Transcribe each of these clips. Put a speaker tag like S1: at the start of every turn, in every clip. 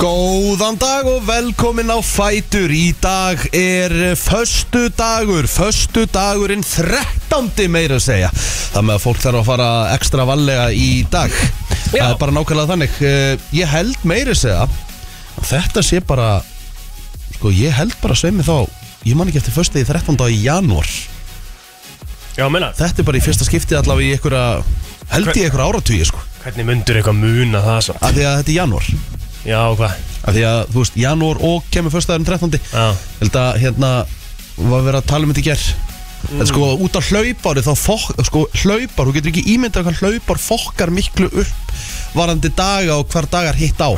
S1: Góðan dag og velkomin á Fætur Í dag er föstu dagur, föstu dagurinn 13. meira að segja Það með að fólk þarf að fara ekstra vallega í dag Það
S2: Já.
S1: er bara nákvæmlega þannig Eh, Ég held meira að segja að Þetta sé bara, sko ég held bara sveimi þá Ég man ekki eftir föstu í 13. í janúar
S2: Já, menna,
S1: Þetta er bara í fyrsta skiptið allavega í einhverja, held ég einhverja áratugi sko
S2: hvernig myndur eitthvað muna það samt?
S1: Af því að þetta er janúar
S2: Já, hvað?
S1: Af því að, þú veist, janúar og kemur föstudagurinn 13.
S2: Já,
S1: held að hérna var verið að tala um þetta í gerð
S2: Mm.
S1: en sko út af hlaupári þá fokk, sko, hlaupár, þú getur ekki ímyndað hvað hlaupár fokkar miklu upp varandi daga og hvar dagar hitt á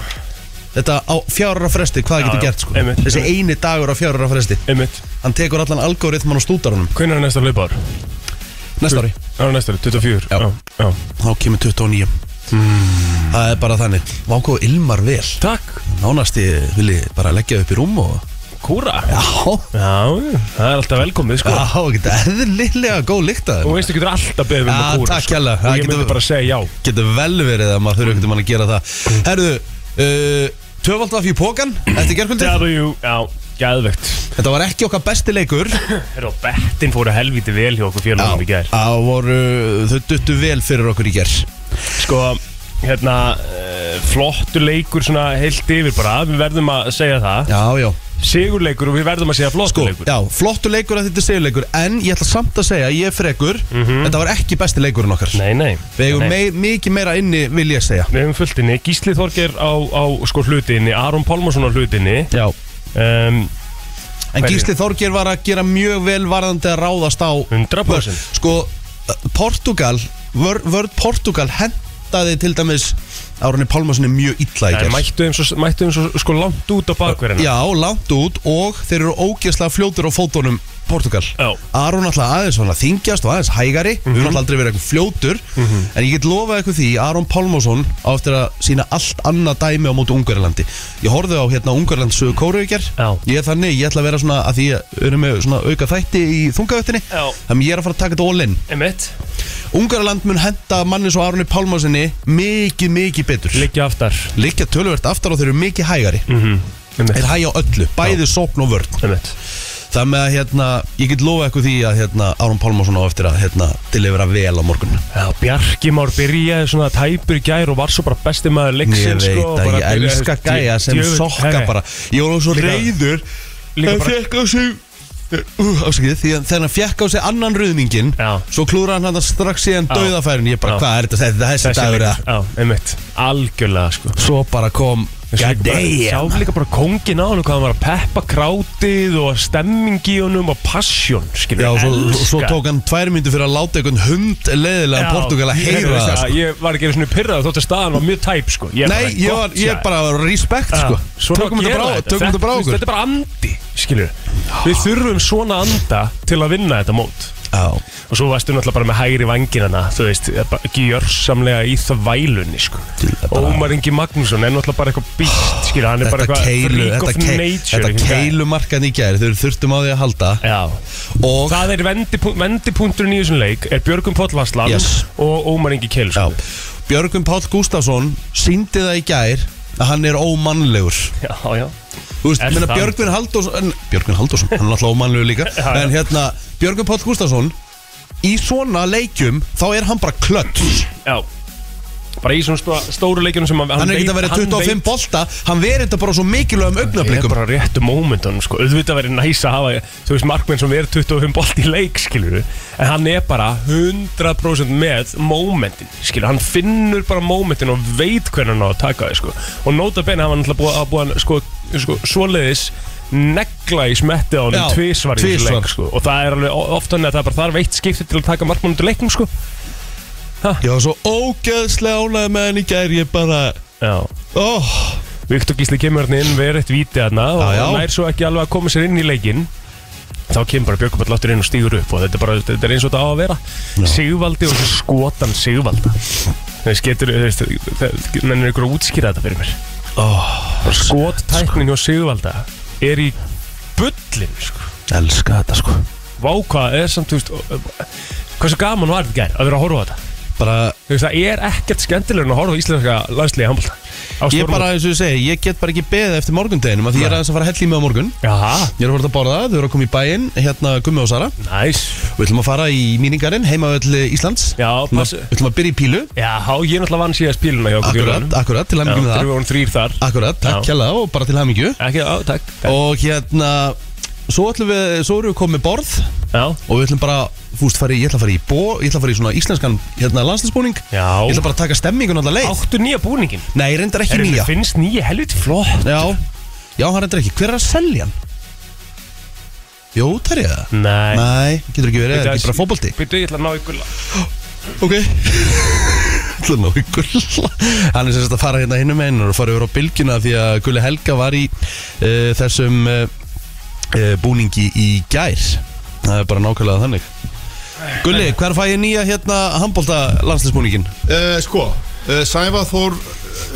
S1: þetta á fjárra fresti hvað
S2: Já,
S1: það getur
S2: já,
S1: gert sko
S2: einmitt,
S1: þessi eini dagur á fjárra fresti
S2: einmitt
S1: hann tekur allan algoritman og stúdarunum
S2: Hvernig er næsta hlaupár?
S1: næsta ári
S2: Það er næsta, ári, 24
S1: Já.
S2: já
S1: þá kemur 29 Hmm, það er bara þannig vákóð ilmar vel
S2: Takk
S1: nánast ég vilji bara leggja upp í rúm og
S2: Kúra
S1: já
S2: Já, það er alltaf velkomið, sko
S1: já, þetta er eðlilega góð lykt að þeim
S2: Og veistu, getur alltaf beðið um
S1: Já,
S2: að kúra
S1: takk
S2: sko.
S1: hérlega.
S2: Og
S1: Það
S2: ég
S1: getur-
S2: myndi bara að segja já
S1: getur vel verið að maður þurfi einhvern veginn að gera það Herðu, uh, tvöfald var fyrir pókan eftir gerkvöldi
S2: W, já, gæðvegt
S1: Þetta var ekki okkar besti leikur
S2: Herra, og bettin fóru helviti vel hjá okkur fjörnum í gær
S1: Það voru, þau duttu vel fyrir okkur í ger
S2: Sko, hérna, uh, flottur leikur svona heilt yfir bara Við verðum að segja það
S1: Já, já
S2: Sigurleikur og við verðum að segja
S1: Sko,
S2: flottur leikur
S1: já, flottu leikur að þetta er segjuleikur En ég ætla samt að segja, ég er frekur Þetta var ekki besti leikurinn okkar
S2: Mhm. Nei, nei
S1: Við eigum
S2: Nei.
S1: mei, mikið meira inni, vil ég segja
S2: Við hefum fullt inni, Gísli Þorger á, á sko hlutinni, Aron Pálmarsson á hlutinni
S1: Já
S2: um,
S1: En
S2: Hverju?
S1: Gísli Þorgir var að gera mjög vel varðandi að ráðast á
S2: 100%
S1: Sko, Portugal vör, Vörð Portugal hendaði til dæmis Árni Pálmarssoni mjög illa í
S2: Það
S1: gerð
S2: mættu þeim svo, mættu þeim svo sko langt út á bakverðina
S1: Já, langt út og þeir eru ógeðslega fljótur á fótunum Portugal
S2: Já.
S1: Aron alltaf aðeins svona þingjast og aðeins hægari Við höfum alltaf aldrei verið eitthvað fljótur
S2: Mhm.
S1: En ég get lofað eitthvað því Aron Pálmarsson á eftir að sína allt annað dæmi á móti Ungarlandi Ég horfði á hérna Ungarland sögu kóruvíkjar
S2: Já.
S1: Ég er þannig, ég ætla að vera svona að því að við erum með svona auka þætti í þungavættinni
S2: Já.
S1: Þannig ég er að fara að taka þetta all in
S2: Emmett,
S1: Ungarland mun henda manni svo Aroni Pálmarssoni mikið, mikið betur
S2: liggja aftar Mhm.
S1: Liggja töluvert aftar og þeir eru mikið hægari Þeir
S2: Emmett,
S1: hægja á öllu, bæði sókn og vörn
S2: Emmett
S1: Það með að hérna, ég get lofa eitthvað því að hérna, Aron Pálmarsson á eftir að hérna, tilifra vel á morgun
S2: Já, Bjarki Már byrjaði svona tæpur í gær og var svo bara besti maður
S1: Ég
S2: leiksin
S1: veit
S2: sko,
S1: að
S2: bara
S1: ég
S2: byrjaði-
S1: elska
S2: djö-
S1: gæja sem
S2: djöfull-
S1: sokka
S2: Nei,
S1: bara Ég var svo
S2: Líka-
S1: reyður
S2: líka
S1: Þegar
S2: bara-
S1: fekk á sig uh, Ásakið, því að þegar hann fekk á sig annan ruðningin
S2: Já.
S1: Svo klúra hann hann strax síðan dauðafærin Ég bara,
S2: Já.
S1: hvað er þetta, þetta þessi
S2: Þessi
S1: dagur
S2: leikur,
S1: eða?
S2: já, Emmett, algjörlega sko
S1: Svo bara kom God damn
S2: Sá líka bara kóngin á hann og hvað hann var að peppa krátið og stemmingi honum og passion, skilur
S1: Já,
S2: ég
S1: svo,
S2: elska
S1: svo tók hann tvær myndu fyrir að láta einhvern hund leðilega
S2: Já,
S1: Portugal að
S2: ég-
S1: heyra
S2: ég-
S1: það sko.
S2: Ég var ekki einu svona pyrrað þótt að staðan var mjög tæp sko ég
S1: Nei, ég, var, ég er bara respekt
S2: Já,
S1: sko.
S2: svona
S1: Tökum
S2: að
S1: þetta
S2: gera
S1: bara á-
S2: þetta.
S1: tökum þetta bara á
S2: þú veist,
S1: okkur
S2: Þetta er bara andi, skilur Við þurfum svona anda til að vinna þetta mót
S1: Já,
S2: Og svo varstu náttúrulega bara með hægri vanginana Þú veist, eh, gjörsamlega í það vælunni sko Ómar Ingi Magnússon er náttúrulega bara eitthvað býst Skilur, hann er bara
S1: þetta
S2: eitthvað
S1: keilu
S2: freak
S1: Þetta,
S2: of
S1: kei,
S2: nature
S1: þetta
S2: einhvern veginn.
S1: keilumarkan í gær Þau þurftum á því að halda
S2: Já,
S1: Og
S2: Það er vendipu- vendipunkturinn í þessum leik er Björgum Páll Vasslan
S1: Yes.
S2: og Ómar Ingi Keil
S1: já,
S2: sko.
S1: Björgum Páll Gustafsson Sýndi það í gær að hann er ómannlegur
S2: já, já.
S1: Þú veist,
S2: Er
S1: menna
S2: það?
S1: Björgvin Halldórsson Björgvin Halldórsson, hann er alltaf ómannlegur líka
S2: Já, já.
S1: En hérna, Björgvin Páll Gustafsson Í svona leikjum Þá er hann bara klöts
S2: Já Bara í svona stó- stóru leikjunum sem hann,
S1: Hann er ekki að vera 25 bolta Hann verið þetta bara á svo mikilvægum
S2: Það er
S1: augnablikum
S2: bara réttu mómentunum sko Auðvitað verið næs að hafa Þú veist markmenn sem verið 25 bolt í leik skilur En hann er bara 100% með mómentin skilur Hann finnur bara mómentin og veit hvernig hann á að taka þið sko Og nota bene hafa hann alltaf búið að búið hann sko, sko Svoleiðis negla í smetti á hann
S1: Já,
S2: tvísvar í þessu
S1: tvisvar.
S2: leik sko Og það er alveg o- oft þannig að það er bara þarf eitt skipti til að taka markmann undir leiknum sko
S1: Ég var svo ógeðslega ánægð með hann í gær Ég bara,
S2: Já
S1: óh
S2: Viktor Gísli kemur hann inn, verið eitt víti hann og
S1: Já, já.
S2: hann nær svo ekki alveg að koma sér inn í leikinn þá kemur bara Björguball áttur inn og stígur upp og þetta er bara, þetta er eins og þetta á að vera Sigvaldi og þessi skotan Sigvalda þú veist, getur, þú veist, það mennir ykkur að útskýra þetta fyrir mér oh,
S1: sko.
S2: skottæknin hjá Sigvalda er í bullin sko.
S1: Elska þetta sko
S2: vákvað er samt, þú veist hversu gaman var þetta gær að vera að horfa á þetta
S1: bara,
S2: Þú veist, það er ekkert skemmtilegur en að horfa á íslenska landslið í handbólta á
S1: ég
S2: stórum
S1: bara, eins og ég segi, ég get bara ekki beðið eftir morgundeginum af Því ég er aðeins að fara að hella í mig á morgun
S2: Jaha,
S1: Ég er að fara að borða, þau eru að koma í bæinn, hérna Gummi og Sara
S2: næs
S1: Við ætlum að fara í míningarinn, heimavöll Íslands
S2: Já,
S1: Við ætlum að-
S2: passu.
S1: við ætlum að byrja í pílu
S2: Jaha, ég náttúrulega vann síðast píluna hjá okkur
S1: Akkurat, akkurat, til hæmingjum
S2: Já,
S1: með
S2: þegar
S1: það
S2: við vorum þrýr þar
S1: Akkurat, takk
S2: Já.
S1: kjalla og bara til hæmingju
S2: Ekki, á, takk
S1: Og hérna, svo ætlum við, svo erum við komið borð
S2: Já,
S1: Og við ætlum bara, fúst, fari, ég ætla að fara í bó, ég ætla að fara í svona íslenskan hérna landslæsbúning Ég
S2: já
S1: ætla bara að taka stemmingun allar leið
S2: Áttu nýja búningin
S1: Nei, reyndar ekki
S2: Herru, mér
S1: nýja
S2: Finnst nýja helviti flott
S1: Já, já, hann reyndar ekki, hver er að selja hann? Jó, það er ég það
S2: Nei
S1: Nei, getur ekki verið, er ekki bara fótbolti
S2: Býttu, ég ætla að ná ykkur
S1: Ok Það er nógu gulla Hann er sérst að fara hérna hinnum einn og fara yfir á bylgjuna því að Gulli Helga var í uh, þessum uh, uh, búningi í gær Það er bara nákvæmlega þannig Gulli, hver fæ ég nýja hérna handbólta landslæsbúningin?
S3: Uh, sko, uh, Sæfa Þór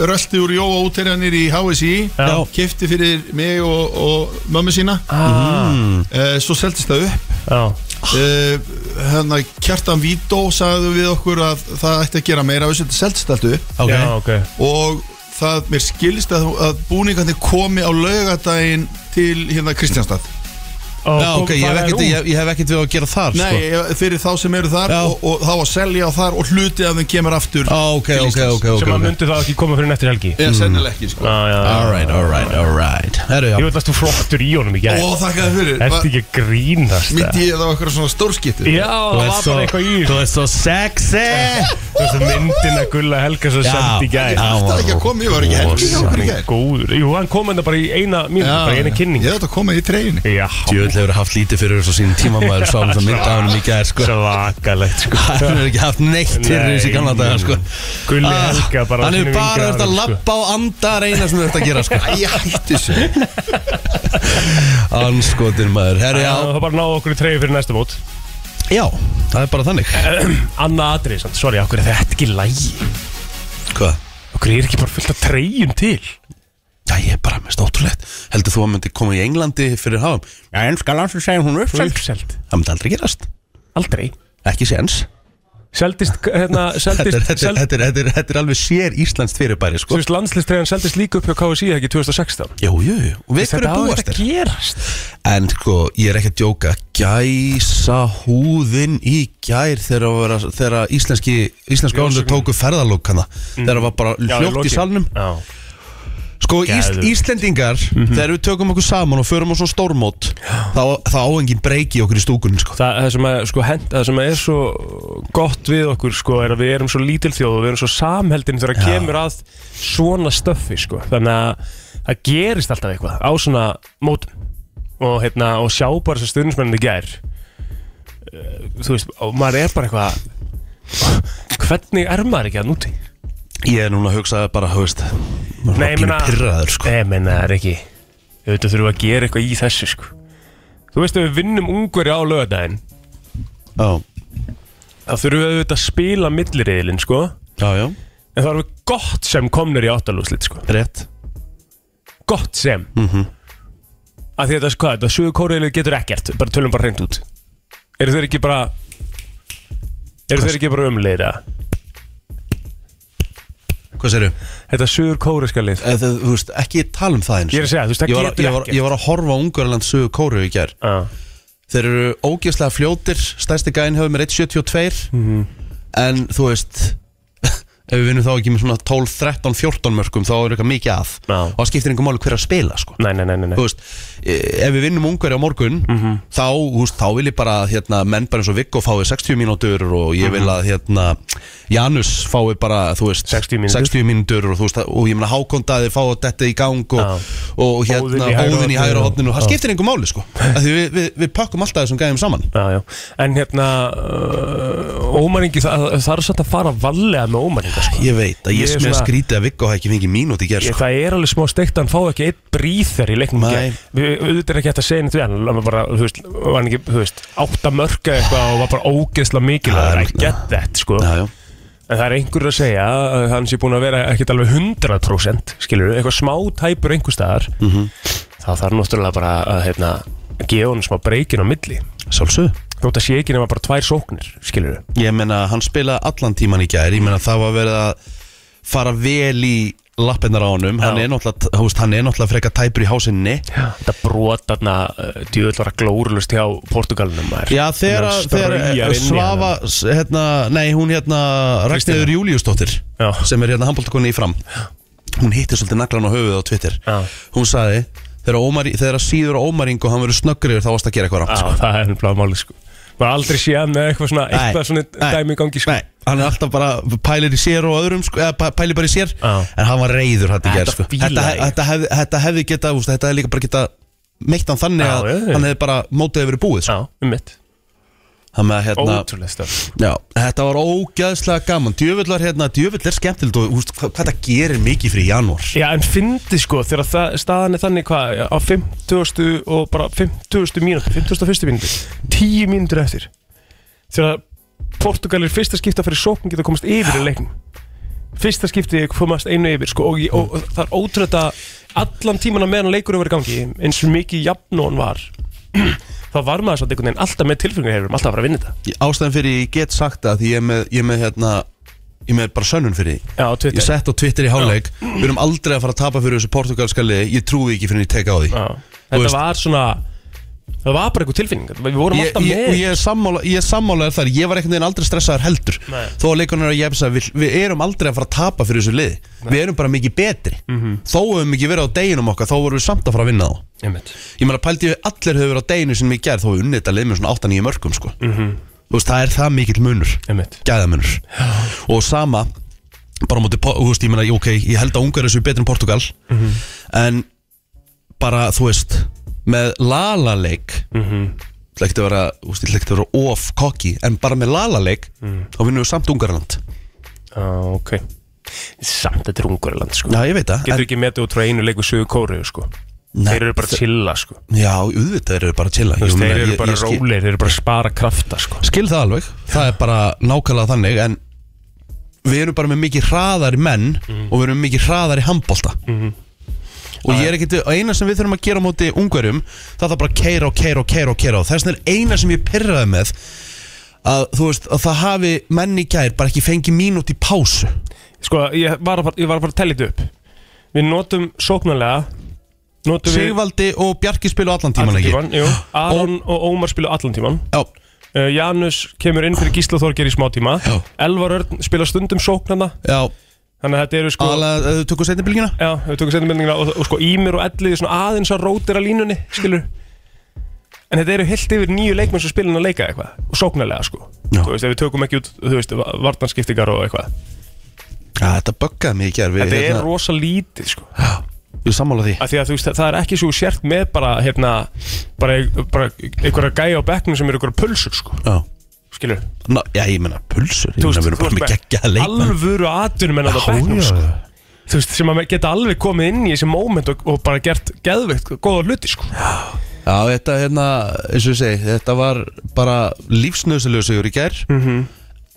S3: röldi úr Jóa útæranir í HSI
S2: Já.
S3: kefti fyrir mig og, og mömmu sína
S2: ah,
S3: uh, svo seldist það upp
S2: Já,
S3: uh, hérna, Kjartan Vító sagði við okkur að það ætti að gera meira af þessu, þetta seldist allt upp
S1: Ok,
S2: já, ok
S3: og það mér skilst að, að búningandi komi á laugardaginn til hérna Kristjánstad
S2: Ó,
S1: já,
S2: kom-
S1: ok, ég hef
S2: fara þær
S1: ekkert
S2: út?
S1: ég, ég hef ekkert við að gera þar
S3: Nei,
S1: sko.
S3: sko. fyrir þá sem eru þar
S1: Já.
S3: og, og þá að selja á þar og hluti að þeim kemur aftur
S1: Á, Ok,
S3: til
S1: ok,
S3: Íslands.
S1: ok, ok,
S2: Sem að
S1: ok
S2: myndi það ekki koma fyrir nættir helgi
S3: Eða sennilega ekki sko.
S2: Já, já, já
S1: Alright, alright, alright Herru, já
S2: Ég veit að þú flottur í honum í gæð
S3: Ó, þakkaði fyrir
S2: Ertu ekki að grínast eh? eða?
S3: Myndi ég það var eitthvað svona stórskittu
S2: Já, það var bara eitthvað í
S1: Þú ert svo sexy
S2: Þessu myndin að Gulla Helga sem
S1: Já.
S2: sendi í gæð
S1: Já.
S3: Það er ekki að koma, ég var ekki helgi hjá okkur í gær.
S2: Góður, jú, hann kom enda bara í eina mínútu, bara í eina kynning
S3: Ég ætla að koma í treyjunni
S2: Já,
S1: Djöfull hefur haft lítið fyrir þessu á sínum tíma maður sá hann það mynd af hann í gær sko
S2: svakalegt sko
S1: Hann hefur ekki haft neitt til þessu í gamla dagar sko
S2: Gulli
S1: Ah,
S2: Helga bara á
S1: Hann hefur
S2: sínum
S1: bara
S2: yngra
S1: verið að
S2: árum, sko.
S1: lappa og anda að reyna sem þú ert að gera sko
S3: Æ, hættu sér
S1: Anskotir maður, herri já
S2: Það er bara að ná okkur í treyju fyrir næsta mót
S1: Já, það er bara þannig
S2: Anna atrið, samt, sorry, okkur er þetta ekki lægi
S1: Hvað?
S2: Okkur er ekki bara fullt af treyjum til
S1: Já, ég er bara mest ótrúlegt Heldur þú að myndi koma í Englandi fyrir hafum? Já, ennska landsins segir hún uppseld
S2: Uppselt,
S1: Það myndi aldrei gerast
S2: aldrei
S1: Ekki séns
S2: Seldist, hérna,
S1: Þetta er,
S2: seldist
S1: þetta, er,
S2: seld-
S1: þetta, er, þetta, er, þetta er alveg sér Íslands fyrirbæri
S2: Þú
S1: sko
S2: veist, landslistreyjan seldist líka upp hjá KSI ekki 2016
S1: Jú, jú, jú. og við hverju
S2: Þetta á
S1: búast
S2: þetta
S1: þér
S2: að gerast
S1: En sko, ég er ekki að djóka Gæsa húðin í gær Þegar, að vera, þegar að íslenski Íslenski áhundur
S2: Ljósakar.
S1: tóku ferðalókana
S2: Mm.
S1: Þegar það var bara hljótt í salnum
S2: Já, Mhm.
S1: Sko, Ís,
S2: Geðveikt.
S1: Íslendingar Þegar við tökum okkur saman og förum á svona stórmót Þá, þá áengin breyki okkur í stúkunum sko.
S2: Það, það, sem að, sko, hend, það sem er svo gott við okkur sko, er að við erum svo lítil þjóð og við erum svo samheldin
S1: Já.
S2: þegar kemur að svona stöffi sko. þannig að það gerist alltaf eitthvað á svona mótum og, hérna, og sjá bara þess að stundismenninni gær Eh, þú veist, og maður er bara eitthvað hvernig er maður ekki að núti?
S1: Ég er núna að hugsa bara, þú veist
S2: Nei,
S1: Nei,
S2: ég
S1: meina
S2: meina-
S1: Pirraður, sko
S2: Nei, menn það er ekki auðvitað þurfum við að gera eitthvað í þessu sko. þú veist, ef við vinnum ungveri á lögadaginn
S1: Já,
S2: þá þurfum við auðvitað að spila milliriðilinn sko
S1: já, já,
S2: En það var alveg gott sem komnir í áttalúslit sko.
S1: rétt
S2: Gott sem mm -hmm. Að því að þetta, sko, þetta sögur kóriðileg getur ekkert Bara tölum bara hreint út Eru þeir ekki bara Eru þeir ekki bara umleira
S1: Hvað sérðu?
S2: Þetta sögur kóriðska lið
S1: Eða, Þú veist, ekki tala um það eins
S2: Ég er að segja, þú veist, það
S1: Ég var,
S2: getur
S1: ég var,
S2: ekkert.
S1: ég var að horfa á Ungarland sögu kóru í gær
S2: ah.
S1: Þeir eru ógeðslega fljótir Stærsti gæinn hefur með 1.72 En þú veist Ef við vinnum þá ekki með svona 12, 13, 14 mörgum Þá er eitthvað mikið að
S2: Já.
S1: Og það skiptir einhver máli hver að spila sko.
S2: Nei, nei, nei, nei, Mhm. nei.
S1: Þú veist, e- Ef við vinnum ungverja á morgun þá, þú veist, þá vil ég bara að, hérna, Menn bara eins og Viggo fái 60 mínútur Og ég
S2: Mhm.
S1: vil að hérna, Janus fái bara þú veist,
S2: 60 mínútur.
S1: 60 mínútur og, þú veist, og ég meina hákondaði fá þetta í gang
S2: Já.
S1: Og, og hérna,
S2: Óðinn í hægra
S1: óðin í hægra
S2: horninu.
S1: hotninu Og það
S2: Já.
S1: skiptir einhver máli sko. Af Því við, við, við pökkum alltaf þessum gæðum saman
S2: Já, já. En hérna uh, Ómæringi, það, það er satt að fara vallega með ómæringa sko.
S1: Ég veit að ég,
S2: Ég er
S1: ég mér
S2: svona-
S1: skrítið að Viggo hafi ekki fengið mínút í gerð
S2: Ég,
S1: sko.
S2: það er alveg smá steikt að hann fá ekki eitt bríþer í leiknum
S1: Nei.
S2: gegn- Við auðvitað er ekki hægt að segja neitt við hann hann var bara, þú veist, var hann ekki, þú veist átta mörka eitthvað og var bara ógeðslega
S1: Það
S2: mikilvæg
S1: er-
S2: I get that, sko
S1: Já, já.
S2: en það er einhver að segja að hann sé búin að vera ekkert alveg 100% skilur eitthvað smá tæpur einhver staðar
S1: Mhm.
S2: þá þarf náttúrulega bara að, hérna, að gefa hann smá breykin á milli
S1: Sjálfsög
S2: þótt að sé ekki nema bara tvær sóknir skilur við
S1: Ég meina, hann spilaði allan tíman í gær Ég meina, það var verið að fara vel í lappinnar á honum hann
S2: Já.
S1: er, náttúrulega, þú veist, hann er náttúrulega freka tæpur í hásinni
S2: þetta brot þarna uh, djöðlara glórulust hjá Portugalunum maður.
S1: Já, þegar,
S2: Hann
S1: þegar
S2: straujar inn í
S1: Svafa, s- hérna, nei, hún hérna
S2: Kristína.
S1: Ragnhildur Júliusdóttir
S2: Já.
S1: sem er hérna handbóltakonni í fram hún hittir svolítið naglan á höfuð á Twitter
S2: Já.
S1: hún sagði, þegar, Ómar, þegar síður á Ómaring og hann verður snöggur yfir þá varst að gera eitthvað
S2: Já,
S1: rámt
S2: það er nefnilega máli sko Bara aldrei séð hann með eitthvað svona
S1: Nei,
S2: eitthvað svona
S1: nei,
S2: dæmi í gangi sko
S1: Nei, hann er alltaf bara pælir í sér og öðrum sko, eða pæ- pælir bara í sér
S2: Já.
S1: en hann var reyður hann í
S2: Þetta
S1: gerð sko.
S2: fílaði
S1: þetta,
S2: ég.
S1: þetta, hefði, þetta hefði geta úst, þetta hefði líka bara geta meitt hann þannig
S2: Já,
S1: að
S2: já, já.
S1: hann hefði bara mótið hefur verið búið sko.
S2: Já, um mitt
S1: þannig að hérna
S2: Ótrúlega stöð
S1: já, þetta var ógæðslega gaman djöfullar hérna, djöfull er skemmtilegt og úst, hvað, hvað það gerir mikið fyrir janúar
S2: Já, en fyndi sko þegar það, staðan er þannig hvað á 50. og bara 50. mínúti 51. mínúti 10 mínútur eftir þegar Portugal er fyrsta skipta fyrir sókn geta komast yfir í leiknum Fyrsta skipti komast einu yfir sko, og, ég- og, og það er ótrúlega allan tíman að meðan leikurinn var í gangi eins og mikið jafn og hann var þá var maður svolítið einhvern veginn alltaf með tilfengur alltaf að fara að vinna þetta
S1: ástæðan fyrir ég get sagt það því ég er með, ég er með hérna ég er með bara sönnun fyrir því
S2: Já, á Twitter.
S1: ég sett á Twitter í háleik við erum aldrei að fara að tapa fyrir þessu portugalska liði ég trúi ekki fyrir en ég teka á því
S2: Já.
S1: Þú
S2: Þetta
S1: veist-
S2: var svona Það var bara einhver tilfinning Við vorum
S1: Ég,
S2: alltaf
S1: ég,
S2: með
S1: og ég er sammála, ég er sammálaður þar Ég var einhvern veginn aldrei stressaður heldur
S2: Nei.
S1: Þó að leikunum er að ég að við, við erum aldrei að fara að tapa fyrir þessu liði Við erum bara mikið betri
S2: Mhm.
S1: Þó hefum ekki verið á deginum okkar Þó vorum við samt að fara að vinna þá
S2: Einmitt.
S1: Ég meina pældi ég allir hefur verið á deginu sem ég gerð Þó við unnið þetta lið með svona 8-9 mörgum sko. Þú veist, það er það mikill munur
S2: Mhm. Einmitt.
S1: Gæðamunur Og sama, bara á móti, Po- þú veist, ég meina, ok Ég held að ungar þessu betri en Portugal
S2: Mhm.
S1: En bara, þú veist Með lalaleik
S2: Mhm.
S1: Það ekkert að vera, þú veist, ég ætla ekkert að vera of kokki En bara með lalaleik Þá vinnum við samt Ungarland
S2: Já, Mhm. Ah, ok Samt þetta er Ungariland sko
S1: Já, ég veit það
S2: Getur ekki metið út frá einu leiku sögu kóriðu sko
S1: Nei.
S2: Þeir eru bara að chilla sko
S1: en, Já, auðvitað eru bara að chilla
S2: Þú
S1: Ég
S2: veist,
S1: meina,
S2: Þeir eru
S1: ég-
S2: bara
S1: ég skil-
S2: rólir, þeir eru bara að spara krafta sko
S1: skil það alveg það er bara nákvæmlega þannig en við erum bara með mikið hraðari menn
S2: Mhm.
S1: og við erum með mikið hraðari handbólta og ég er ekkert og eina sem við þurfum að gera á móti ungverjum það er það bara að keira og keira og keira og keira og þess vegna er eina sem ég pyrraði með að þú veist að það hafi menn í gær bara ekki fengið mínút í pásu
S2: Sko, ég var að fara, ég var að, fara að tella þetta upp Við notum sóknarlega Notum
S1: Sigvaldi og Bjarki spilu allan
S2: við
S1: tíman
S2: allan
S1: ekki
S2: tíman jú. Aron og Ómar spilu allan tíman
S1: já,
S2: uh, Janus kemur inn fyrir Gísla Þorger í smá tíma
S1: Já.
S2: Elvar Örn spila stundum sóknarna
S1: já,
S2: Þannig að þetta eru sko
S1: alveg að þau tökum setni bylgina
S2: Já, við tökum setjumendingina og, og sko Ímir og Ellið er svona aðeins að rótir að línunni, skilur En þetta eru heilt yfir nýju leikmenn sem spilin að leika eitthvað og sóknarlega sko
S1: Já.
S2: Þú veist, ef við tökum ekki út, þú veist, vartanskiptingar og eitthvað
S1: ja, þetta böggaði mig í gær við,
S2: Þetta er
S1: hérna,
S2: rosa lítið sko
S1: ég sammála því
S2: Af því að þú veist, það er ekki svo sért með bara, hérna, bara, bara einhverja gæja á bekknum sem eru einhverja pulsur sko
S1: já.
S2: Skilur,
S1: Ná, já, ég meina pulsur ég
S2: þú
S1: meina
S2: veist,
S1: við erum bara með geggjaða leikmenn
S2: alvöru aðtunum en á
S1: Já,
S2: bekknum
S1: já.
S2: sko Þú veist, sem að geta alveg komið inn í þessi moment og, og bara gert geðveikt góða hluti sko
S1: Já, þetta hérna, eins og ég segi, þetta var bara lífsnöðsynlegu sigur í gær
S2: Mhm.
S1: -hmm.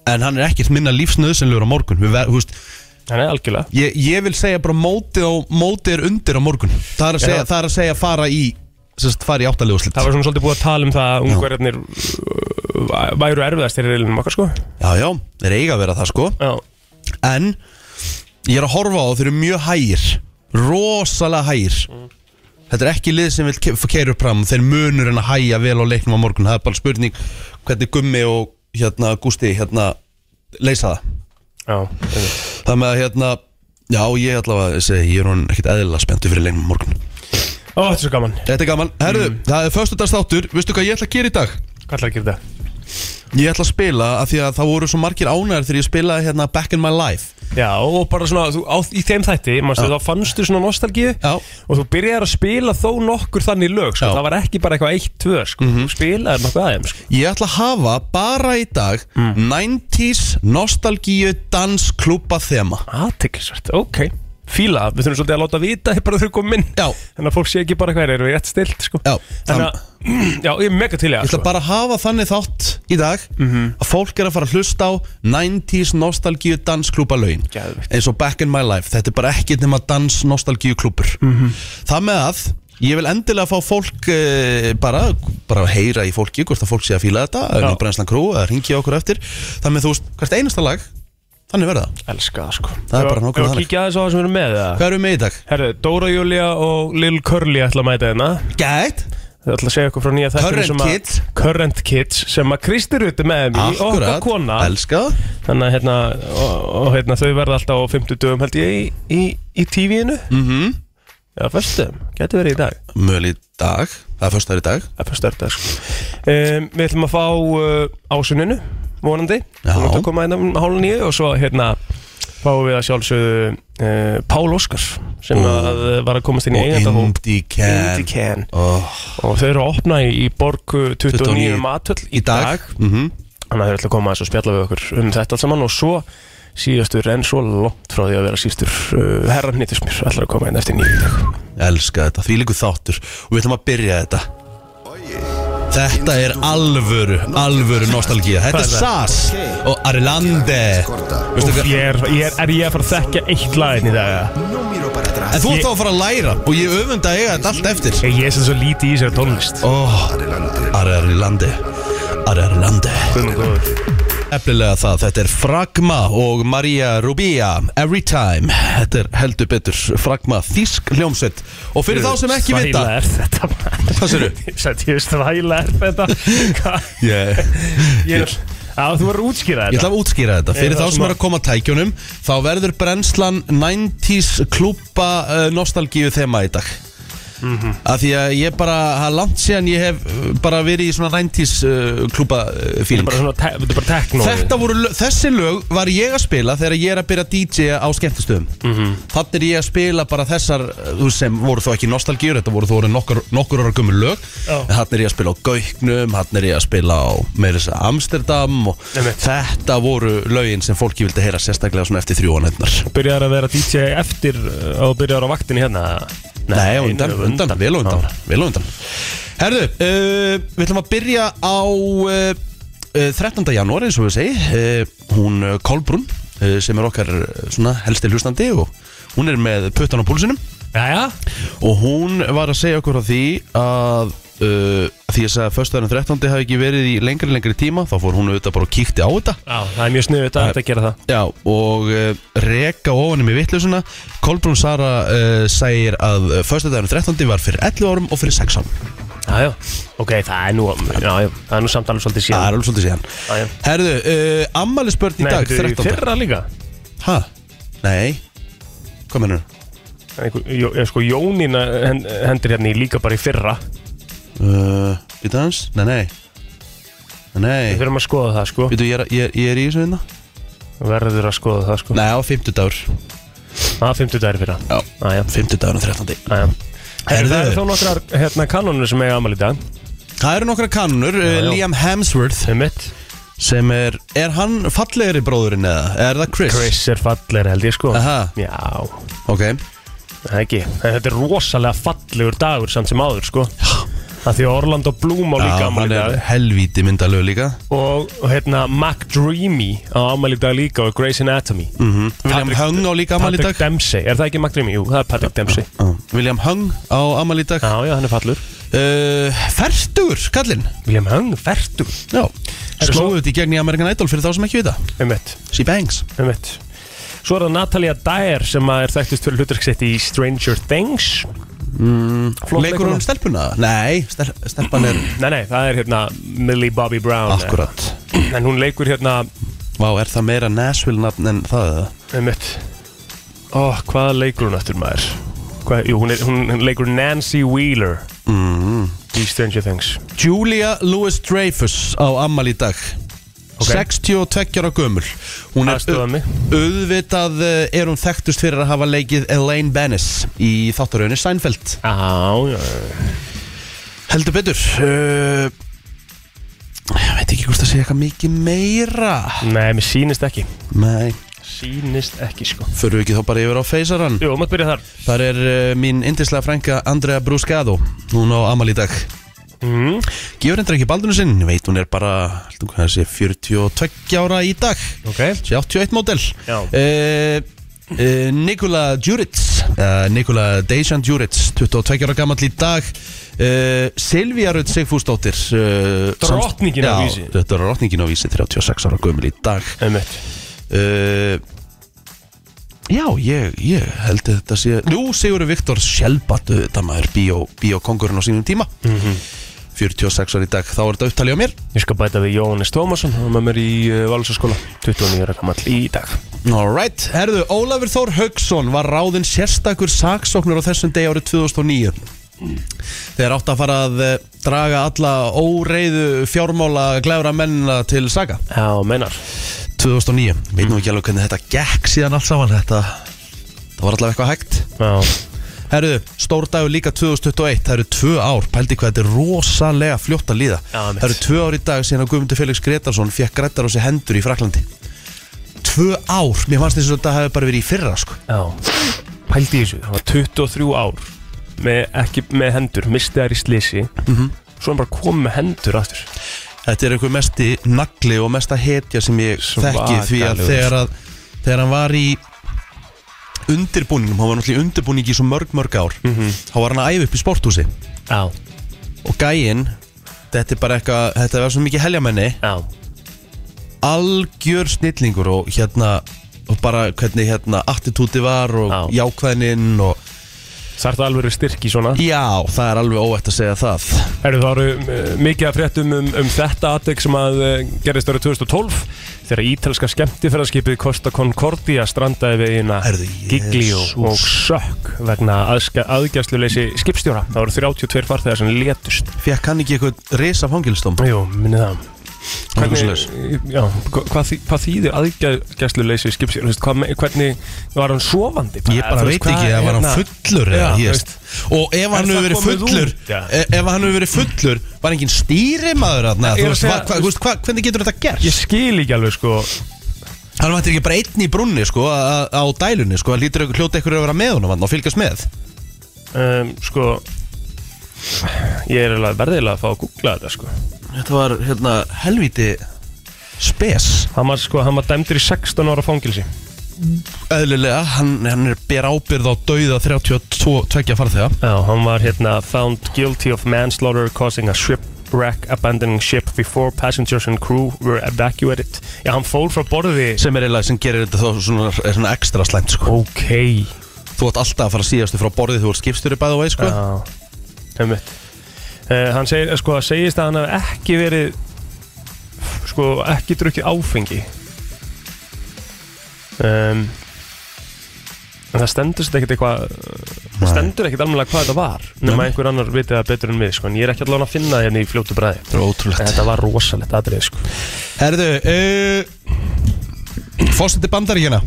S1: En hann er ekkert minna lífsnöðsynlegur á morgun Við, ver- þú veist,
S2: Þannig algjörlega
S1: ég, ég vil segja bara mótið og mótið er undir á morgun Það er að
S2: Já.
S1: segja, það er að segja fara í, sérst, fara í áttalegu slitt
S2: Það var svona svolítið búið að tala um það að ungverjarnir uh, væru erfiðastir í reilinum okkar sko
S1: Já, já, þeir eiga að vera það sko
S2: Já,
S1: En ég er að horfa á þau eru mjög hægir Rosalega hægir Þetta er ekki lið sem vil keira upp fram Þeir munur en að hæja vel á leiknum á morgun Það er bara spurning hvernig Gummi og hérna, Gústi hérna, leysa það
S2: já, einmitt.
S1: Það með að hérna Já, ég allavega segi, ég er hún ekkert eðlilega spenntu fyrir leiknum á morgun
S2: Ó, þetta er svo gaman, Mm.
S1: Þetta er gaman, herðu, það er föstudagstáttur Veistu hvað ég ætla að gera í dag?
S2: hvað ætlar að gera þetta?
S1: Ég ætla að spila af því að það voru svo margir ánæður þegar ég spilaði hérna Back in my life
S2: Já, og bara svona, þú, á, í þeim þætti, manstu, þá fannstu svona nostalgíu
S1: Já.
S2: Og þú byrjar að spila þó nokkur þannig lög, sko,
S1: Já.
S2: það var ekki bara eitthvað eitt, tvö, sko Þú spilaðir nokkuð aðeins, sko
S1: Mhm.
S2: Mhm.
S1: Ég ætla að hafa bara í dag 90s nostalgíu dansklúpa þema
S2: Aðtiklisvært, ok Fíla, við þurfum svolítið að láta vita, bara þau komum inn
S1: Já.
S2: Þannig að fólk sé ekki bara hvað er, erum við rétt stilt, sko
S1: Já,
S2: Þannig að, Hérna, já, ég er mega til í
S1: Ég
S2: það,
S1: ætla
S2: sko Mhm.
S1: bara að hafa þannig þátt í dag að fólk er að fara að hlusta á 90s nostalgíu dansklúpa lögin
S2: Geðveikt. Mhm.
S1: eins og Back in my life þetta er bara ekkert nema dans nostalgíu klúpur -hmm. það með að Ég vil endilega fá fólk eh, bara, bara að heyra í fólki hvort að fólk sé að fíla þetta, eða
S2: Já.
S1: nú brennslan krú eða ringi okkur eftir, þannig þú veist hvert einasta lag, þannig verða það
S2: Elska það sko
S1: Það er bara nákvæmlega
S2: Ég
S1: þannig.
S2: kíkja aðeins á það sem við erum með það
S1: Hvað erum við með í dag?
S2: Herðu, Dóra Júlia og Lil Curly ætla að mæta hérna
S1: Gæt
S2: Þau ætla að segja okkur frá nýja
S1: Current
S2: þættinu sem að-
S1: Kids.
S2: Current Kids sem að Kristi Ruti með þeim í okkar kona
S1: Elska það.
S2: Þannig að hérna, og, og, hérna þau verða alltaf á 50 dögum held ég í, í, í TV-inu
S1: mm
S2: Já, föstum, geti verið í dag
S1: Möl í dag, það er föstaður í dag
S2: Það er föstu erfið sko. um, Við ætlum að fá uh, ásuninu vonandi,
S1: Já.
S2: hún ætlum að koma hérna um hálf nýju og svo hérna fáum við að sjálfsögðu uh, Pál Óskars sem
S1: Ó.
S2: að, uh, var að komast inn í eigandahóp
S1: Indie-can
S2: Indican
S1: oh,
S2: og þau eru að opna í, í borg uh, 29
S1: 29
S2: matöll
S1: Í dag mm
S2: Þannig að þau ætla að koma aðeins og spjalla við okkur um þetta allt saman og svo síðastur en svo langt frá því að vera síðastur uh, herran nýttismir ætla að koma inn eftir nýju dag
S1: Elska þetta, því líku þáttur Og við ætlum að byrja þetta Þetta er alvöru, alvöru nostalgía Þetta er Sass og Arilande Veistu
S2: Úff,
S1: hvað-
S2: ég er, ég er, er ég að fara að þekkja eitt lagin í dag eða?
S1: En þú ert þá að fara að læra Og ég öfunda að eiga þetta allt eftir
S2: Ég ég er sem svo lítið í þessari tónlist
S1: oh, Arilande Arilande Eflilega það, þetta er Fragma og Maria Rubia Every time, þetta er heldur betur Fragma, þísk hljómsveit Og fyrir þá sem ekki vita
S2: Þvæla er þetta maður.
S1: Hvað sérðu?
S2: Ég sagði, ég veist, þvæla er þetta Hvað?
S1: yeah.
S2: Ég er að þú verður að
S1: Ég
S2: útskýra
S1: ætla
S2: þetta
S1: að útskýra þetta Fyrir
S2: Ég
S1: þá
S2: það
S1: sem
S2: sem
S1: er að koma að tækjunum Þá verður brennslan 90s klúpa uh, nostalgíu þema í dag
S2: Mhm.
S1: Af því að ég bara, það er langt síðan ég hef uh, bara verið í svona 90s uh, klúpa uh,
S2: Þetta er
S1: fíling
S2: bara svona, te- þetta er bara teknóið
S1: Þetta voru, lög- þessi lög var ég að spila þegar ég er að byrja DJ á skemmtistöðum mm Þannig er ég að spila bara þessar eh, þú veist, sem voru þó ekki nostalgíur þetta voru þó voru nokkur, nokkur ára gömur lög
S2: Já.
S1: en þannig er ég að spila á Gauknum þannig er ég að spila á meira þess að Amsterdam og
S2: Einmitt.
S1: þetta voru lögin sem fólki vildi heyra sérstaklega svona eftir þrjúan hennar
S2: Byrjar að vera DJ eftir uh, og byrjar á vaktinni hérna
S1: Nei, á undan,
S2: einu-
S1: undan, vel á undan, vel á undan Herðu, uh, við ætlum að byrja á uh, uh, 13. janúar eins og við segi uh, Hún uh, Kolbrún uh, sem er okkar uh, svona helsti hlustandi og hún er með puttan á púlsinum
S2: Jæja,
S1: og hún var að segja okkur á því að uh, því að sagði að föstudagurinn 13. hafi ekki verið í lengri lengri tíma þá fór hún auðvitað bara og kíkti á þetta
S2: Já, það er mjög sniðu þetta að gera það
S1: Já, og uh, reka ofanum í vittlusuna Kolbrún Sara uh, segir að uh, föstudagurinn 13. var fyrir 11 árum og fyrir 6 árum
S2: Jájá, ok, það er nú, já, já, það er nú samt alveg svolítið
S1: Það er
S2: síðan
S1: alveg svolítið síðan
S2: Já, já.
S1: Herðu, uh, ammælisbörn í
S2: Nei,
S1: dag,
S2: þetta er í
S1: 13.
S2: fyrra líka
S1: Hæ? Nei Hvað mennur?
S2: Einhver- Jó- eh, Sko, Jónína hen- hendur hérna í líka bara í fyrra
S1: Uh, Býta hans? Nei, nei Nei, Nei
S2: Við þurfum að skoða það, sko
S1: Býtu, ég, er- ég, er- ég er í þessu hérna
S2: Verður að skoða það, sko
S1: Nei, á 50 dagur
S2: Það er 50 dagir fyrra
S1: Já.
S2: Æja,
S1: 50 dagur og 13.
S2: æja
S1: Herðu.
S2: Það eru þá nokkrar hérna, kanonur sem eiga amal í dag
S1: Það eru nokkra kannur
S2: Já,
S1: uh,
S2: já.
S1: Liam Hemsworth
S2: Sem mitt
S1: Sem er, er hann fallegri bróðurinn eða? Er það Chris?
S2: Chris er fallegri held ég sko
S1: Aha.
S2: Já,
S1: Ok
S2: það ekki En Þetta er rosalega fallegur dagur samt sem áður sko Það því að Orlando Bloom á líka
S1: Já,
S2: amal í
S1: hann er
S2: dag
S1: helvíti myndalög líka
S2: og, og hérna Mac Dreamy á amal í dag líka og Grey's Anatomy mm -hmm.
S1: William Hung á líka amal í dag
S2: Patrick Dempsey, er það ekki Mac Dreamy? Jú, það er Patrick Dempsey
S1: Já, William Hung á amal í dag
S2: Já, já, hann er fallur
S1: uh, Fertugur, kallinn
S2: William Hung, ferdu
S1: Já,
S2: Herru,
S1: slóðu þetta í gegn í Amerikan Idol fyrir þá sem ekki vita
S2: Um mitt
S1: She bangs
S2: Um mitt Svo er það Natalia Dyer sem að er þekktist fyrir hlutverksett í Stranger Things mm,
S1: Leikur hún stelpuna? Nei, stel, stelpan er
S2: Nei, nei, það er hérna Millie Bobby Brown
S1: Akkurat
S2: En hún leikur hérna
S1: Vá, er það meira Nashville nafn en það eða?
S2: um mitt Ó, hvaða leikur hún eftir maður? Hvað, jú, hún, er, hún hún leikur Nancy Wheeler
S1: Mhm.
S2: Í Stranger Things
S1: Julia Louis-Dreyfus á ammal í dag
S2: Ok.
S1: 62 ára gömul Hún er
S2: Aðstoðaðu mig.
S1: auðvitað eh, er hún þekktust fyrir að hafa leikið Elaine Bennis í þáttaröðinni Seinfeld
S2: Á, já, já.
S1: Heldur betur uh, Ég veit ekki hvort það sé eitthvað mikið meira
S2: Nei, mér sýnist ekki
S1: Nei,
S2: Sýnist ekki, sko
S1: förum við ekki þá bara yfir á feysaran
S2: Jú, maður byrja þar
S1: Þar er uh, mín indislega frænka Andrea Bruscado Hún á amal í dag
S2: mm.
S1: Gefur hendur ekki baldunum sinn Ég Veit hún er bara heldur hún að sé 42 ára í dag
S2: Ok
S1: Sé 81 módel
S2: Já.
S1: uh, Uh, Nikola Djuric uh, Nikola Dejan Djuric 22 ára gammal í dag uh, Silvía Rödd Sigfúsdóttir uh,
S2: Drottningin
S1: samt-
S2: á
S1: Já,
S2: Vísi.
S1: Þetta er drottningin á vísi 36 ára gömul í dag
S2: Einmitt.
S1: uh, Já, ég, ég held að þetta sé Nú Sigurður Viktor Sjálbat Þetta maður bíó, bíókongurinn á sínum tíma 46 ára í dag Þá er þetta upptalið á mér
S2: Ég skal bæta við Jóhannes Tómasson hann var með mér í uh, Valsaskóla 29 ára gammal í dag
S1: Alright, herðu, Ólafur Þór Haugsson var ráðinn sérstakur saksóknur á þessum degi árið 2009 þegar átt að fara að eh, draga alla óreiðu fjármála glæfra mennina til saga
S2: Já, mennar
S1: 2009, veit nú ekki alveg hvernig þetta gekk síðan allt saman, þetta það var allavega eitthvað hægt
S2: Já,
S1: Herðu, stór dagur líka 2021, það eru tvö ár, pældi hvað þetta er rosalega fljótt að líða
S2: Já, einmitt.
S1: Það eru tvö ár í dag síðan að Guðmundur Felix Gretarsson fekk grættar á sig hendur í Fraklandi Tvö ár, mér fannst þess að þetta hefði bara verið í fyrra sko
S2: já Pældi í þessu, hann var 23 ár með, ekki með hendur, misti þær í slisi Svo hann bara kom með hendur aftur
S1: Mhm. Þetta er einhver mesti nagli og mesta hetja sem ég þekki
S2: Svakalegur.
S1: því að þegar, að þegar hann var í undirbúningum, hann var náttúrulega í undirbúningi í svo mörg mörg ár þá var hann að æfa upp í sporthúsi
S2: Mhm. Já,
S1: og gæinn, þetta er bara eitthvað þetta var svo mikið heljamenni,
S2: já,
S1: algjör snillingur og hérna og bara hvernig hérna attitúti var og
S2: Já.
S1: jákvæðnin og
S2: það er það alveg styrki svona
S1: já, það er alveg óætt að segja það
S2: Herru, það eru uh, mikið að fréttum um, um þetta aðdeg sem að uh, gerðist árið 2012 þegar ítalska skemmtifæraskipið Costa Concordia strandaði við eina
S1: Herðu,
S2: Giglio
S1: Jesús.
S2: og Sökk vegna aðgjastluleysi skipstjóra. Það voru 32 farþegar sem létust.
S1: fekk hann ekki eitthvað risa fangilstum
S2: Jú, minni það.
S1: Fangilslaus.
S2: já, hva- hvað, þý, hvað þýðir aðgjastluleysi skipstjóra? Þú veist, hvað, me- hvernig var hann sofandi?
S1: Ég bara
S2: Þú
S1: veit
S2: veist,
S1: ekki ef
S2: hvað-
S1: hann var
S2: hérna-
S1: fullur eða
S2: Já,
S1: ég
S2: þú
S1: veist. Og ef hann
S2: það
S1: hefur verið
S2: komið
S1: fullur
S2: út, já.
S1: e- Ef hann hefur verið fullur Var engin stýrimaður þarna
S2: Ég
S1: Þú
S2: er að
S1: veist,
S2: segja-
S1: hva, hva, þú veist, hva, hvernig getur þetta
S2: Ég
S1: gerst?
S2: skil ekki alveg sko
S1: Hann vantir ekki bara einn í brunni sko, a- a- Á dælunni, sko, hann lítur eitthvað hljóta eitthvað að vera með honum þarna Og fylgjast með
S2: um, sko ég er eiginlega verðilega að fá að googla þetta sko
S1: Þetta var hérna helviti Spes
S2: hann var sko, hann var dæmdur í 16 ára fangilsi
S1: Eðlilega, hann, hann er ber ábyrð á dauða 32 farþega
S2: já, hann var hérna found guilty of manslaughter causing a shipwreck abandoning ship before passengers and crew were evacuated já, hann fór frá borði
S1: Sem er eiginlega sem gerir þetta þá svona, er svona ekstra slæmt sko.
S2: ok
S1: Þú átt alltaf að fara síðastu frá borðið Þú ert skipstjóri bæði og veið sko.
S2: já, einmitt uh, hann segir, sko, það segist að hann hef ekki verið sko, ekki drukkið áfengi um, en það stendur sér ekkert eitthvað það stendur ekkert alveg hvað þetta var nema einhver annar vitið það betur en við sko, en ég er ekki allavega að finna það hérna í fljótu bræði
S1: Þetta er ótrúlegt
S2: en þetta var rosalegt aðrið sko.
S1: Herðu uh, Fórseti bandaríkina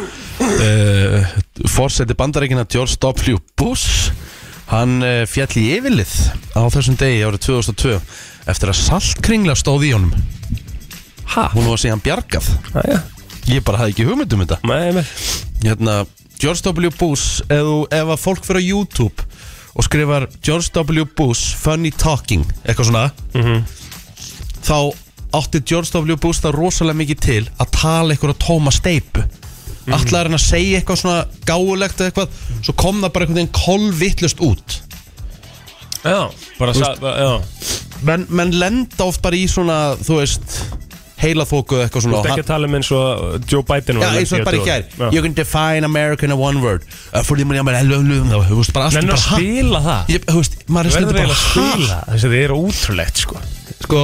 S1: uh, Fórseti bandaríkina George W. Bush Hann uh, fjall í yfirlið á þessum degi árið 2002 eftir að saltkringla stóð í honum
S2: ha, Ah,
S1: hún var síðan bjargað
S2: aðja,
S1: ég bara hafði ekki hugmynd um þetta
S2: með, með
S1: hérna, George W. Bush ef, þú- ef að fólk fyrir á YouTube og skrifar George W. Bush funny talking, eitthvað svona
S2: Mhm.
S1: þá átti George W. Bush það rosalega mikið til að tala eitthvað tóma steipu
S2: Mhm.
S1: mm. allar hann að segja eitthvað svona gáulegt eða eitthvað, svo kom það bara einhvern veginn kolvittlust út
S2: já, bara
S1: Þú
S2: sa, já,
S1: menn, menn lenda oft bara í svona þú veist, heilaþóku eða eitthvað svona
S2: Þú ert
S1: og
S2: ekki að tala um eins og Joe Biden var
S1: Já, eins og bara í gær
S2: Já.
S1: You can define America in a one word Uh, For the money I'm a hell of a Þú veist bara allt er
S2: Nennar
S1: bara
S2: að
S1: ha-
S2: spila það
S1: Ég- Þú veist, maður er
S2: verður
S1: stundum
S2: eiginlega að
S1: bara
S2: spila þess að þið eru ótrúlegt sko
S1: ha- Sko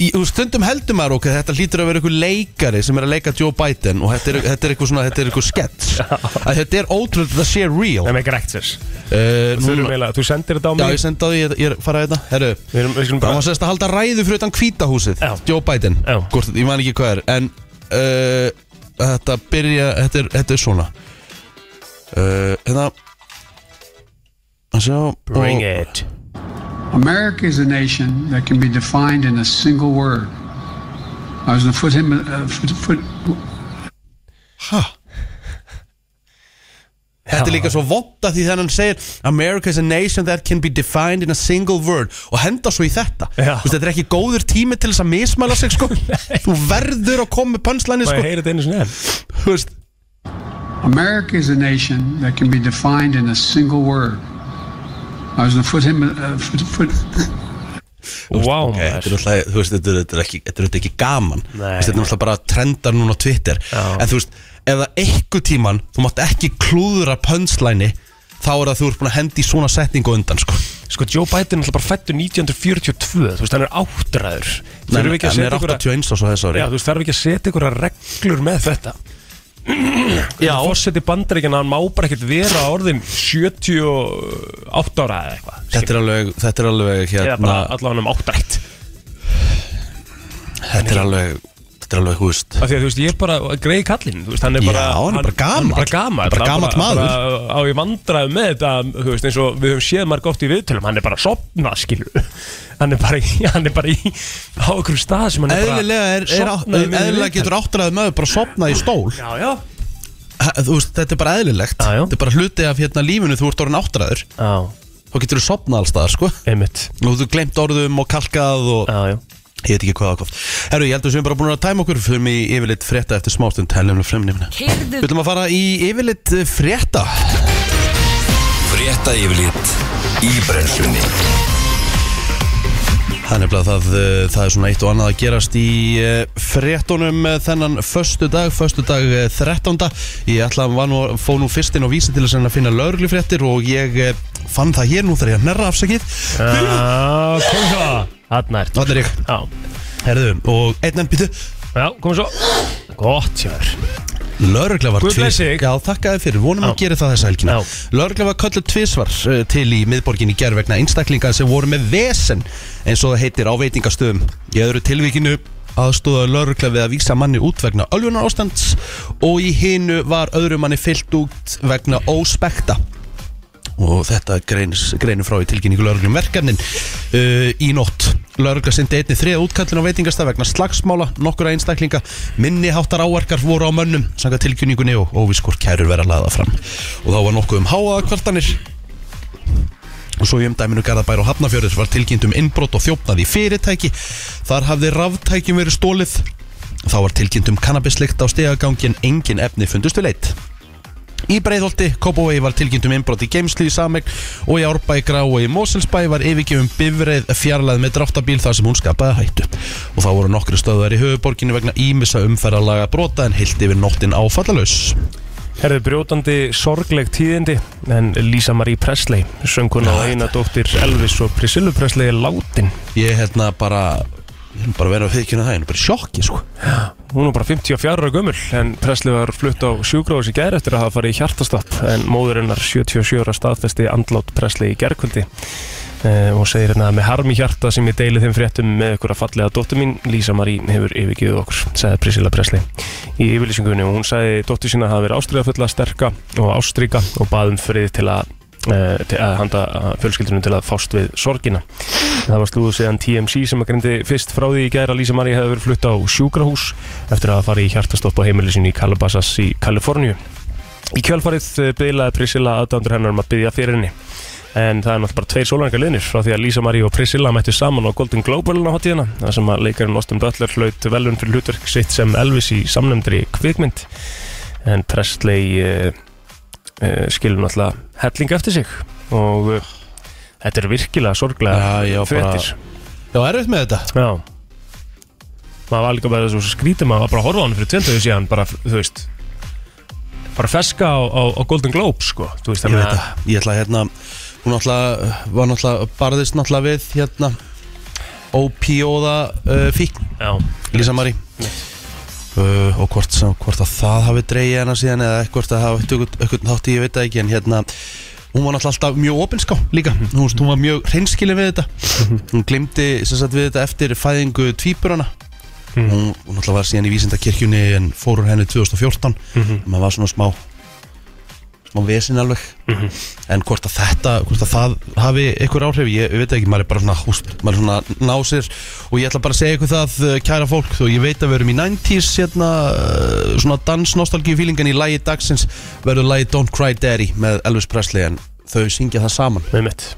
S1: í- Þú veist, stundum heldur maður okkur Þetta hlýtur að vera einhver leikari sem er að leika Joe Biden Og þetta er, þetta er eitthvað svona, þetta er eitthvað skets Að þetta er ótrúlega, þetta sé real
S2: það með Grexers
S1: Eh, núna-
S2: þú sendir þetta á
S1: Já,
S2: mig
S1: ég sendi á því, ég- ég er farað þetta Herru,
S2: við erum, við skulum
S1: Hann
S2: bara
S1: var sérst að halda ræðu fyrir utan kvítahúsið
S2: Já.
S1: Joe Biden
S2: Já.
S1: Hvort, Ég man ekki hvað er En uh, þetta byrja Þetta er, þetta er svona uh, Hérna að sjá,
S2: bring
S1: og,
S2: it
S4: America is a nation that can be defined in a single word. I was going to put him, uh, foot, foot,
S1: Ha? Þetta þetta er líka svo vonda því þannig hann segir America is a nation that can be defined in a single word og henda svo í þetta
S2: Já.
S1: Þú veist, þetta er ekki góður tími til þess að mismæla sig sko. þú verður að koma með pönslæni
S2: Má ég
S1: sko.
S2: heyra þetta einu sinni enn?
S1: Þú veist,
S4: America is a nation that can be defined in a single word. I was going to put him, uh, foot, foot,
S2: Vá,
S1: ok, þetta er
S2: maður.
S1: náttúrulega- þú veist, þetta er- þetta er ekki, þetta er auðvitað ekki gaman Þú
S2: Nei.
S1: veist, þetta er náttúrulega bara trendar núna á Twitter
S2: Já.
S1: en þú veist, ef það eitthvað tíman þú mátt ekki klúðra pönslæni þá er það þú ert búin að hendi svona setningu á undan sko.
S2: Sko, Joe Biden er náttúrulega bara fættur 1942 Þú veist, hann er áttræður
S1: Nei,
S2: Þurfum við ekki að
S1: hann er
S2: setja ykkur að
S1: 81 á svo þess ári
S2: Já, þú veist, þarf ekki að setja ykkur reglur með þetta Já Fossetti bandaríkjana, hann má bara ekkert vera á orðin 78 ára eða eitthvað
S1: Þetta er alveg, þetta er alveg
S2: Eða bara
S1: hérna,
S2: allavega um áttrætt
S1: þetta er alveg, þetta er alveg, þú veist
S2: Af því að þú veist, ég er bara greið kallinn Þú veist, hann er bara
S1: Já, hann er bara
S2: Hann
S1: gamall.
S2: er bara gamall
S1: Bara
S2: Hann
S1: gamall maður.
S2: bara Á ég vandraði með þetta, þú veist, eins og við höfum séð marg oft í viðtölum Hann er bara sopna, skilju Hann er bara, í- hann er bara í, á okkur stað sem hann er bara
S1: Eðlilega, er, er, á-
S2: sofnaði miðju
S1: eðlilega
S2: viðtali.
S1: getur áttræðið maður bara sopnað í stól
S2: Já, já
S1: Ha- Þú veist, þetta er bara eðlilegt
S2: Já, já.
S1: Þetta er bara hluti af hérna lífinu þú ert orðin áttræður
S2: Já,
S1: Þá getur þú sopnað allstaðar, sko
S2: einmitt
S1: Nú þú glemt orðum og kalkað og
S2: Já, já
S1: ég veit ekki hvað og hvað Herru, ég held að við séum bara búin að tæma okkur fyrir mig í yfirleitt frétta eftir smástund helum og fremnifna Við
S5: Keyrðu
S1: ætlum að fara í yfirleitt eh, frétta
S6: Frétta yfirlit í brennslunni
S1: Það er nefnilega það, eh, það er svona eitt og annað að gerast í eh, fréttunum eh, þennan föstu dag, föstu dag 13. Ég ætla að var nú, fó nú fyrst inn á vísi til þess að finna lauruglifréttir og ég eh, fann það hér nú þegar ég að nerra afsakið.
S2: Já, kom svo Þarna ert
S1: Þannig er ég,
S2: Já,
S1: herðu, og einn enn býtu,
S2: já, kom svo Gott, sjáður
S1: laurugla var
S2: Guð blessi þig.
S1: Já, þakkaði fyrir, vonum
S2: Já.
S1: að gera það þessa helgina.
S2: Já.
S1: Laurugla var kölluð tvísvar eh, til í miðborginni gerð vegna einstaklinga sem voru með vesen eins og það heitir á veitingastöðum. Í öðru tilvíkinu aðstóða laurugla við að vísa manni út vegna ölvunar ástands og í hinu var öðru manni fyllt út vegna óspekta. Og þetta greins, greinir frá í tilkynningu lauruglum verkefnin uh, í nótt. Laurugla sendi einni þriða útkallin á veitingastað vegna slagsmála, nokkura einstaklinga, minniháttar áarkar voru á mönnum, sanga tilkynningunni og óvískur kærur vera laða fram. Og þá var nokkuð um háaða kvartanir og svo í umdæminu Garðabær og Hafnafjörður var tilkynnt um innbrot og þjófnað í fyrirtæki þar hafði ráftækjum verið stólið þá var tilkynnt um kannabislikt á stegagangin engin efni fundust við leitt Í Breiðholti, Kópavegi var tilkynnt um innbrot í geimslu í Samegn og í Árbæ, Grá og í Moselsbæ var yfirgefum bifreið fjarlæð með dráttabíl þar sem hún skapaði hættu. Og þá voru nokkru stöðar í höfuborginu vegna ímissa umferðarlaga brota en heilt yfir nóttin áfallalaus.
S2: Herðu brjótandi sorgleg tíðindi en Lisa Marie Presley sönguna og eina dóttir Elvis og Priscilla Presley er látin
S1: Ég hérna bara, ég er nú bara að vera að viðkynna það, ég er nú bara í sjokki sko.
S2: hún er bara 54 ára gömul en Presley var flutt á sjúgráðs í gær eftir að hafa farið í hjartastopp en móðurinnar 77 ára staðfesti andlát Presley í gærkvöldi eh, og segir hérna með harmi hjarta sem ég deili þeim fréttum með ykkur að fallega dóttur mín Lisa Marie hefur yfirgjöðu okkur sagði Priscilla Presley í yfirlýsingunni og hún sagði dóttur sína að hafa verið ástriðafulla sterka og ástríka og baðum frið til að eh, til að handa fjölskyldunum til að fást við sorgina Það var slúðu síðan TMC sem að grindi fyrst frá því í gæra Lísa Marie hefði verið flutt á sjúkrahús eftir að fara í hjartastopp á heimili sínu í Calabasas í Kaliforníu. Í kjölfarið beilaði Priscilla aðdöndur hennar um að byggja fyrir henni. En það er náttúrulega bara tveir sólarhengar liðnir frá því að Lísa Marie og Priscilla mættu saman á Golden Globe velun á hátíðina þar sem að leikarinn Austin Butler hlaut velun fyrir hlutverk sitt sem Elvis í samnefndri kvikmynd en Presley uh, uh, skilur náttúrulega helling eftir sig og uh, þetta er virkilega sorglega
S1: Já, ég var bara-
S2: fréttir
S1: Já, erfitt með þetta
S2: Já Maður var líka bara svo skrítið maður var bara að horfa á hann fyrir 20 ára síðan bara, þú veist bara feska á, á, á Golden Globe sko, þú
S1: Ég
S2: veist þannig
S1: veit
S2: að
S1: það, ég ætla að hérna Hún náttúrulega, var náttúrulega, barðist náttúrulega við hérna Ópíóða uh, fíkn,
S2: Já,
S1: Lísa Marí uh, Og hvort, sem, hvort að það hafi dreigið hana síðan Eða hvort að hafi eitthvað þátti, ég veit það ekki En hérna, hún var náttúrulega alltaf mjög opinská líka Hún, veist, hún var mjög hreinskilin við þetta Hún glimti sem sagt við þetta eftir fæðingu tvíburana Hún, hún náttúrulega var síðan í vísindakirkjunni En fór úr henni 2014 mm Maður var svona smá og vesin alveg en hvort að þetta, hvort að það hafi einhver áhrif, ég, ég veit ekki, maður er bara svona húst, maður er svona násir og ég ætla bara að segja ykkur það, eh, kæra fólk þó ég veit að við erum í 90s hérna, eh, svona dansnostalgíu fílingan í lægi dagsins verður lægi Don't Cry Daddy með Elvis Presley en þau syngja það saman
S2: Með mitt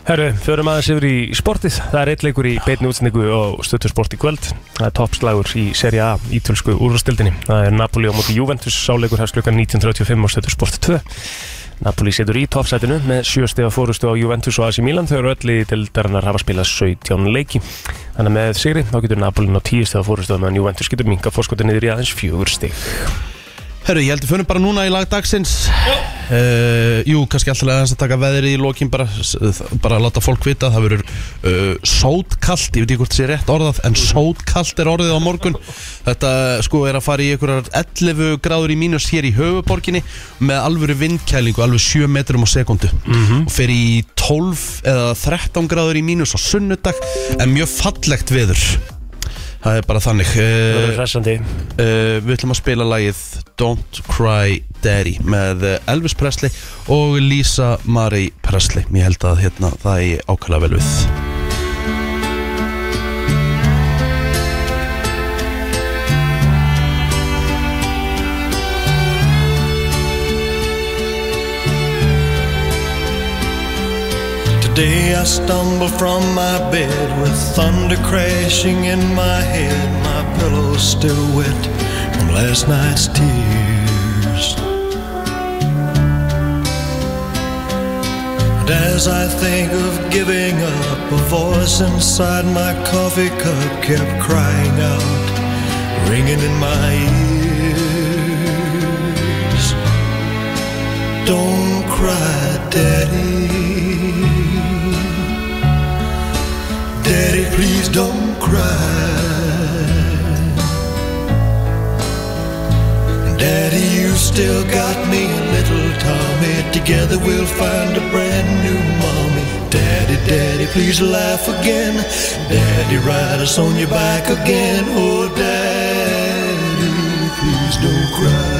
S2: Herru, förum aðeins yfir í sportið Það er eitt leikur í beinni útsendingu og stöttur sport í kvöld Það er toppslagur í Serie A ítölsku úrvastildinni Það er Napoli á móti Juventus Sáleikur hefst klukkan 19.35 á stöttur sport 2 Napoli setur í toppsætinu með sjöstega fórustu á Juventus og AC Milan þau eru öll í dildarinnar hafa spilað 17 leiki þannig að með sigri þá getur Napoli ná 10 stega fórustu meðan Juventus getur minga fórskotu niður í aðeins fjögur stig
S1: Herru, ég held við fyrir bara núna í lag dagsins uh, Jú, kannski alltaf aðeins að taka veðrið í lokin bara, s- eh, bara að láta fólk vita að það verður uh, sótkalt, ég veit ekki hvort það sé rétt orðað en sótkalt er orðið á morgun Þetta sko er að fara í einhverjar 11 gráður í mínus hér í höfuborginni með alvöru vindkælingu alveg 7 metrum á sekundu og fer í 12 eða 13 gráður í mínus á sunnudag en mjög fallegt veður Það er bara þannig
S2: Það
S1: uh,
S2: verður hressandi
S1: uh, Við ætlum að spila lagið Don't Cry Daddy með eh, Elvis Presley og Lisa Marie Presley Ég held að hérna, það er ákvæmlega vel við
S5: Today I stumble from my bed with thunder crashing in my head, my pillow still wet from Um last night's tears. And as I think of giving up, a voice inside my coffee cup kept crying out, ringing in my ears. Don't cry, Daddy. Daddy, please don't cry. Daddy, you still got me and little Tommy. Together we'll find a brand new mommy. Daddy, daddy, please laugh again. Daddy, ride us on your bike again. Oh, daddy, please don't cry.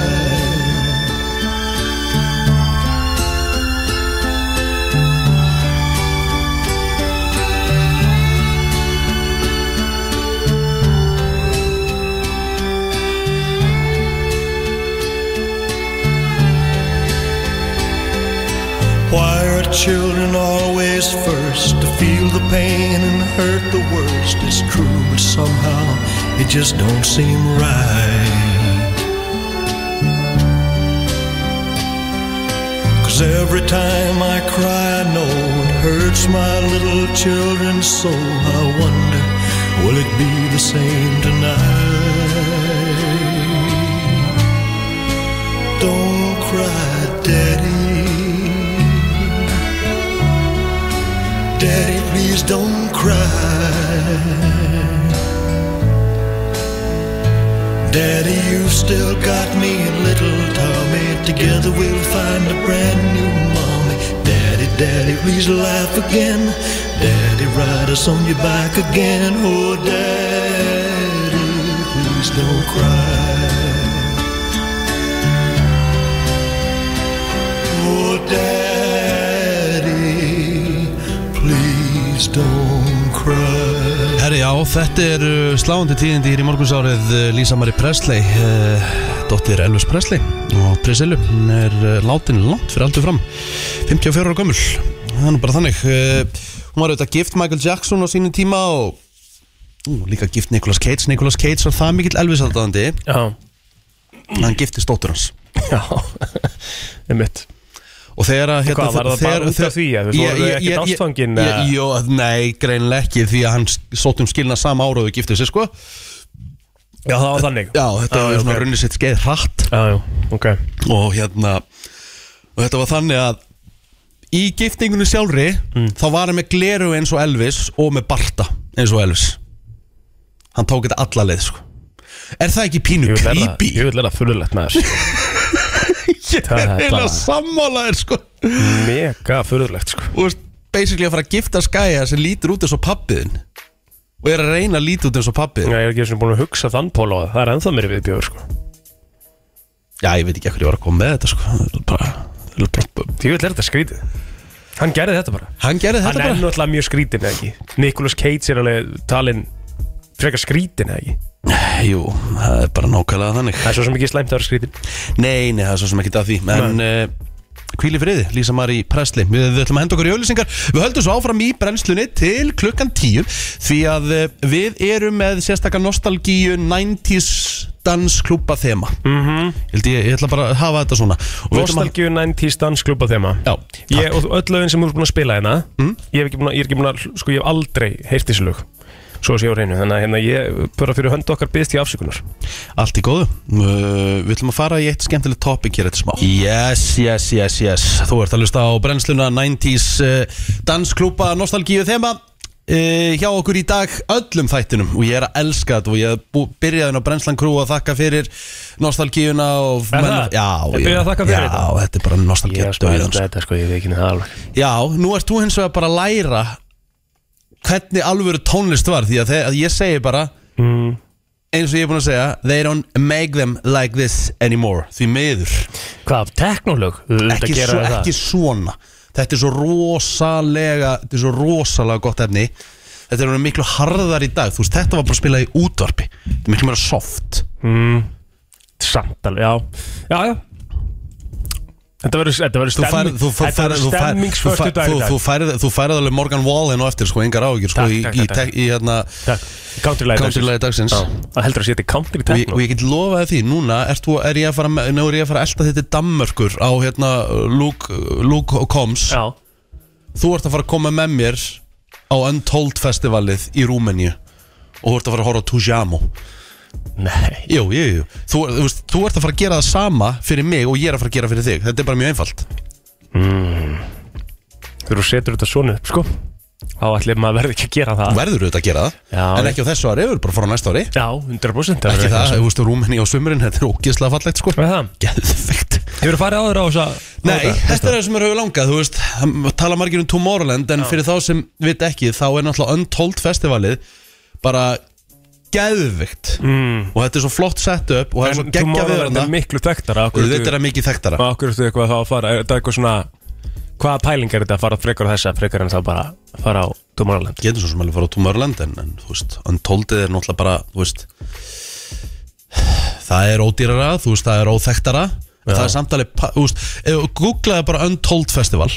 S5: Why are children always first to feel the pain and hurt the worst? It's true, but somehow it just don't seem right. Cause every time I cry, I know it hurts my little children so. I wonder, will it be the same tonight? Don't cry, Daddy. Daddy, please don't cry. Daddy, you've still got me and little Tommy. Together we'll find a brand new mommy. Daddy, Daddy, please laugh again. Daddy, ride us on your bike again. Oh, Daddy, please don't cry. Oh, Daddy, please don't cry.
S1: Herri, já, þetta er uh, sláandi tíðindi hér í morgunsárið uh, Lisa Marie Presley uh, Dóttir Elvis Presley og Priscilla, hún er uh, látin langt fyrir aldur fram 54 ára gömul Það er nú bara þannig uh, Hún var auðvitað gift Michael Jackson á sínum tíma og ú, líka gift Nicolas Cage Nicolas Cage var það mikill Elvis aldandi
S2: Já,
S1: hann giftist dóttur hans
S2: já, einmitt
S1: og þegar að
S2: Hvað, var það bara út af því, að þú voru ekkert ástfangin, eða?
S1: Jó, nei, greinilega ekki því að hann sótt um skilna sama ára og þau giftið sig sko
S2: Já, það var þannig Ah,
S1: Já, þetta var
S2: já,
S1: svona
S2: ok.
S1: runnið sitt skeið hratt
S2: Já, já, ok
S1: og hérna og þetta var þannig að í giftingunni sjálfri
S2: Mm.
S1: þá var hann með gleru eins og Elvis og með barta eins og Elvis hann tók þetta alla leið sko Er það ekki pínu
S2: Ég vil vera,
S1: creepy?
S2: ég vil vera furðulegt með þessu
S1: Ég
S2: það
S1: er
S2: er
S1: heila
S2: bara-
S1: sammálaðir sko
S2: Mega furðulegt, sko
S1: Þú veist, basically að fara að gifta skæja sem lítur út eins og pappiðin og er að reyna að líta út eins og pappiðin
S2: Ég er ekki svona búin að hugsa þann pól á það Það er ennþá mér viðbjöður, sko
S1: Já, ég veit ekki hvað ég var að koma með þetta sko Það er bara, það er bara,
S2: Því vil er þetta skrítið Hann gerði þetta bara
S1: Hann gerði
S2: Hann
S1: þetta
S2: er
S1: bara
S2: náttúrulega mjög skrítin eða ekki Nicolas Cage er alveg talin frekar skrítin eða ekki
S1: Jú, það er bara nákvæmlega þannig
S2: Það er svo sem ekki slæmt að vera skrítin
S1: Nei, nei, það er svo sem ekki að því En hvíli uh, friði, Lísa Marí Presli Við, við ætlum að henda okkur í auðlýsingar Við höldum svo áfram í brennslunni til klukkan 10 Því að uh, við erum með sérstakar nostalgíu 90s dansklúpa þema mm
S2: Mhm.
S1: -hmm. ég, held ég, ég ætla bara að hafa þetta svona Og við ætlum að-
S2: Nostalgíu 90s dansklubba þema
S1: Já, Mm.
S2: ég, Og öll lögin sem þú er búin að spila hérna ég, hef ekki búin að, ég er ekki búin að, sko ég hef aldrei heyrt þessi lög Svo sé ég á reynu, þannig að hérna ég bara fyrir hönd okkar byggst ég afsökunar
S1: Allt í góðu uh, Við ætlum að fara í eitt skemmtilegt topic hér eftir smá Yes, yes, yes, yes Þú ert að lusta á brennsluna 90s uh, dansklúpa nostalgíu þema uh, Hjá okkur í dag öllum þættinum Og ég er að elska þetta Og ég er bú- byrjaði á brennslan krú að þakka fyrir nostalgíuna og
S2: Er það?
S1: Já,
S2: Er byrjað að þakka fyrir
S1: já,
S2: þetta?
S1: þetta er bara nostalgíu dauðans
S2: þetta sko, ég veit ekki það alveg
S1: Já, nú ert þú hins vegar bara að læra Hvernig alvöru tónlist var Því að, þe- að ég segi bara
S2: mm.
S1: eins og ég er búinn að segja They don't make them like this anymore Því miður
S2: Hvað, teknolög?
S1: ekki, svo, ekki svona Þetta er svo rosalega Þetta er svo rosalega gott efni Þetta er orðið miklu harðar í dag Þú veist, þetta var bara að spila í útvarpi Þetta er miklu meira soft
S2: mm, Samt alveg, já Já, já Þetta verður þetta verður
S1: Þú færð-
S2: stemming
S1: þú færð-
S2: Þetta verður
S1: þú færð- þú
S2: stemmingsförstu
S1: færð-
S2: dag í
S1: þú-
S2: dag
S1: þú færð- Þú færið alveg Morgan Wallen og eftir sko, engar áhyggjur sko,
S2: Takk,
S1: í,
S2: takk,
S1: í,
S2: takk,
S1: tek- í hérna
S2: Takk. Countrylæði
S1: countrylagi dagsins
S2: Það heldur að setja country
S1: og ég,
S2: techno
S1: og ég get lofaði því, núna ert þú, er ég að fara, með- nú er ég að fara að elta þetta Danmörkur á hérna Luke, Luke Combs
S2: Já,
S1: þú ert að fara að koma með mér á Untold festivalið í Rúmeníu og þú ert að fara að horfa á Tujamo
S2: nei
S1: Jú, jú, jú, þú, þú, veist, þú ert að fara að gera það sama fyrir mig og ég er að fara að gera fyrir þig Þetta er bara mjög einfalt
S2: Mm. Þegar þú setur þetta svona upp, sko Þá ætlum maður verði ekki að gera
S1: Þú
S2: það
S1: verður auðvitað að gera það,
S2: Já.
S1: en ekki á þessu ári, við erum bara að fara á næsta ári
S2: Já, 100% það
S1: Ekki
S2: verður
S1: það, þú veist, Rúmeníu á sumurinn, þetta er ógeðslega fallegt sko
S2: Hvað er það?
S1: Geðveikt
S2: Hefur þú farið áður á þessa
S1: Nei,
S2: á þetta?
S1: þetta er það sem er höfu langað, þú veist, það tala margir um Tomorrowland En fyrir þá sem vit ekki, þá er náttúrulega Untold festivalið bara geðveikt
S2: Mm.
S1: Og þetta er svo flott sett upp og það er svo
S2: En
S1: geggja við
S2: Tomorrowland er miklu tektara
S1: Og þetta er að mikið þekktara
S2: Og okkur ertu eitthvað þá að fara Er þetta eitthvað svona Hvaða pæling er þetta að fara frekar á þessa Frekar en þá bara að fara á Tomorrowland
S1: Getur svo sem alveg fara á Tomorrowland en, en þú veist, Untoldið er náttúrulega bara þú veist, Það er ódýrara, þú veist, það er óþekktara en Það er samtalið, pa- þú veist ef þú Googlaði bara Untold Festival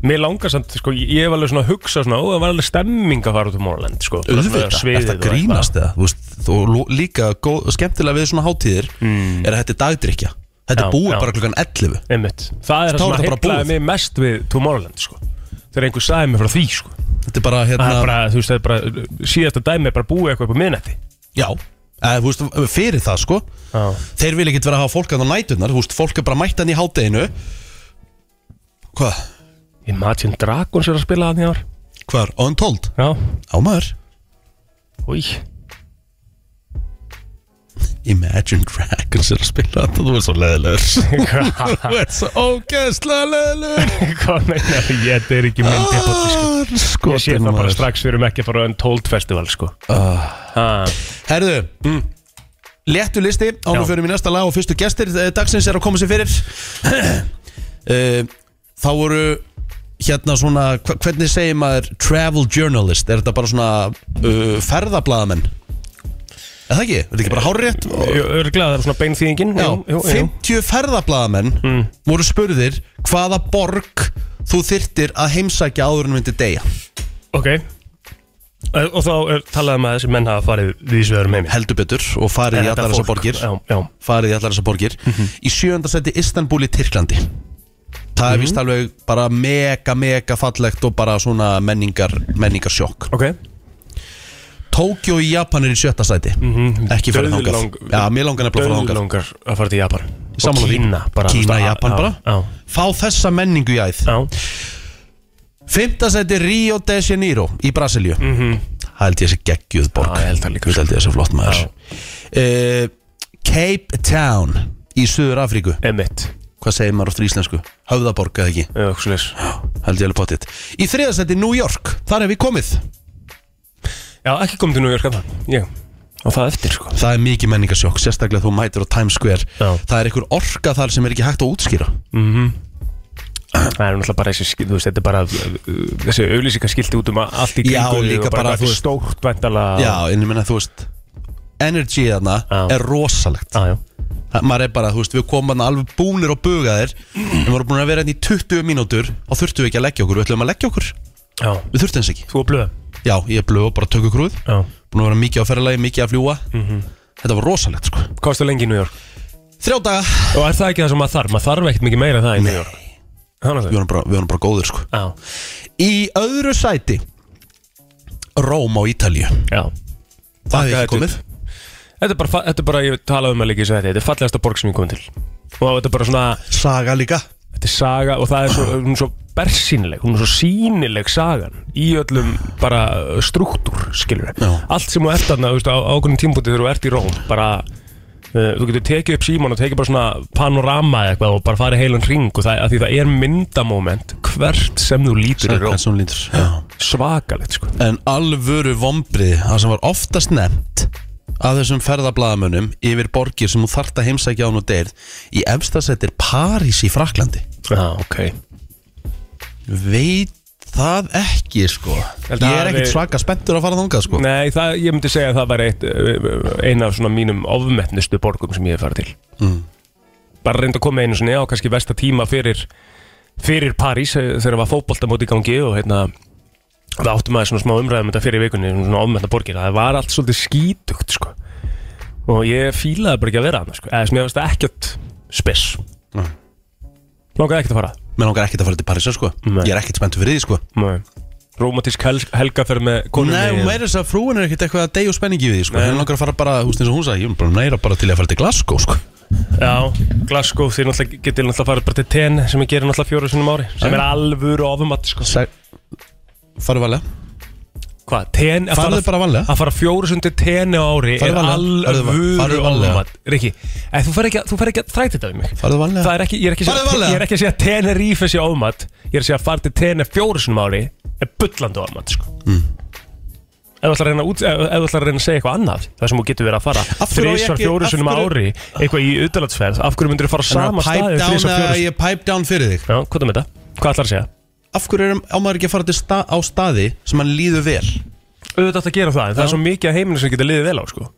S2: Mér langar samt, sko, ég hef alveg svona að hugsa svona, ó, það var alveg stemming að fara út á Tomorrowland, sko. Bara svona
S1: Auðvitað,
S2: sviðið
S1: er það
S2: og
S1: grínast eða Þú veist, þú líka góð, skemmtilega við svona hátíðir Er að þetta er dagdrykja Þetta
S2: Hmm. Já,
S1: er búið
S2: já.
S1: bara klukkan 11
S2: eitthvað. Einmitt. Það er
S1: Þá er
S2: það sem
S1: það bara
S2: heitlaði
S1: búið.
S2: mig mest við Tomorrowland, sko. Þegar einhver sagði mér frá því, sko.
S1: Þetta er bara
S2: Það er
S1: hérna
S2: bara, þú veist, það er bara, síðasta dæmi er bara búið eitthvað upp á miðnætti.
S1: Já, eða, þú veist, fyrir það sko
S2: Já.
S1: Þeir vil ekkert vera að hafa fólk að á nætunar Þú veist, fólk er bara mættan í hátteginu Hvað?
S2: Imagine Dragons er að spila það í ár.
S1: Hvar? Untold?
S2: Já.
S1: Á maður?
S2: Új.
S1: Imagine Dragons er að spila þetta Þú er svo leðilegur Þú er svo ógeðslega leðilegur
S2: Hvað meina, ég, þetta er ekki
S1: Ah,
S2: minn tilbúið, sko.
S1: Sko,
S2: Ég sé það bara strax, við erum ekki að fara á Untold Festival, sko. Ah.
S1: Herðu Léttu listi, ánum
S2: Mm. Já.
S1: fyrir mér næsta lag og fyrstu gestir eh, dagsins er að koma sér fyrir Eh, Þá voru hérna svona, hva- hvernig segir maður travel journalist, er þetta bara svona uh, ferðablaðamenn Er það ekki? Er þetta ekki bara hárétt?
S2: Ég er glæð að Eh, það er svona beinþýðingin.
S1: Já,
S2: Jú, Mm. jú, jú.
S1: 50 ferðablaðamenn voru spurðir hvaða borg þú þyrtir að heimsækja áður en myndi deyja
S2: Ok Eh, Og þá er talað um að þessi menn hafa farið um vísveður með mér
S1: heldur betur og farið í allar þessar borgir
S2: Eh, Já, já Mhm.
S1: farið í allar þessar borgir í sjönda seti Istanbul í Tyrklandi það er
S2: Mhm.
S1: vist alveg bara mega mega fallegt og bara svona menningar menningarsjokk
S2: Ok
S1: Tókjó í Japan er í sjötta seti
S2: Mhm.
S1: ekki farið þangað já, mér langar nefnilega að fara þangað
S2: Döðlangar að fara til Japan
S1: Sammála
S2: Og
S1: því.
S2: Kína bara
S1: Kína,
S2: þú veist,
S1: Japan
S2: já,
S1: bara.
S2: Já,
S1: fá þessa menningu í æð
S2: já
S1: Fymta seti Rio de Janeiro í Brasilíu mm -hmm. Það held ég þessi geggjuð borg
S2: Mhm. Já, ég held það líka,
S1: Ég held ég þessi flott maður
S2: Já.
S1: uh, Cape Town í Suður Afríku
S2: Emmett
S1: Hvað segir maður oft í íslensku? Höfðaborg eða ekki?
S2: Eða okkur slis
S1: Held ég alveg pottitt Í þriða seti New York, þar hef við komið
S2: Já, ekki komið til New York að það Ég og það eftir sko
S1: Það er mikið menningarsjokk, sérstaklega þú mætir á Times Square
S2: Já.
S1: Það er einhver orka þar sem er ekki hægt að útskýra Mhm.
S2: Það er náttúrulega bara þessi, skil- þú veist, þetta er bara uh, þessi auðlýsingar skilti út um að allt í
S1: Já,
S2: kringu
S1: líka bara,
S2: og bara, bara
S1: þú
S2: eitthvað
S1: veist-
S2: stórt vendala
S1: Já, en ég menna þú veist Energy þarna
S2: Já.
S1: er rosalegt
S2: já, já,
S1: Það- Maður er bara, þú veist, við komum þarna alveg búnir og bugaðir
S2: Mm.
S1: En við vorum búin að vera hérna í 20 mínútur Og þurftum við ekki að leggja okkur, við ætlum að leggja okkur
S2: já,
S1: Við þurftum þess ekki
S2: þú er blöð
S1: Já, ég er blöð og bara tökur krúð
S2: Já, Mhm.
S1: Búin að vera mikið á ferðalagi, mikið að fljúa Þetta var rosalegt, sko
S2: kostu lengi í New York
S1: Þrjá daga
S2: og er það ekki það sem maður þarf, maður þarf ekkert mikið meira en það í New York
S1: Við
S2: Þannig að
S1: vorum bara, við vorum bara góðir, sko
S2: Já,
S1: Í öðru sæti Róm á Ítalíu
S2: já
S1: Það hefði
S2: Þakka
S1: ekki komið
S2: Þetta er bara, fa- þetta er bara ég talaði um að líka í þessu þetta Þetta er fallegasta borg sem ég kom til Og þetta er bara svona,
S1: Saga líka
S2: þetta er saga Og það er svo, hún er svo bersýnileg Hún er svo sínileg sagan Í öllum bara uh, struktúr, skilur við
S1: Já.
S2: Allt sem þú ert þarna, þú veist, á ákveðnum tímpúti Þegar þú ert í Róm, bara uh, Þú getur tekið upp síman og tekið bara svona panorama eða eitthvað og bara farið heilan ring og það, af því það er myndamoment hvert sem þú lítur í Róm
S1: Hvernig hún lítur Já
S2: svakalegt sko
S1: En alvöru vombrið, það sem var oftast nefnt að þessum ferðablaðamönnum yfir borgir sem þú þart að heimsækja án og deyrð í efstasett er París í Fraklandi
S2: Já, ok
S1: veit það ekki sko
S2: Held
S1: ég
S2: að
S1: er ekkert
S2: við-
S1: svaka spenntur að fara þangað sko
S2: Nei, það, ég myndi segja að það væri eitt, eh, eina af svona mínum ofmetnustu borgum sem ég hef farið til mm. Bara reynda að koma einu svona, já, kannski versta tíma fyrir, fyrir París eh, þegar það var fótboltamót í gangi og hérna það áttum maður svona smá umræðum þetta fyrir vikunni, um svona ofmetna borgir það var allt svolítið skítugt, sko og ég fílaði bara ekki að vera hann, sko eða sem ég veist ekkert spes
S1: Nei.
S2: Langaði ekkert að fara
S1: mér langar ekkert að fara til Parísar sko
S2: Nei.
S1: ég er ekkert spenntur fyrir því sko
S2: Nei. Rómatísk hel helgaferð með konunni
S1: Nei, hún meira þess að frúin er ekkert eitthvað að deyja og spenningi við því sko
S2: Nei.
S1: henni langar að fara bara, húst eins og hún sagði ég er bara meira bara til að fara til Glasgow sko
S2: Já, Glasgow, þeir náttúrulega getur náttúrulega farið bara til TN sem ég gerir náttúrulega fjóru sinum ári sem er alvöru ofumatt sko.
S1: Sæ... farðu valega
S2: Hvað, TN að
S1: farðu
S2: fara,
S1: bara valega
S2: að fara fjóru sinum til TN á ári
S1: Farðu
S2: er
S1: varlega, farðu varlega,
S2: alvöru
S1: farðu varlega.
S2: ofumatt Rikki, ef þú fer ekki, að- þú fer ekki að þræta þetta við mig
S1: farðu
S2: Það
S1: valega
S2: er ekki, ég er ekki, að
S1: Farðu
S2: segja-
S1: varlega.
S2: ég er ekki að segja að TN er ífessi ofumatt ég er að segja að fara til TN fjóru sinum ári er bullandi ofumatt sko.
S1: Mm.
S2: Ef þú ætlar að reyna að út- ef- ef þú ætlar að reyna að segja eitthvað annað Það sem þú getur verið að fara
S1: Af hverju á ég
S2: Þrísvar
S1: ekki-
S2: fjóru
S1: af
S2: sinum ári
S1: hverju-
S2: Eitthvað í utanlandsferð Af hverju myndir þú fara á
S1: pipe
S2: sama staði
S1: down,
S2: þrisvar,
S1: eða
S2: fjórum
S1: ég pipe down fyrir þig
S2: Já, hvað er með þetta? Hvað ætlar að segja?
S1: af hverju er, á maður ekki að fara til sta, á staði sem hann líður vel
S2: Auðvitað átt að gera það, en það er svo mikið af heiminu sem getur liðið vel á, sko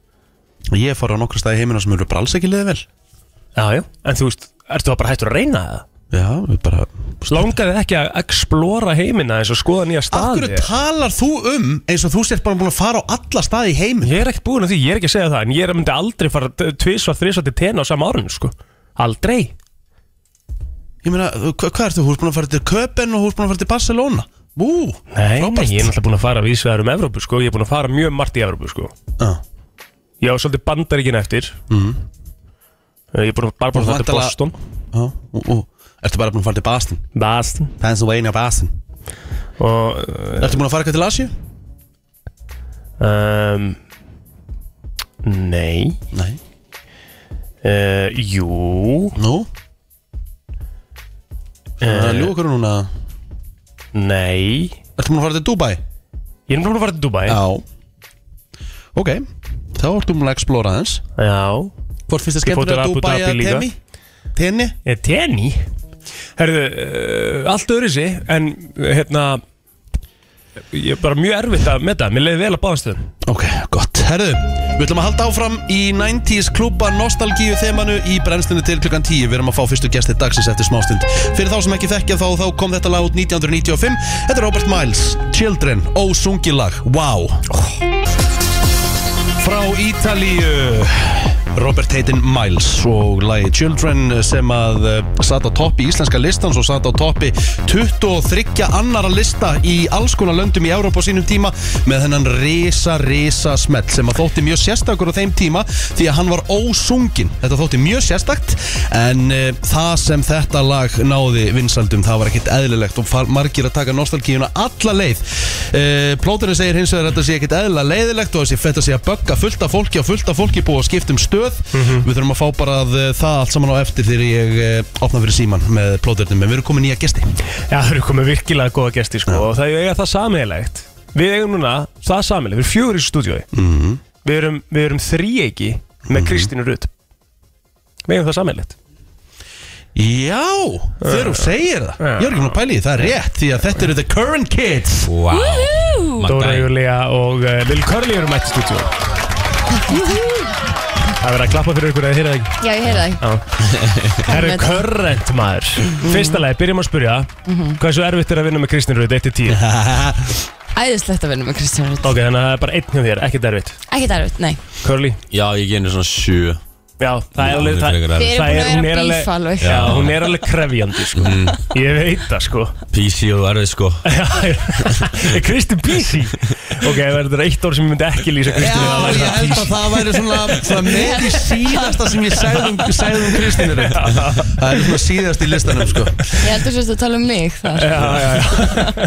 S1: ég fara á nokkra staði heimina sem eru bara alls ekki liðið vel
S2: Já, já En þú veist, ertu það bara hættur að reyna það?
S1: já, við bara
S2: Langaði þig ekki að explora heimina eins og skoða nýja
S1: af
S2: staði?
S1: hverju talar þú um eins og þú sért bara búin að fara á alla staði í heiminn
S2: Ég er ekkert búin að því, ég er ekki að segja það En ég er myndi aldrei fara t- tvisvar, þrisvar til tena á sama árinu, sko Aldrei
S1: ég meina, hva, hvað ertu, þú ert búin að fara til Köpen og þú ert búin að fara til Barcelona ú,
S2: Nei,
S1: frábært
S2: ég er náttúrulega búin að fara vísvegar um Evrópu, sko Ég er búin að fara mjög margt í Evrópu, sko
S1: Já.
S2: Ég á svolítið bandaríkin eftir mm. Ég er búin að bara búin að fara til
S1: Væntanlega-
S2: Boston
S1: Já, ú, ú. ertu bara búin að fara til Bastin
S2: Boston
S1: Pennsylvania Bastin
S2: Og uh,
S1: ertu búin að fara eitthvað til Asju?
S2: um, Nei
S1: nei,
S2: Uh, jú,
S1: nú uh, ljúka okkur núna
S2: Eh, nei
S1: ertu búin að fara til Dubai?
S2: Ég er náttúrulega að fara til Dubai
S1: já ok, þá ertu búin að explora aðeins
S2: Já
S1: Hvort finnst þið
S2: Ég fór til
S1: skemmtilega að
S2: Abu
S1: Dubai
S2: Dhabi
S1: eða
S2: líka.
S1: Temi? Temi?
S2: Eh, Teni Herðu, uh, allt öðru sig En eh, hérna Ég er bara mjög erfitt að metta Mér leiði vel að báðastöðum
S1: Ok, gott. Herðu, við ætlum að halda áfram í 90s klúpa nostalgíu þemanu í brennslinu til klukkan 10. Við erum að fá fyrstu gesti dagsins eftir smástund. Fyrir þá sem ekki þekkja þá, þá kom þetta lag út 1995. Þetta er Robert Miles, Children, ósungilag, wow. Frá Ítalíu, Robert heitinn Miles og lagi Children sem að uh, satt á toppi íslenska listans og satt á toppi 23 annara lista í alls konar löndum í Európa á sínum tíma með hennan risa, risa smell sem að þótti mjög sérstakur á þeim tíma því að hann var ósungin þetta þótti mjög sérstakt en uh, það sem þetta lag náði vinsaldum það var ekkit eðlilegt og far, margir að taka nostalgíuna alla leið uh, plóturinn segir hins vegar að þetta sé ekkit eðla leiðilegt og þessi þetta sé að bögga fullt af fólki og fullt af fólki búið að skipta um stöð
S2: Mhm.
S1: við þurfum að fá bara að, uh, það allt saman á eftir þegar ég uh, opna fyrir síman með plóturinnum en við erum komin nýja gesti
S2: Já, það eru komið virkilega góða
S3: Mm-hmm.
S2: gesti sko, og það eiga það sameiglegt Við eigum núna það sameiglegt, við erum fjögur í stúdíói mm -hmm. Við erum, við erum þríegi
S1: Mhm.
S2: með Kristínu Rutt Við erum það samanlegt
S1: Já, þegar þú segir það Ég er ekki búin að pæli því, það er rétt Því að þetta eru the current kids
S7: Wow.
S2: Dóra
S7: Magdalena.
S2: Júlia og uh, Lil Curly eru mætt í stúdíu Það er verið að klappa fyrir ykkur eða heyra það ekki
S8: Já, ég heyrði það.
S2: Það eru
S8: Þetta.
S2: current maður
S8: Mhm.
S2: Fyrsta lagi, byrjum að spyrja Hversu erfitt er að vinna með Kristínu Rutt 1-10
S8: Æðislegt að vinna með Kristján Rutt.
S2: Ok, þannig að það er bara einn hjá þér, ekkert erfitt
S8: Ekki það erfitt, nei.
S2: Curly,
S7: Já, ég genið svona sjö
S2: já, það er alveg það-
S8: Við erum
S2: það
S8: búin
S2: er-
S8: að
S2: hún
S8: vera
S2: er
S8: að
S2: alveg-
S8: bífa alveg.
S2: Já, hún er alveg krefjandi sko. Ég veit það sko
S7: PC Mhm. og erfið sko
S2: Kristi Bísi Ok, það er þetta eitt orð sem ég myndi ekki lýsa Kristi
S1: Já, ég held að það væri svona, svona með í síðasta sem ég segði um, segði um Kristínu Rut Það er svona síðast í listanum sko
S8: Ég heldur sérst að tala um mig þar.
S2: Já, já, já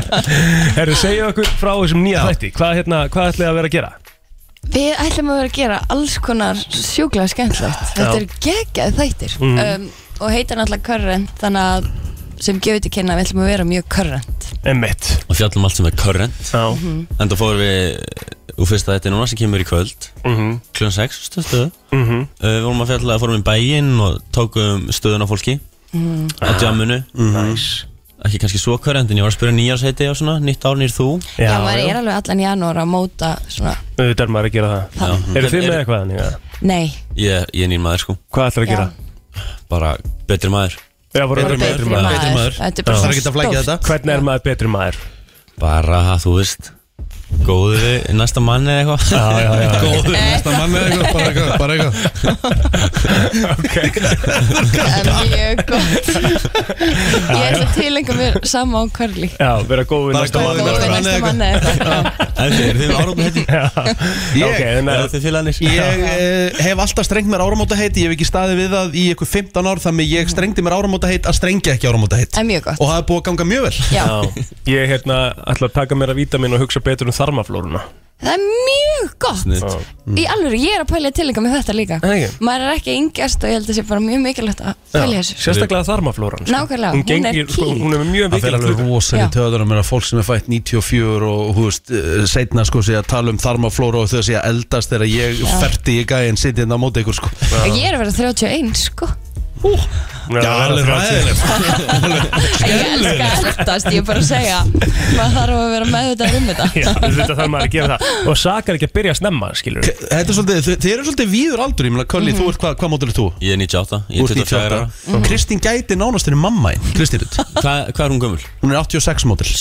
S2: Herru, segja okkur frá þessum nýja þætti Hvað, hérna, hvað ætlið þið að vera að gera?
S8: Við ætlum að vera að gera alls konar sjúklega skemmtlegt. Þetta
S2: Já. Mhm.
S8: er geggjað þættir. Um, og heitir náttúrulega Current, þannig að sem gefur til kynna að við ætlum að vera mjög current.
S2: Emmett
S7: og fjallum allt sem er current
S2: Já
S7: en það fórum við eh, úr fyrsta þetta núna sem kemur í kvöld
S2: Mhm.
S7: klun 6 stöðstöðu
S2: Mhm.
S7: uh, við vorum að fjalla, fórum í bæinn og tókum stöðun á fólki á
S2: Ah.
S7: djamminu
S2: Mhm. Nice
S7: ekki kannski svo current en ég var að spyrja nýjarsheiti og svona nýtt ár nýr þú
S8: Já,
S2: Já,
S8: maður
S2: já,
S8: er alveg allan janúar að móta svona,
S2: auðvitað er maður að gera það
S8: Já.
S2: Eru þið
S7: Er-
S2: með
S7: er-
S2: eitthvað þannig? eða?
S8: nei,
S7: ég, ég er nýr maður sko,
S2: Hvað ætlir að
S8: Já.
S2: gera?
S7: bara betri maður
S2: Já, bara
S8: bara
S2: betri maður
S8: betri
S7: maður.
S8: maður.
S1: Betri maður.
S8: Þetta er
S1: Það
S8: bara
S1: er ekki að flækja þetta
S2: Hvernig er maður betri maður?
S7: bara, þú veist góðu við næsta manni eða eitthvað
S2: Já, já, já
S1: Góður, næsta mann eða eitthvað, bara eitthvað, bara eitthvað
S8: Það er mjög gott Ég ætla að tilengja mér sama á Curly
S2: Já, vera góð við
S1: Bara
S2: næsta
S1: góð
S2: mann
S1: við
S8: Góð
S1: næsta
S8: við
S1: mann
S8: næsta manni
S1: eða
S8: eða eitthvað.
S7: en þeir, þið árum heiti
S2: Ok,
S1: Ég,
S7: er
S2: þannig að
S7: þið félagarnir
S1: ég eh, hef alltaf strengt mér áramóta heiti Ég hef ekki staðið við það í eitthvað 15 ár Þannig ég strengdi mér áramóta heit að strengja ekki áramóta heit
S8: Það er mjög gott.
S1: Og það er búið að ganga mjög vel
S8: Já,
S2: Já, ég hérna ætla að taka mér að víta og hugsa betur um þarmaflóruna
S8: það er mjög gott
S7: Snitt.
S1: Mm.
S8: Í alveg, ég er að pælja tilengja mér þetta líka
S2: Nei.
S8: Maður er ekki að yngjast og ég held að sé bara mjög mikilvægt að pælja þessu sko.
S2: Sérstaklega þarmaflóran sko.
S8: Nákvæmlega,
S2: hún,
S8: hún er
S2: gengir- sko,
S8: key.
S2: hún- hún er mjög
S1: Það er
S2: mikilvægt
S1: alveg
S2: hlutverk.
S1: rosalega
S8: Já.
S1: töðunum er að fólk sem er fætt 94 og hú veist, eh, seinna sko sé að tala um þarmaflóra og þau sé að eldast þegar ég ferdi í gæðin sitjinn á móti ykkur sko
S8: Ég er að vera 31 sko
S2: Hún er
S1: Já,
S2: að verða
S1: alveg
S2: 30.
S1: ræðilegt
S8: Ég elska að eldast, ég er bara að segja Maður þarf að vera meðvitað um þetta
S2: Já, þetta þarf maður að gera það Og sakar ekki að byrja að snemma, skilur
S1: Þetta er svolítið, þið, þið eru svolítið víður aldur Ég meina, Kölli, þú ert, hvað hva mótil er þú?
S7: Mhm. ég er 98, ég er
S1: Þú ert
S7: 24 ára.
S1: 98. Kristín gæti nánast henni mamma einn Kristín, Rut.
S7: Hvað hva er hún gömul?
S1: hún er 86 mótil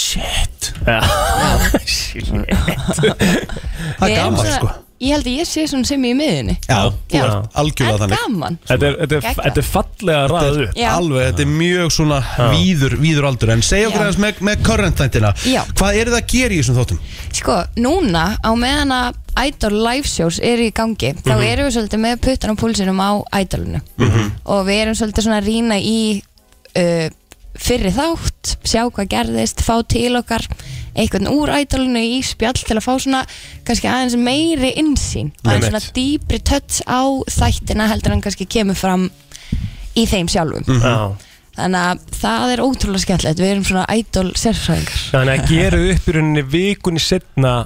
S1: Það er
S8: Ég er
S1: gaman
S8: svona-
S1: sko
S8: Ég held að ég sé svona sem í miðunni
S1: Já, þú
S8: Já.
S1: ert algjörlega
S8: En
S1: þannig
S8: gaman
S2: Þetta er, þetta er,
S8: Geggjað.
S2: þetta er fallega ræðu
S8: Já.
S1: Alveg, þetta er mjög svona víður, víður aldur En segja okkur
S8: Já.
S1: aðeins með, með current þættina
S8: Já.
S1: Hvað er það að gera í þessum þóttum?
S8: Sko, núna á meðan að Idol live shows eru í gangi þá
S1: Mhm.
S8: erum við svolítið með puttan á púlsinum á Idolinu
S2: Mhm.
S8: og við erum svolítið svona að rýna í uh, fyrri þátt, sjá hvað gerðist fá til okkar einhvern úr Idolinu í spjall til að fá svona kannski aðeins meiri innsýn og aðeins svona dýpri touch á þættina heldur en kannski kemur fram í þeim sjálfum
S1: Mhm.
S2: Já.
S8: þannig að það er ótrúlega skemmtilegt við erum svona Idol sérfræðingar
S2: Þannig að gera upp í rauninni vikunni setna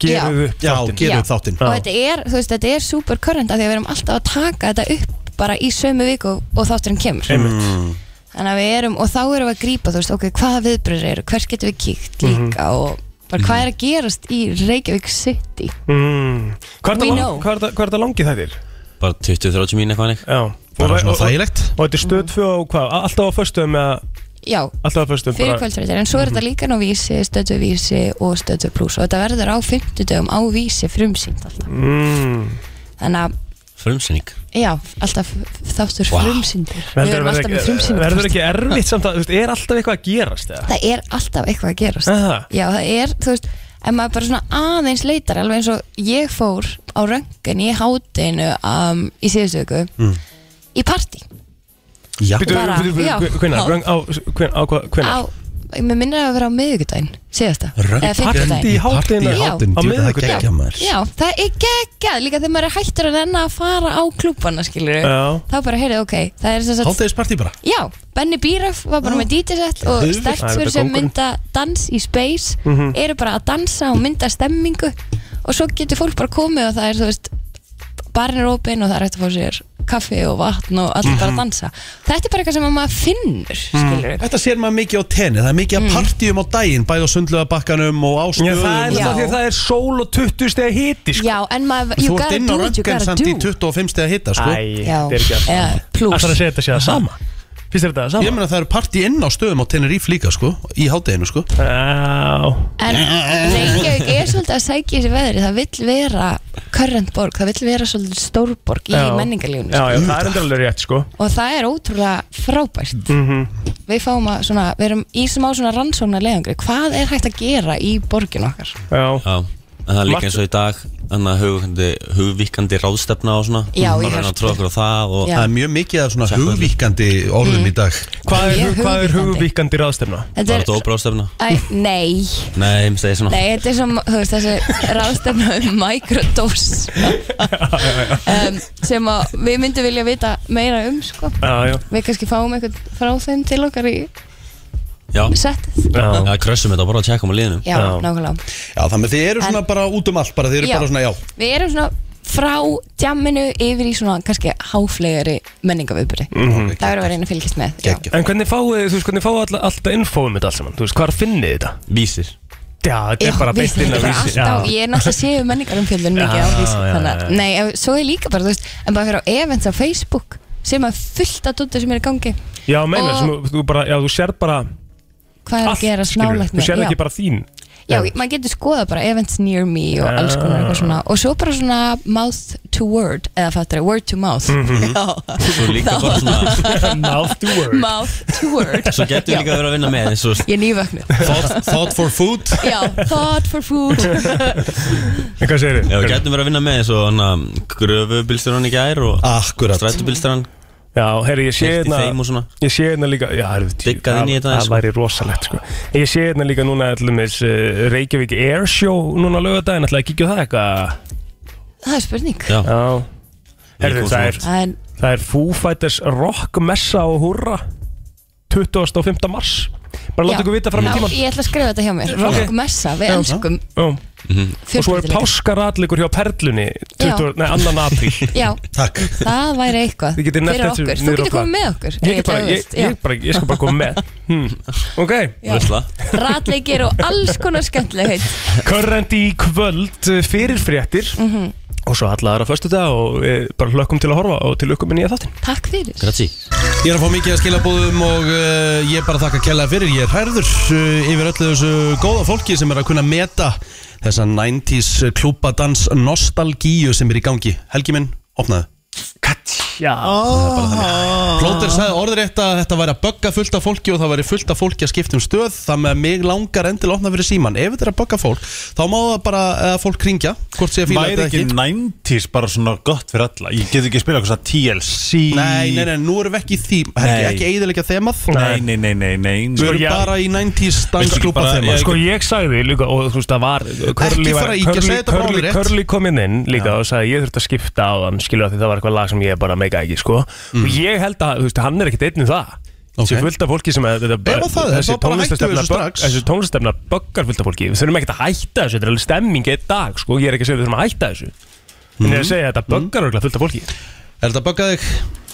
S8: Já.
S2: Gera upp
S1: Já,
S2: þáttinn.
S1: gera
S8: Já.
S1: upp þáttinn
S8: og þetta er, þú veist, þetta er super current af því að við erum alltaf að taka þetta upp bara í sömu viku og þátturinn kemur
S2: Einmitt.
S7: Mm.
S8: þannig að við erum, og þá erum við að grípa þú veist, ok, hvaða viðbröður eru, hvert getum við kíkt líka og bara hvað er að gerast í Reykjavík City
S2: Mm. Hvað er
S8: We
S2: það
S8: know.
S2: lang- hvað er það- hvað er það langið þættir?
S7: bara 20-30 mín eitthvað hannig
S2: Já
S1: Bara svona
S2: og, og,
S1: þægilegt
S2: og þetta er stöð 2 og hvað? Alltaf á föstum eða
S8: já,
S2: Alltaf á föstum
S8: fyrir kvöldrættir, en svo er þetta líka ná vísi, stöðtu vísi og stöðtu pluss og þetta verður á 50 dögum á vísi frumsýnd alltaf
S2: mm.
S8: þannig að,
S7: frumsynning
S8: já, alltaf þáttur
S7: Vá.
S8: frumsýndir við
S2: Verður
S8: erum alltaf með
S2: ekki,
S8: frumsýnd
S2: verður ekki erfitt samt að, þú veist, er alltaf eitthvað að gerast eða?
S8: það er alltaf eitthvað að gerast
S2: Aha.
S8: Já, það er, þú veist, ef maður bara svona aðeins leitar, alveg eins og ég fór á röngin í hátinu um, í síðustu viku, í partí,
S1: Mm, Já,
S2: Býtu,
S8: Bara,
S2: býtu,
S8: já.
S2: býtu, hvenær?
S8: Já.
S2: Röng- á- hven- á hvað- hvenær?
S8: á, mér minnir að vera á miðvikudaginn, síðasta,
S1: Röng-
S8: eða
S2: Partí
S8: fimmtudaginn.
S2: í hátinu
S1: Partí í hátinu, djú,
S2: Á
S1: það
S2: miðvikudaginn.
S1: geggja maður
S8: Já, það er geggjað, líka þegar maður er hættur að enna að fara á klúbana, skilur
S2: Já.
S8: þá bara heyrið, ok, það er sem sagt,
S1: Háttegispartí bara
S8: já, Benny Bíraf var bara með DJ-set og
S1: Auðvitað.
S8: stelpur
S2: Það er Mhm.
S8: sem
S2: kóngurinn.
S8: mynda dans í space, eru bara að dansa og mynda stemmingu og svo getur fólk bara komið og það er, þú veist barinn er opinn og það er hægt að fá sér kaffi og vatn og allir
S2: Mhm.
S8: bara að dansa þetta er bara eitthvað sem að maður finnur
S2: Mm.
S8: skilur
S1: Þetta sér maður mikið á tenni, það er mikið að partíum á daginn, bæði á sundlöðabakkanum og á
S2: Já,
S1: stöðum
S2: það
S8: Já.
S2: er náttúrulega því að það er sól og 20 steg hiti sko.
S8: já, en maður,
S1: Þú
S8: you
S1: ert
S8: gotta
S1: inn á
S8: do what you
S1: röntgen
S8: gotta
S1: samt í
S8: do
S1: 25 stegi hitta sko.
S2: Æ,
S8: já,
S2: þetta er ekki að
S8: ja,
S2: Það er að
S8: plus
S2: segja þetta sé það sama Finnst þér þetta það
S1: Ég
S2: sama?
S1: meina það eru partí inn á stöðum á Tenerife líka sko, í hádeginu sko.
S2: Já,
S8: en Reykjavík er svolítið að sækja í þessi veðri það vill vera current borg það vill vera svolítið stórborg í
S2: Já.
S8: menningarlífun
S2: já, já, það er endur alveg rétt sko Mhm.
S8: og það er ótrúlega frábært við fáum að svona, við erum í smá svona rannsóknar leiðangri, hvað er hægt að gera í borgin okkar?
S2: Já,
S7: Já, en það er líka eins og í dag Þannig að hugvíkandi, hugvíkandi ráðstefna og svona
S8: Já,
S7: Bara
S8: í
S7: reyna
S8: Hörpu.
S7: að tróða okkur á það og
S8: Já.
S1: Það er mjög mikið af svona
S7: Sjá hvað er.
S1: hugvíkandi orðum í dag
S2: hvað
S8: Ég
S2: er,
S8: er
S2: hvað er
S8: hugvíkkandi.
S2: hugvíkandi ráðstefna?
S8: Þetta
S7: Var
S8: er,
S7: þetta óbráðstefna?
S8: Æ, nei,
S7: Nei, ég segi svona
S8: nei, þetta er sem, þú veist, þessi ráðstefna um mikrodós um, sem að við myndum vilja vita meira um, sko.
S2: Já, já,
S8: Við kannski fáum eitthvað frá þeim til okkar í
S7: Já,
S8: settið.
S2: já,
S7: já krössum þetta og bara að tjekka á liðinu
S8: Já,
S2: Já.
S8: nákvæmlega.
S1: Já þannig að þið eru svona bara út um allt bara, þið eru
S8: Já.
S1: bara svona já
S8: Við erum svona frá djamminu yfir í svona kannski háflegari menningaviðbyrði.
S1: Mm.
S8: Það verður að vera einn að fylgjast með. já.
S1: Geggjað.
S2: Mhm. En hvernig fáið þið, þú veist, hvernig fáið all, alltaf info um þetta allt saman? Þú veist, hvar finnið þið þetta?
S7: Vísir
S2: Já, þetta
S8: Já,
S2: er bara
S8: við
S2: beint inn
S8: þurfum
S2: að
S8: bara
S2: vísi
S8: alltaf, Ég er náttúrulega séu menningarumfjöldun mikið á
S2: Já,
S8: vísi
S2: já,
S8: þannig,
S2: já,
S8: að-
S2: já.
S8: Nei, ef- svo er líka bara, þú veist En bara fyrir á events á Facebook Sem að fullt af dúttur sem er í gangi
S2: Já, meina,
S8: Og-
S2: sem, þú- þú bara, já, þú sér bara
S8: Hvað er að
S2: allt,
S8: gera
S2: skilurðu.
S8: snálægt
S2: Þú sér
S8: já.
S2: ekki bara þín
S8: já, maður getur skoða bara events near me Og
S2: Já.
S8: alls konar eitthvað svona Og svo bara svona mouth to word Eða fattur, word to mouth
S2: Mhm.
S7: Svo
S8: Já,
S7: líka bara svona
S2: Mouth to word
S8: mouth to word
S7: Svo getur líka verið að vinna með eins og
S8: Ég er nývöknuð
S1: Thought, thought for food
S8: Já, thought for food
S2: En hvað segir
S7: Já,
S2: þið?
S7: við getum verið að vinna með eins og Gröfubilstjóran í gær og
S1: Akkurat
S7: Strætubilstjóran
S2: Já, herri, ég sé
S7: Keypt í
S2: hérna
S7: þeim og svona.
S2: Ég sé hérna líka Já, herri, tí,
S7: Diggað inn í þetta aðeins,
S2: Það
S7: sko.
S2: væri rosalegt, sko Ég sé hérna líka núna, ætlum við uh, Reykjavík Air Show núna lögadaginn Ætlaði að kíkja á það eitthvað
S8: Það er spurning
S7: Já,
S2: Já Herri,
S7: kom
S2: það
S7: svo
S2: er,
S8: En
S2: það er Foo Fighters Rock Messa og Hurra 25. mars Bara
S8: já,
S2: láta ykkur vita fram í
S8: já,
S2: tíman
S8: ég ætla að skrifa þetta hjá mér Rock messa, við elskum
S2: Já, og svo er
S8: fjölbreytileika.
S2: páskaratleikur hjá Perlunni 20,
S8: Já.
S2: nei, 2. apríl
S8: Já,
S1: Takk
S8: það væri eitthvað
S2: Við
S8: fyrir
S2: getum nefnt þessu
S8: okkur, þú
S2: niður á
S8: getur
S2: plan.
S8: komið með okkur
S2: ég, get bara,
S8: ef þú
S2: ég,
S8: vilt, já.
S2: ég, bara, ég skal bara koma með hmm. ok,
S8: Já.
S7: veistla
S8: ratleikir og alls konar skemmtilegheit
S2: current í kvöld uh, fyrir fréttir
S8: Mhm.
S2: og svo alla aðra föstu dag og eh, bara hlökkum til að horfa og til ykkur með nýja þáttin
S8: takk fyrir
S7: Grazi
S1: Ég er að fá mikið að skilabóðum og uh, ég er bara að þakka kella fyrir Ég er hærður uh, yfir öllu þessu góða fólki sem er að kunna meta þessa 90s klúpadans nostalgíu sem er í gangi Helgi minn, opnaðu
S2: já,
S1: Plóter sagði orðrétt að þetta væri að bögga fullt af fólki og það væri fullt af fólki að skipta um stöð það með að mig langar endilega að opna fyrir síman ef þetta er að bögga fólk, þá má það bara að fólk ringja, hvort sé að fíla
S9: væri
S1: þetta
S9: ekki
S1: ekki
S9: 90s bara svona gott fyrir alla ég get ekki að spila eitthvað svona TLC
S1: Nei, nei, nei, nú erum við ekki í því Helgi,
S9: Nei.
S1: ekki eiðilega þemað
S9: nei, nei, nei, nei, nei,
S1: Við erum
S9: nei.
S2: Sko, já.
S1: bara í 90s dansklúpa
S9: bara-
S1: þemað
S2: sko ég sagði líka og þú veist það var Curly var-
S1: fara að ýkja,
S2: Curly-
S1: segðu þetta bara
S2: Curly-
S1: orðrétt.
S2: Curly kom inn inn líka og sagði ég þurfti að skipta á hann skilja því það var eitthvað lag sem ég bara meika ekki sko og ég held að þú veist hann er ekkit einn í það
S1: Mm. Ok.
S2: Þessi fullt af fólki sem að, þetta,
S1: Ef að það er,
S2: þessi
S1: þá bara hættum við
S2: tónlistastefna
S1: þessu
S2: bögg-
S1: strax.
S2: þessi tónlistefna böggar fullt af fólki við þurfum ekkert að hætta þessu, þetta er alveg stemming eitt dag sko, ég er ekki að segja við þurfum að hætta þessu en ég er að segja að þetta böggar mm. fullt af fólki
S1: Er þetta að bögga þig?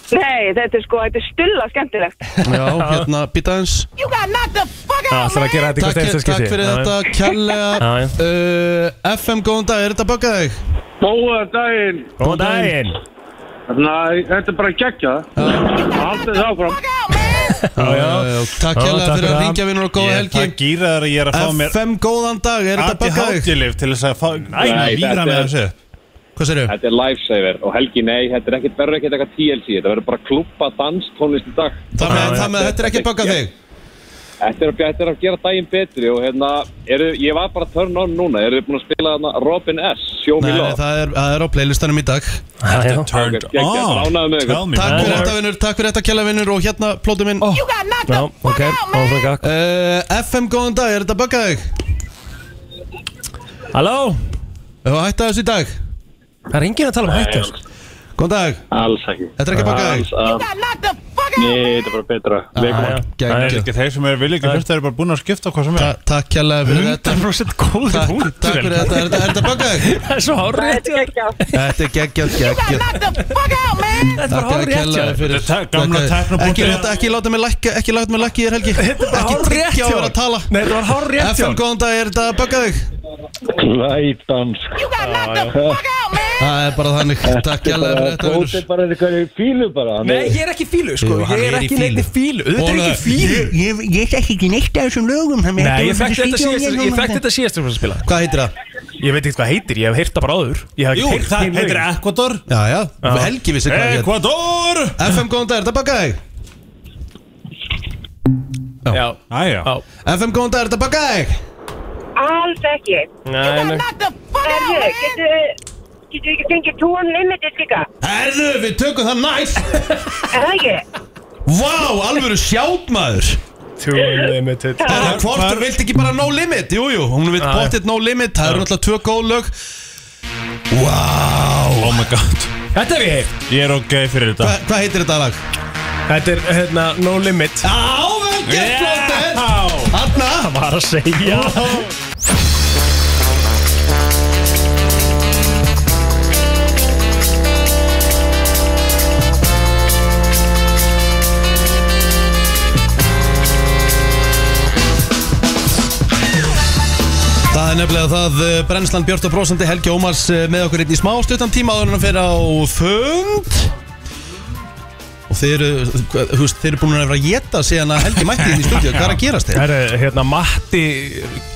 S10: Nei, þetta er sko, þetta er stulla skemmtilegt.
S1: Já, hérna, býta eins
S2: Það er að gera þetta í
S1: Takk,
S2: hvert einasta
S1: takk
S2: skipti.
S1: fyrir
S2: Já, já.
S1: þetta, kærlega
S2: Já, já.
S1: uh, FM, góðan dag, er þetta að bögga þig?
S10: Góða daginn.
S2: Góðan daginn
S10: Nei, þetta er bara geggja. Haldið þið áfram.
S2: Já, já.
S1: Uh, Takk
S2: Já,
S1: kærlega
S2: takk
S1: fyrir
S2: fyrir
S1: að
S2: það.
S1: ringja vinnur og góða
S9: Ég- það
S1: helgi
S9: gýrar að ég er að fá mér
S1: FM, góðan dag, er þetta að bögga þig?
S9: ADHD-lif til þess að fá næna
S10: Nei,
S9: víra
S10: þetta
S9: með
S10: er-
S9: þessu
S1: Hvað serðu?
S10: Þetta er lifesaver og Helgi, nei, þetta er ekkert verður ekkert eitthvað TLC. Þetta verður bara klúpa dans tónlist í dag.
S1: Það með, það með þetta er ekki að bögga þig
S10: Þetta er, að- þetta er að gera daginn betri og hérna, eru, ég var bara að turn on núna. Eru þið búin að spila hérna Robin S, Show Me
S1: Nei, nei,
S10: Love?
S1: það er, það er á playlistanum í dag Takk
S2: Já, já.
S9: turned
S10: Ok, geggjað, bara ánægður
S9: on
S10: með ykkur.
S9: tell me
S1: fyrir
S9: more.
S1: þetta vinnur, takk fyrir þetta kjæla vinnur og hérna plótum minn oh.
S2: Já, ok, áfram gakk
S1: uh, FM, góðan dag, er þetta að bögga þig?
S2: Halló,
S1: Hefur að hætta þessu í dag?
S2: það er enginn að tala um hættu
S1: Góðan dag,
S10: Alls ekki.
S1: þetta er ekki að bögga þig
S10: Alls að.
S11: Nei, þetta er bara betra
S1: Ah, geggjað.
S9: Það er ekki þeir sem er vilja ekki hlusta Það er bara búin að skipta hvað sem er
S1: Takk kjærlega fyrir þetta
S9: 100% góður
S1: Takk, takk fyrir þetta, er þetta- er þetta böggað?
S2: Það er svo hárrétt hjá
S1: Þetta er geggjað, geggjað
S2: Þetta er
S1: Takk
S2: bara
S1: að
S2: hárrétt hjá
S1: kjærlega
S2: þér.
S1: fyrir
S9: Þetta er gamla
S1: Takk að-
S9: teknopunktur.
S1: Ekki láta- Ekki láta mig lækka Ekki láta mig lækka í þér Helgi
S2: Þetta er bara
S1: Ekki
S2: hárrétt
S1: tryggja
S2: hjá
S1: að vera að
S2: þér.
S1: tala
S2: Nei, þetta var hárrétt hjá
S1: FM,
S2: þér.
S1: góðan dag, er þetta að bögga þig?
S11: Glætan You got knocked the fuck out
S1: Það er bara þannig Takk kjærlega fyrir þetta
S11: Þetta er bara eitthvað í fílu bara hann
S2: Nei, ég er ekki í fílu, sko,
S1: Jú, hann
S2: ég er
S1: er í
S2: ekki í neinni fílu, auðvitað er ég ekki í fílu
S12: Ég, ég, ég þekki ekki neitt af þessum lögum þannig
S2: Nei,
S12: að
S2: ég
S12: þetta
S2: þekkti
S12: var fyrir
S2: þetta síðast,
S10: hérna
S12: skrítið á mér
S2: ég
S12: núna.
S2: þekkti þetta síðast þegar við spila
S1: Hvað heitir það?
S2: Ég veit ekki hvað heitir, ég hef heyrt það bara áður Ég hef
S9: Jú,
S2: ekki heyrt
S9: það
S2: hin
S9: heitir
S2: lögin.
S9: Ekvador
S1: Já, já, Helgi vissi hvað ég-
S9: Ekvador
S1: FM, góðan dag, er þetta að bögga þig?
S2: Já,
S9: Æja
S1: FM, góðan dag, er þetta að bögga þig?
S13: Alls ekki.
S2: Nei, nei.
S13: Herðu, getur getur ekki fengið tón limitis líka?
S1: Herðu, við tökum það næst
S13: Er það ekki?
S1: Vá, alvöru sjátmaður
S2: Too limited Ah,
S1: Bara hvort, vilt ekki bara no limit? Jú, jú, hún vil potið no limit Það eru náttúrulega tvö góð lög Wow
S9: Oh my god
S2: Þetta er ég heyrt
S9: Ég er ok fyrir þetta
S1: Hva- Hvað heitir þetta lag?
S2: Þetta er, hérna, No Limit
S1: Á, vel gert, Flóter Hanna
S2: Það var að segja
S1: Það er nefnilega það eh, Brennslan Björn og Brósandi Helgi Ómars eh, með okkur einn í smá stuttan tíma áður en hann fyrir á fund og þeir eru hvað- þú veist, þeir eru búin að vera að geta síðan að Helgi mætti inn í stúdíu hvað er að gerast þeir?
S2: Það er, hérna, Matti,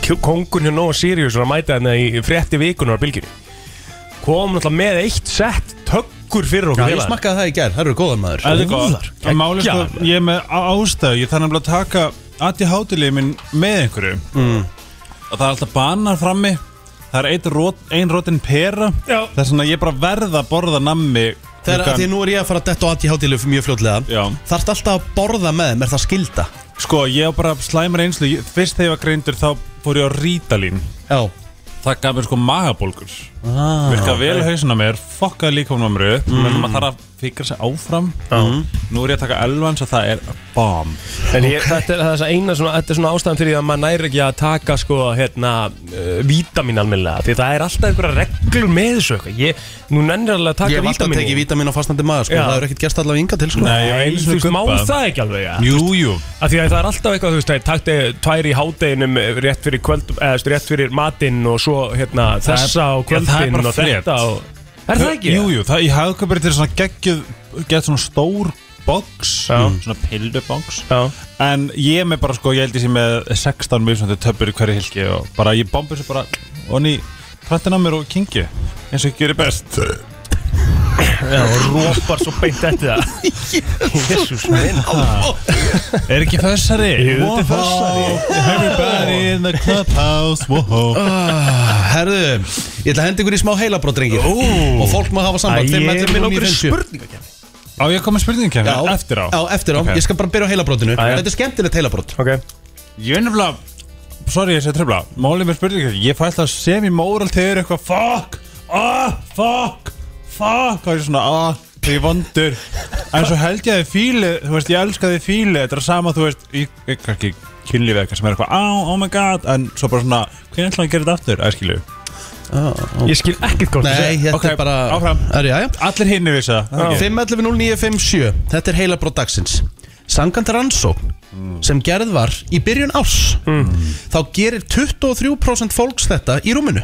S2: kjó- kóngurinn hjá Nóa Sirius var að mæta hérna í frétti vikunar á bylginni Kom náttúrulega með eitt sett tökkur fyrir okkur
S1: Já, ég
S2: félagar.
S1: smakkaði það í gær, það eru góðar maður
S9: Það er góðar
S1: Geggjað.
S9: En málið sko, ég er með á- ástæðu Ég þarf nefnilega að taka Adi hátilið minn með einhverju
S1: Mm.
S9: Og það er alltaf banar frammi Það er ein, rot, ein rotin pera
S2: Já.
S9: Það er svona ég er bara verð að borða nammi
S1: Þegar að því nú er ég að fara að detta á ADHD -lyf mjög fljótlega Þarft alltaf að borða með þeim, er það skilda?
S9: Sko, ég á bara slæmur einslu Ég- Fyrst þegar ég var greindur þá fór ég á rítalín
S1: Já
S9: Það gaf mér sko magabólgur
S1: ah,
S9: Virka vel hausina mér, fokkaði líkomnum mér upp mm. Menn maður þarf að fikra sig áfram Mm. Nú er ég að taka elvan svo það er bomb
S2: En ég, þetta er það er þess að eina svona, þetta er svona ástæðan fyrir því að maður næri ekki að taka sko hérna uh, vítamin almennilega því það er alltaf einhverja reglur með þessu eitthvað ég, nú nennir alveg að taka
S1: Ég
S2: vítamin
S1: hef alltaf tekið vítamin á fastandi maður sko.
S2: Já.
S1: Það er ekkert gerst allavega ynga til sko.
S2: Nei, þú veist, má það ekki alveg ja?
S9: Jú, jú
S2: Af því að það er alltaf eitthvað, þú veist, það er takti tvær í hádeginum eh, rétt fyrir, kvöld, eða, þú veist, rétt fyrir matinn og svo hérna,
S9: Það er-
S2: þessa og
S9: Já, það er
S2: kvöldin
S9: bara
S2: og þetta
S9: frétt.
S2: og, Er það ekki?
S9: Jú, jú, það í hagkaupir til svona geggjuð Gett svona stór box mm. Svona pildubox
S2: Já.
S9: En ég er með bara sko, ég held ég sé með 16 mismunandi töpur í hverju hilki Og bara ég bombi þessu bara Onni, hrættin á mér og kingi Eins og ég gerir best
S2: Já, og rópar svo beint eftir það Jésús minn
S9: Er ekki fessari?
S2: Jú, þetta er
S9: fessari Everybody in the clubhouse Whoa
S1: Ah, Herðu, ég ætla að henda ykkur í smá heilabrót, drengir
S9: Ó.
S1: Og fólk má hafa samband
S2: Æ,
S1: Fimm,
S2: ég er
S1: ellefu,
S2: með
S1: núll, níu,
S2: nokkur
S1: fimmtíu.
S2: spurningar
S9: Á ég komið spurningi kemur,
S1: Já,
S9: eftir á
S1: Já, eftir á,
S9: Ok.
S1: ég skal bara byrja á heilabrótinu
S2: já.
S1: Þetta er skemmtilegt heilabrót
S2: Ok
S9: Ég er nefnilega Sorry, ég segi trefla Málið með spurningar Ég fæ alltaf semi-moral þegar eitthvað Fuck Ah, fuck Fuck Og ég er svona Ah, þegar ég er vondur En svo held ég að þið fíli Þú veist, ég elska þið fíli Þetta er sama, þú veist Ég ég er kannski kynlíf eða eitthvað sem er eitthvað Á, oh my god En svo bara svona Hvernig ætlaði að gera þetta aftur? Æ, skilju
S2: Ég skil ekkert
S1: Ah,
S2: hvort
S1: Nei,
S2: þessi-
S1: þetta
S9: ok,
S1: er bara
S9: áfram.
S1: er, já, já.
S9: Allir hinni vissi það er ekki?
S1: 5.11.09.57 Þetta er heilabrót dagsins Sangant rannsókn sem gerð var í byrjun árs
S2: Mm.
S1: þá gerir 23% fólks þetta í rúminu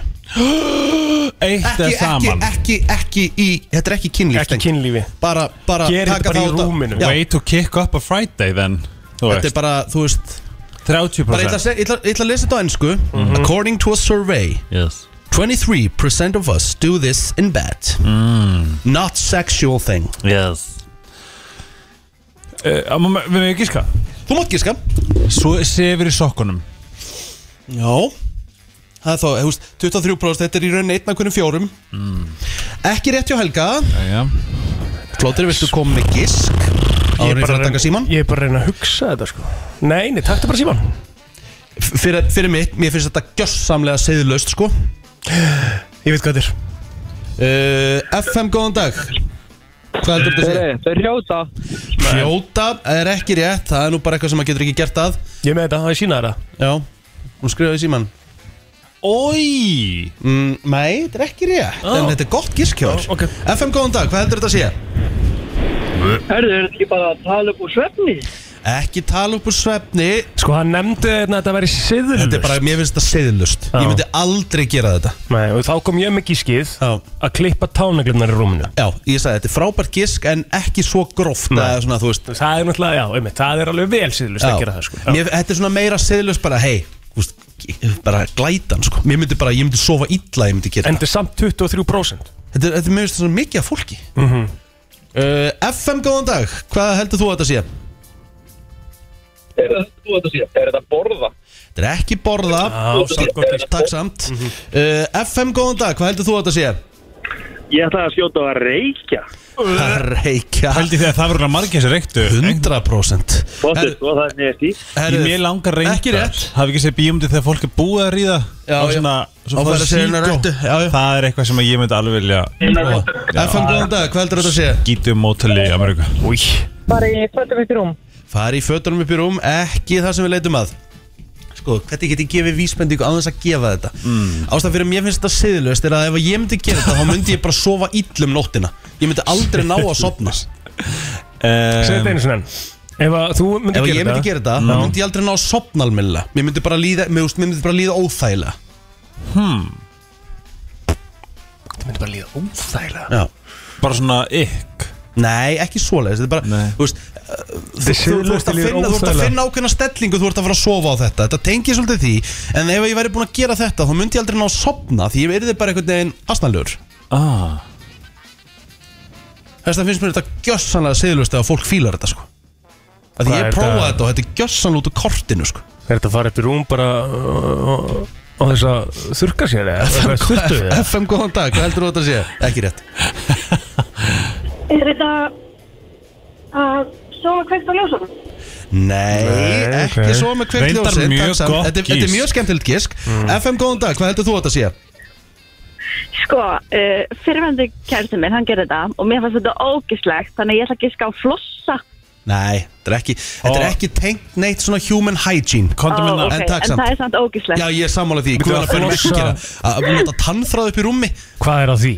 S9: Eitt
S1: ekki,
S9: er
S1: ekki,
S9: saman
S1: ekki, ekki í, þetta er ekki kynlíf
S2: Ekki
S1: tengt.
S2: kynlífi
S1: bara, bara
S2: Gerir þetta
S1: taka
S2: bara
S1: það
S2: í
S1: út af-
S2: rúminu.
S1: Já,
S9: Way to kick up a Friday then Þú
S1: þetta er
S9: veist
S1: bara, þú veist bara ég ætla
S9: 30%
S1: að seg- ég ætla- ég ætla að lesa þetta á ennsku According to a survey
S9: Mhm. Yes
S1: 23% of us do this in bed Not sexual thing
S9: Mm. Yes uh, Við með gíska
S1: Þú mátt gíska
S9: Svo sefur í sokkunum
S1: Já Það er þá, þú veist, 23% þetta er í rauninni einn af hvernig fjórum Ekki rétt hjá Helga
S9: Mm. Jæja
S1: Flóttir, viltu koma með gísk?
S2: Ég er
S1: Árið
S2: bara
S1: fyrir
S2: að
S1: að taka síman
S2: reyna- Ég er bara að reyna að hugsa þetta sko Nei, nei, takk bara síman
S1: fyrir, fyrir mitt, mér finnst þetta gjössamlega seðlaust, sko
S2: Ég veit hvað þetta er
S1: Eh, uh, FM, góðan dag Hvað heldur þetta að segja?
S11: Þeir hrjóta
S1: Hljóta er ekki rétt, það er nú bara eitthvað sem maður getur ekki gert að
S2: Ég með þetta, það er sína þetta
S1: Já, hún skrifaði síman
S2: Ói
S1: mm, Nei, þetta er ekki rétt,
S2: Ó.
S1: en þetta er gott gískjór okay. FM, góðan dag, hvað heldur þetta að segja?
S11: Herðu, er þetta ekki bara að tala upp úr svefni?
S1: Ekki tala upp úr svefni
S2: Sko hann nefndi hérna að þetta væri siðlust
S1: Þetta er bara, mér finnst þetta siðlust Ég myndi aldrei gera þetta
S2: Nei, og þá kom ég með gískið að klippa tánaglirnar í rúminu
S1: Já, ég sagði þetta er frábært gísk en ekki svo gróft að, svona, þú veist,
S2: Það er náttúrulega, já, einmitt, það er alveg vel siðlust að
S1: Já.
S2: gera það sko
S1: mér, Þetta er svona meira siðlust bara, hei veist, bara glætan sko Mér myndi bara, ég myndi sofa illa ég myndi gera
S2: En þetta er samt 23%
S1: Þetta, er- þetta er mjög svona mikið af fólki
S2: mm
S9: Mhm.
S2: -hmm.
S1: uh, FM, góðan dag, hvað heldur þú að þetta sé?
S11: Er þetta, þú þetta sé, er þetta borða?
S1: Þetta er ekki borða
S11: Já, samt gott gísk.
S1: Takk samt uh, FM, góðan dag, hvað heldur þú að þetta sé?
S11: Ég ætlaði að skjóta á að reykja
S1: Reykja
S9: Haldi því að það verður margir sem reyktu
S1: 100%
S11: Bóttu, þú það er nýjast í
S9: Í mér langar reyndar
S1: Ekki rétt.
S9: Hafi ekki séð bíumdi þegar fólk er búið að ríða
S1: Já,
S9: Og
S1: já.
S9: svona
S1: Og
S9: fá
S1: fara
S9: það
S1: sér inn að
S9: sídó.
S1: rættu,
S9: Það er eitthvað sem ég myndi alveg vilja
S1: FM, góðan dag, hvað heldur þetta að sé?
S9: Gítum mótali í Ameríku
S2: Új
S13: Bara í fötum eitt rúm.
S1: Fari í fötunum upp í rúm, ekki það sem við leitum að Sko, hvernig get ég gefið vísbendingu á þess að gefa þetta mm. Ástæðan fyrir að mér finnst þetta siðlust er að ef ég myndi gera þetta þá myndi ég bara sofa illum nóttina Ég myndi aldrei ná að sofna
S2: Segðu þetta einu sinni enn. Ef að þú myndi
S1: Ef
S2: gera
S1: ég myndi gera þetta, þá myndi ég aldrei ná að sofna almennilega Mér myndi bara líða, mér, úst, mér myndi bara líða óþægilega
S9: Hmm
S2: Þetta myndi bara líða óþægilega
S1: Já.
S9: Bara svona ykk
S1: Nei, ekki svoleiðis, þetta er bara, þú veist uh,
S2: er
S1: Þú þú- þú ert
S2: siðlaust
S1: að
S2: að líða
S1: finna, þú ert að
S2: óþægilega.
S1: finna ákveðna stellingu, þú ert að fara að sofa á þetta Þetta tengir svolítið því, en ef ég væri búin að gera þetta þá myndi ég aldrei ná að sofna Því ég verði bara einhvern veginn asnalur
S9: ah.
S1: Þess að finnst mér þetta gjössanlega siðlust að fólk fílar þetta sko Af Því
S2: Hvað
S1: ég
S2: er
S1: prófaði
S2: þetta?
S1: þetta og þetta er gjössanlega út úr kortinu sko
S2: Er þetta að fara upp í rúm bara uh, á þess að þurka sér eða?
S1: FM,
S2: Eða sturtu eða?
S1: FM góðan dag, hvað heldur þú að þetta sé? Ekki rétt
S13: Er þetta að sofa kveikt á ljósunum?
S1: Nei,
S2: Nei,
S1: ekki
S2: ok.
S1: svo með kveikt
S2: Reyndar
S1: ljósin,
S2: mjög
S1: takk samt. þetta,
S2: gott
S1: er- þetta er
S2: gísk.
S1: mjög skemmtilegt gísk
S2: Mm.
S1: FM góðan dag, hvað heldur þú að þetta sé?
S14: Sko, uh, fyrirvendu kærtum minn, hann gerði þetta og mér fannst þetta ógislegt, þannig að ég ætla ekki ská flossa.
S1: Nei, þetta er ekki, þetta er ekki tengt neitt svona human hygiene
S14: Ó, ok,
S1: En takk
S14: En það er
S1: samt
S14: samt ógislegt.
S1: Já, ég er sammála því,
S2: Myndi
S1: hvað er að
S2: það
S1: bæna
S2: flossa-
S1: ekki gera Að að nota tannþráð upp í rúmi
S2: Hvað er að því?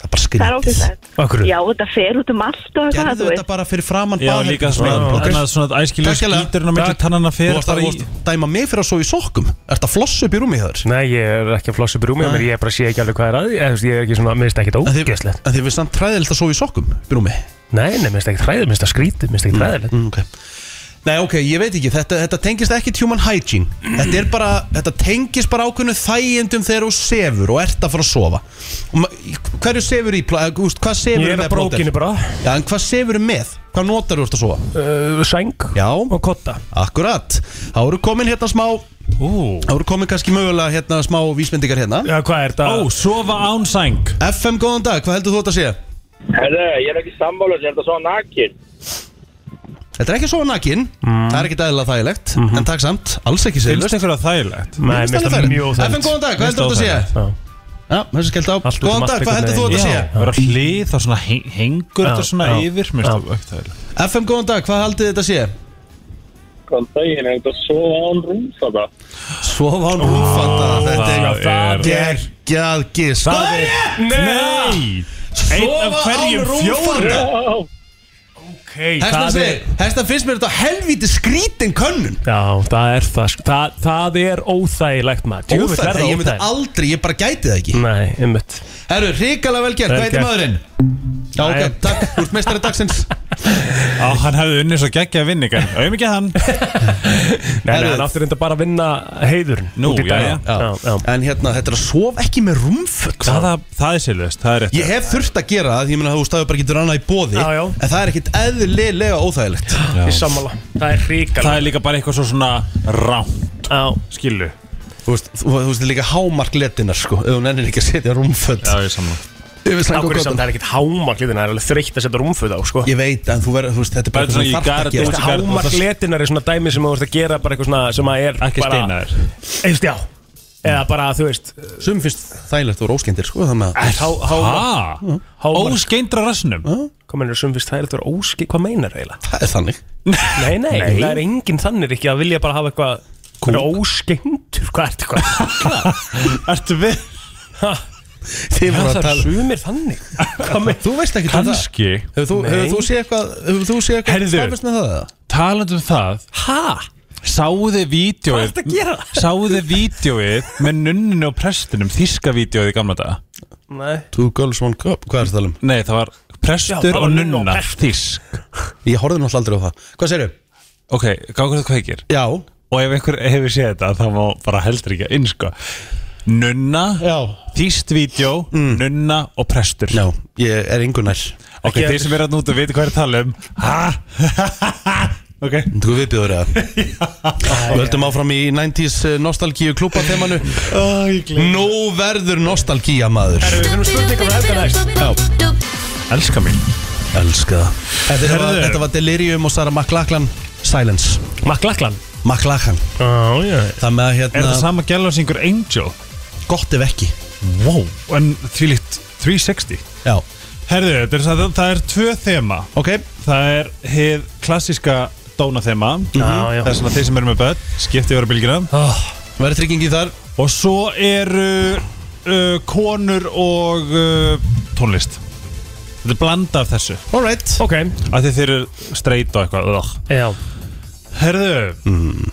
S1: Það er bara
S14: það er
S1: skrítið
S14: ógislegt.
S2: Akkur
S14: Já, þetta fer út um allt og eitthvað,
S1: Gerðu
S14: þú
S1: þetta
S14: veist.
S1: bara fyrir framann
S9: Já, líka svona- annað svona æskilega skíturinn á milli tannanna fer
S1: Þú varst að
S9: bara í-
S1: vorst dæma mig fyrir að sofa í sokkum Ert að flossa upp í rúmi hjá þér
S2: Nei, ég er ekki að flossa upp í rúmi,
S1: Nei.
S2: menn ég bara sé ekki alveg hvað er að því, eða, þú veist, ég er ekki svona, minnst ekki þetta ógeðslegt.
S1: En þið finnst þann træðilegt að sofa í sokkum upp í rúmi
S2: Nei, nei, minnst ekki træðið, minnst það skrítið, minnst ekki træðilegt.
S1: Mm, okay. Nei, ok, ég veit ekki, þetta, þetta tengist ekki human hygiene Þetta er bara, þetta tengist bara ákveðnu þægindum þegar þú sefur og ert að fara að sofa Og ma- Hverju sefur í, pla- eða, þú veist, hvað sefur
S2: Ég er að brókinni bara.
S1: Já, en hvað sefur með? Hvað notar þú ert að sofa?
S2: Uh, sæng
S1: Já
S2: Og kotta
S1: Akkurat, þá eru komin hérna smá
S9: Ú.
S1: Þá eru komin kannski mögulega hérna smá vísmyndingar hérna
S2: Já, hvað er þetta?
S9: Ó, sofa án sæng
S1: FM, góðan dag, hvað heldur þú þetta að sé?
S11: Herðu, ég er ekki sammála, er þetta svo nakin?
S1: Þetta er ekki að sofa nakin, það er ekki dæðilega þægilegt En takk samt, alls ekki sefur
S9: Finnst ykkur það þægilegt?
S1: Nei, mér finnst það mjög óþægilegt. FM, góðan dag, hvað heldur þú að þetta sé? Já, þessi skellt á
S9: Allt út um
S1: Góðan
S9: allt
S1: dag, hvað
S9: einhvern
S1: heldur þú að
S9: veginn.
S1: þetta sé?
S9: Já, það verður að hlið og svona heng- hengur
S1: Já,
S9: þetta svona
S1: já,
S9: yfir Mér finnst það ekki þægilegt
S1: FM, góðan dag, hvað haldið þetta sé?
S11: Hvað daginn, er þetta svo án rúmfata?
S1: Sofa án rúmfata,
S11: já,
S1: þetta
S11: það
S1: er
S11: er-
S1: geggjað gist
S11: Það er-
S9: Nei Einn af hverjum fjórum
S2: Ok,
S1: Hestan segir, hestan finnst mér þetta helvíti skrítin könnun
S2: Já, það er það, sko. það, það er óþægilegt maður. Djöfull er
S1: Óþægt,
S2: það
S1: ég myndi
S2: óþægilegt.
S1: aldrei, ég bara gæti það ekki
S2: Nei, einmitt
S1: Herru, hrikalega vel gert,
S2: Vel
S1: hvað heitir
S2: gert.
S1: maðurinn? Já, ok,
S9: Jæja.
S1: takk, þú ert meistari dagsins
S9: Á, hann hefði unnið svo geggja vinning En auðvitað ekki hann
S2: Nei, nei, hann átti reynda bara að vinna heiður
S9: Nú, já, já.
S1: En hérna, þetta er að sofa ekki með rúmföt
S9: Það, það er sérlust, það er rétt
S1: Ég hef þurft að gera það, því ég meina þú staður bara getur annað í bóði
S9: Já, já.
S1: En það er ekkit eðlilega óþægilegt
S9: Já. Ég
S2: sammála, það er ríkala
S9: Það er líka bara eitthvað svo svona ránt Skilu
S1: Þú veist, þú, þú veist, það er líka hámark letinnar sko Ef hún ennir ekki að setja rúmföld
S9: Já, ég saman
S1: Yfir sæng og
S2: Akkur er
S1: koddann.
S2: samt, það er ekkert hámark liðin, það er alveg þreytt að setja rúmföt á, sko
S1: Ég veit, en þú verður, þú veist, þetta er bara
S2: Bara
S1: eitthvað sem
S2: svona í
S1: þarft að
S2: garð
S1: gera.
S2: Hámark letinar er svona dæmi sem þú ert að gera bara eitthvað svona sem að er
S9: Ekki
S2: bara-
S9: steinaður.
S2: Eist, já Eða bara, þú veist eh,
S1: Sum finnst þægilegt og róskendir, sko Þannig að
S2: Há, há
S9: Óskeindra rassnum
S2: Hvað meinar sum fyrst þægilegt og óske Hvað meinar eiginlega?
S1: Það er þannig
S2: Nei, nei,
S1: Nei.
S2: það er enginn þannig ekki að vilja bara hafa eitthvað Hvað er óskeindur? Hvað ertu, hvað ertu?
S9: Ertu við?
S1: Þið voru að
S2: Það er
S1: tala-
S2: sumir þannig Hvað meinar?
S1: Þú veist ekki
S9: Kannski
S1: Hefur þú, hefur þú séð eitthvað Hefur þú séð eitthvað
S9: Herðu.
S1: staðfest með það eða?
S9: Talandi um það
S2: Hæ?
S9: Sáðu þið vídjóið
S2: Hvað ertu að gera?
S9: Sáðu þið vídjóið með nunninu og prestinum Þíska vídjóið í gamla daga
S2: Nei
S1: Two girls, one cup, hvað er það um?
S9: Nei, það var prestur og nunna Þísk
S1: Ég horfði náttúrulega aldrei á það Hvað segirðu?
S9: Ok, gangur það kveikir
S1: Já
S9: Og ef einhver hefur séð þetta þá má bara heldur ekki að inn sko Nunna Já Þýst vídjó Nunna og prestur
S1: Mm. Já, ég er yngur nær
S9: Ok,
S1: Ekki-
S9: þeir sem er að núta veit hvað er að tala um Ok
S1: Þú viðbjóður eða Við höldum áfram í 90s nostalgíu klúpa þemanu Nú verður nostalgía maður
S2: Herru, við finnum spurningum að helga næst
S1: Já
S9: Elska mín
S1: Elska það. Þetta, þetta, var,
S2: Herðu.
S1: þetta var Delirium og Sara McLachlan Silence
S2: McLachlan?
S1: McLachlan
S2: oh, yeah.
S1: Það með að hérna
S9: Er það sama gæla sem einhver Angel?
S1: Gott ef ekki
S9: Wow, en því líkt 360
S1: Já
S9: Herðu, þetta er, það, það er tvö þema
S1: Ok
S9: Það er hið klassíska dónathema
S1: Mhm.
S2: Já, já.
S9: Það er svona þeir sem eru með börn Skipti yfir að bylgina
S1: oh, Verður tryggingi þar
S9: Og svo eru uh, konur og uh, tónlist Þetta er blanda af þessu
S1: Alright
S2: Ok
S9: Af því þeir eru streit og eitthvað ugh.
S2: Já
S9: Herðu mm.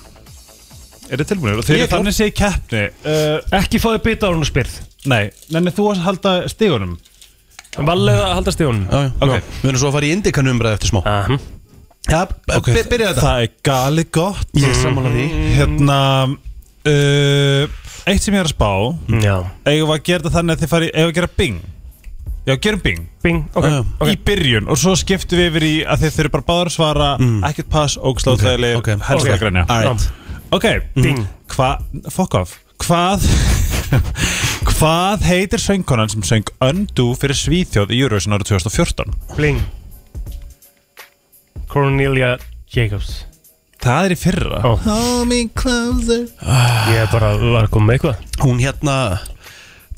S9: Er þið tilbúinir? Og Þeir
S2: Ég
S9: eru
S2: er klár.
S9: þannig sé í keppni uh,
S2: Ekki fáið bita á hún og spyrð
S9: Nei, nenni þú að halda stígunum
S2: Valið að halda stígunum
S1: Já, já
S9: Ok.
S1: Við erum svo að fara í indikan umræð eftir smá
S2: uh -huh.
S1: Já, okay. byrja þetta
S9: Það er gali gott
S1: Ég er sammála því.
S9: Hérna uh, Eitt sem ég er að spá
S2: Já
S9: Sko. Eigum við að gera þetta þannig að þið farið Eigum við að gera bing Já, gerum bing
S2: Bing, ok,
S9: Já, já.
S2: ok.
S9: Í byrjun og svo skiptum við yfir í að þið þurfum bara báður að svara Ekkert pass, ógsláðdæli,
S1: Mm. Ok,
S9: okay.
S1: ok.
S9: helst
S1: Ok.
S9: að grænja
S1: All right.
S9: Ok,
S2: Mm. Bing.
S9: Hvað, fuck off Hvað Hvað heitir söngkonan sem söng Undo fyrir Svíþjóð í Eurovision árið 2014?
S2: Bling Cornelia Jacobs
S9: Það er í fyrra
S2: Ó.
S9: Hold me closer
S2: Ég er bara var að koma með eitthvað
S1: Ah. Hún hérna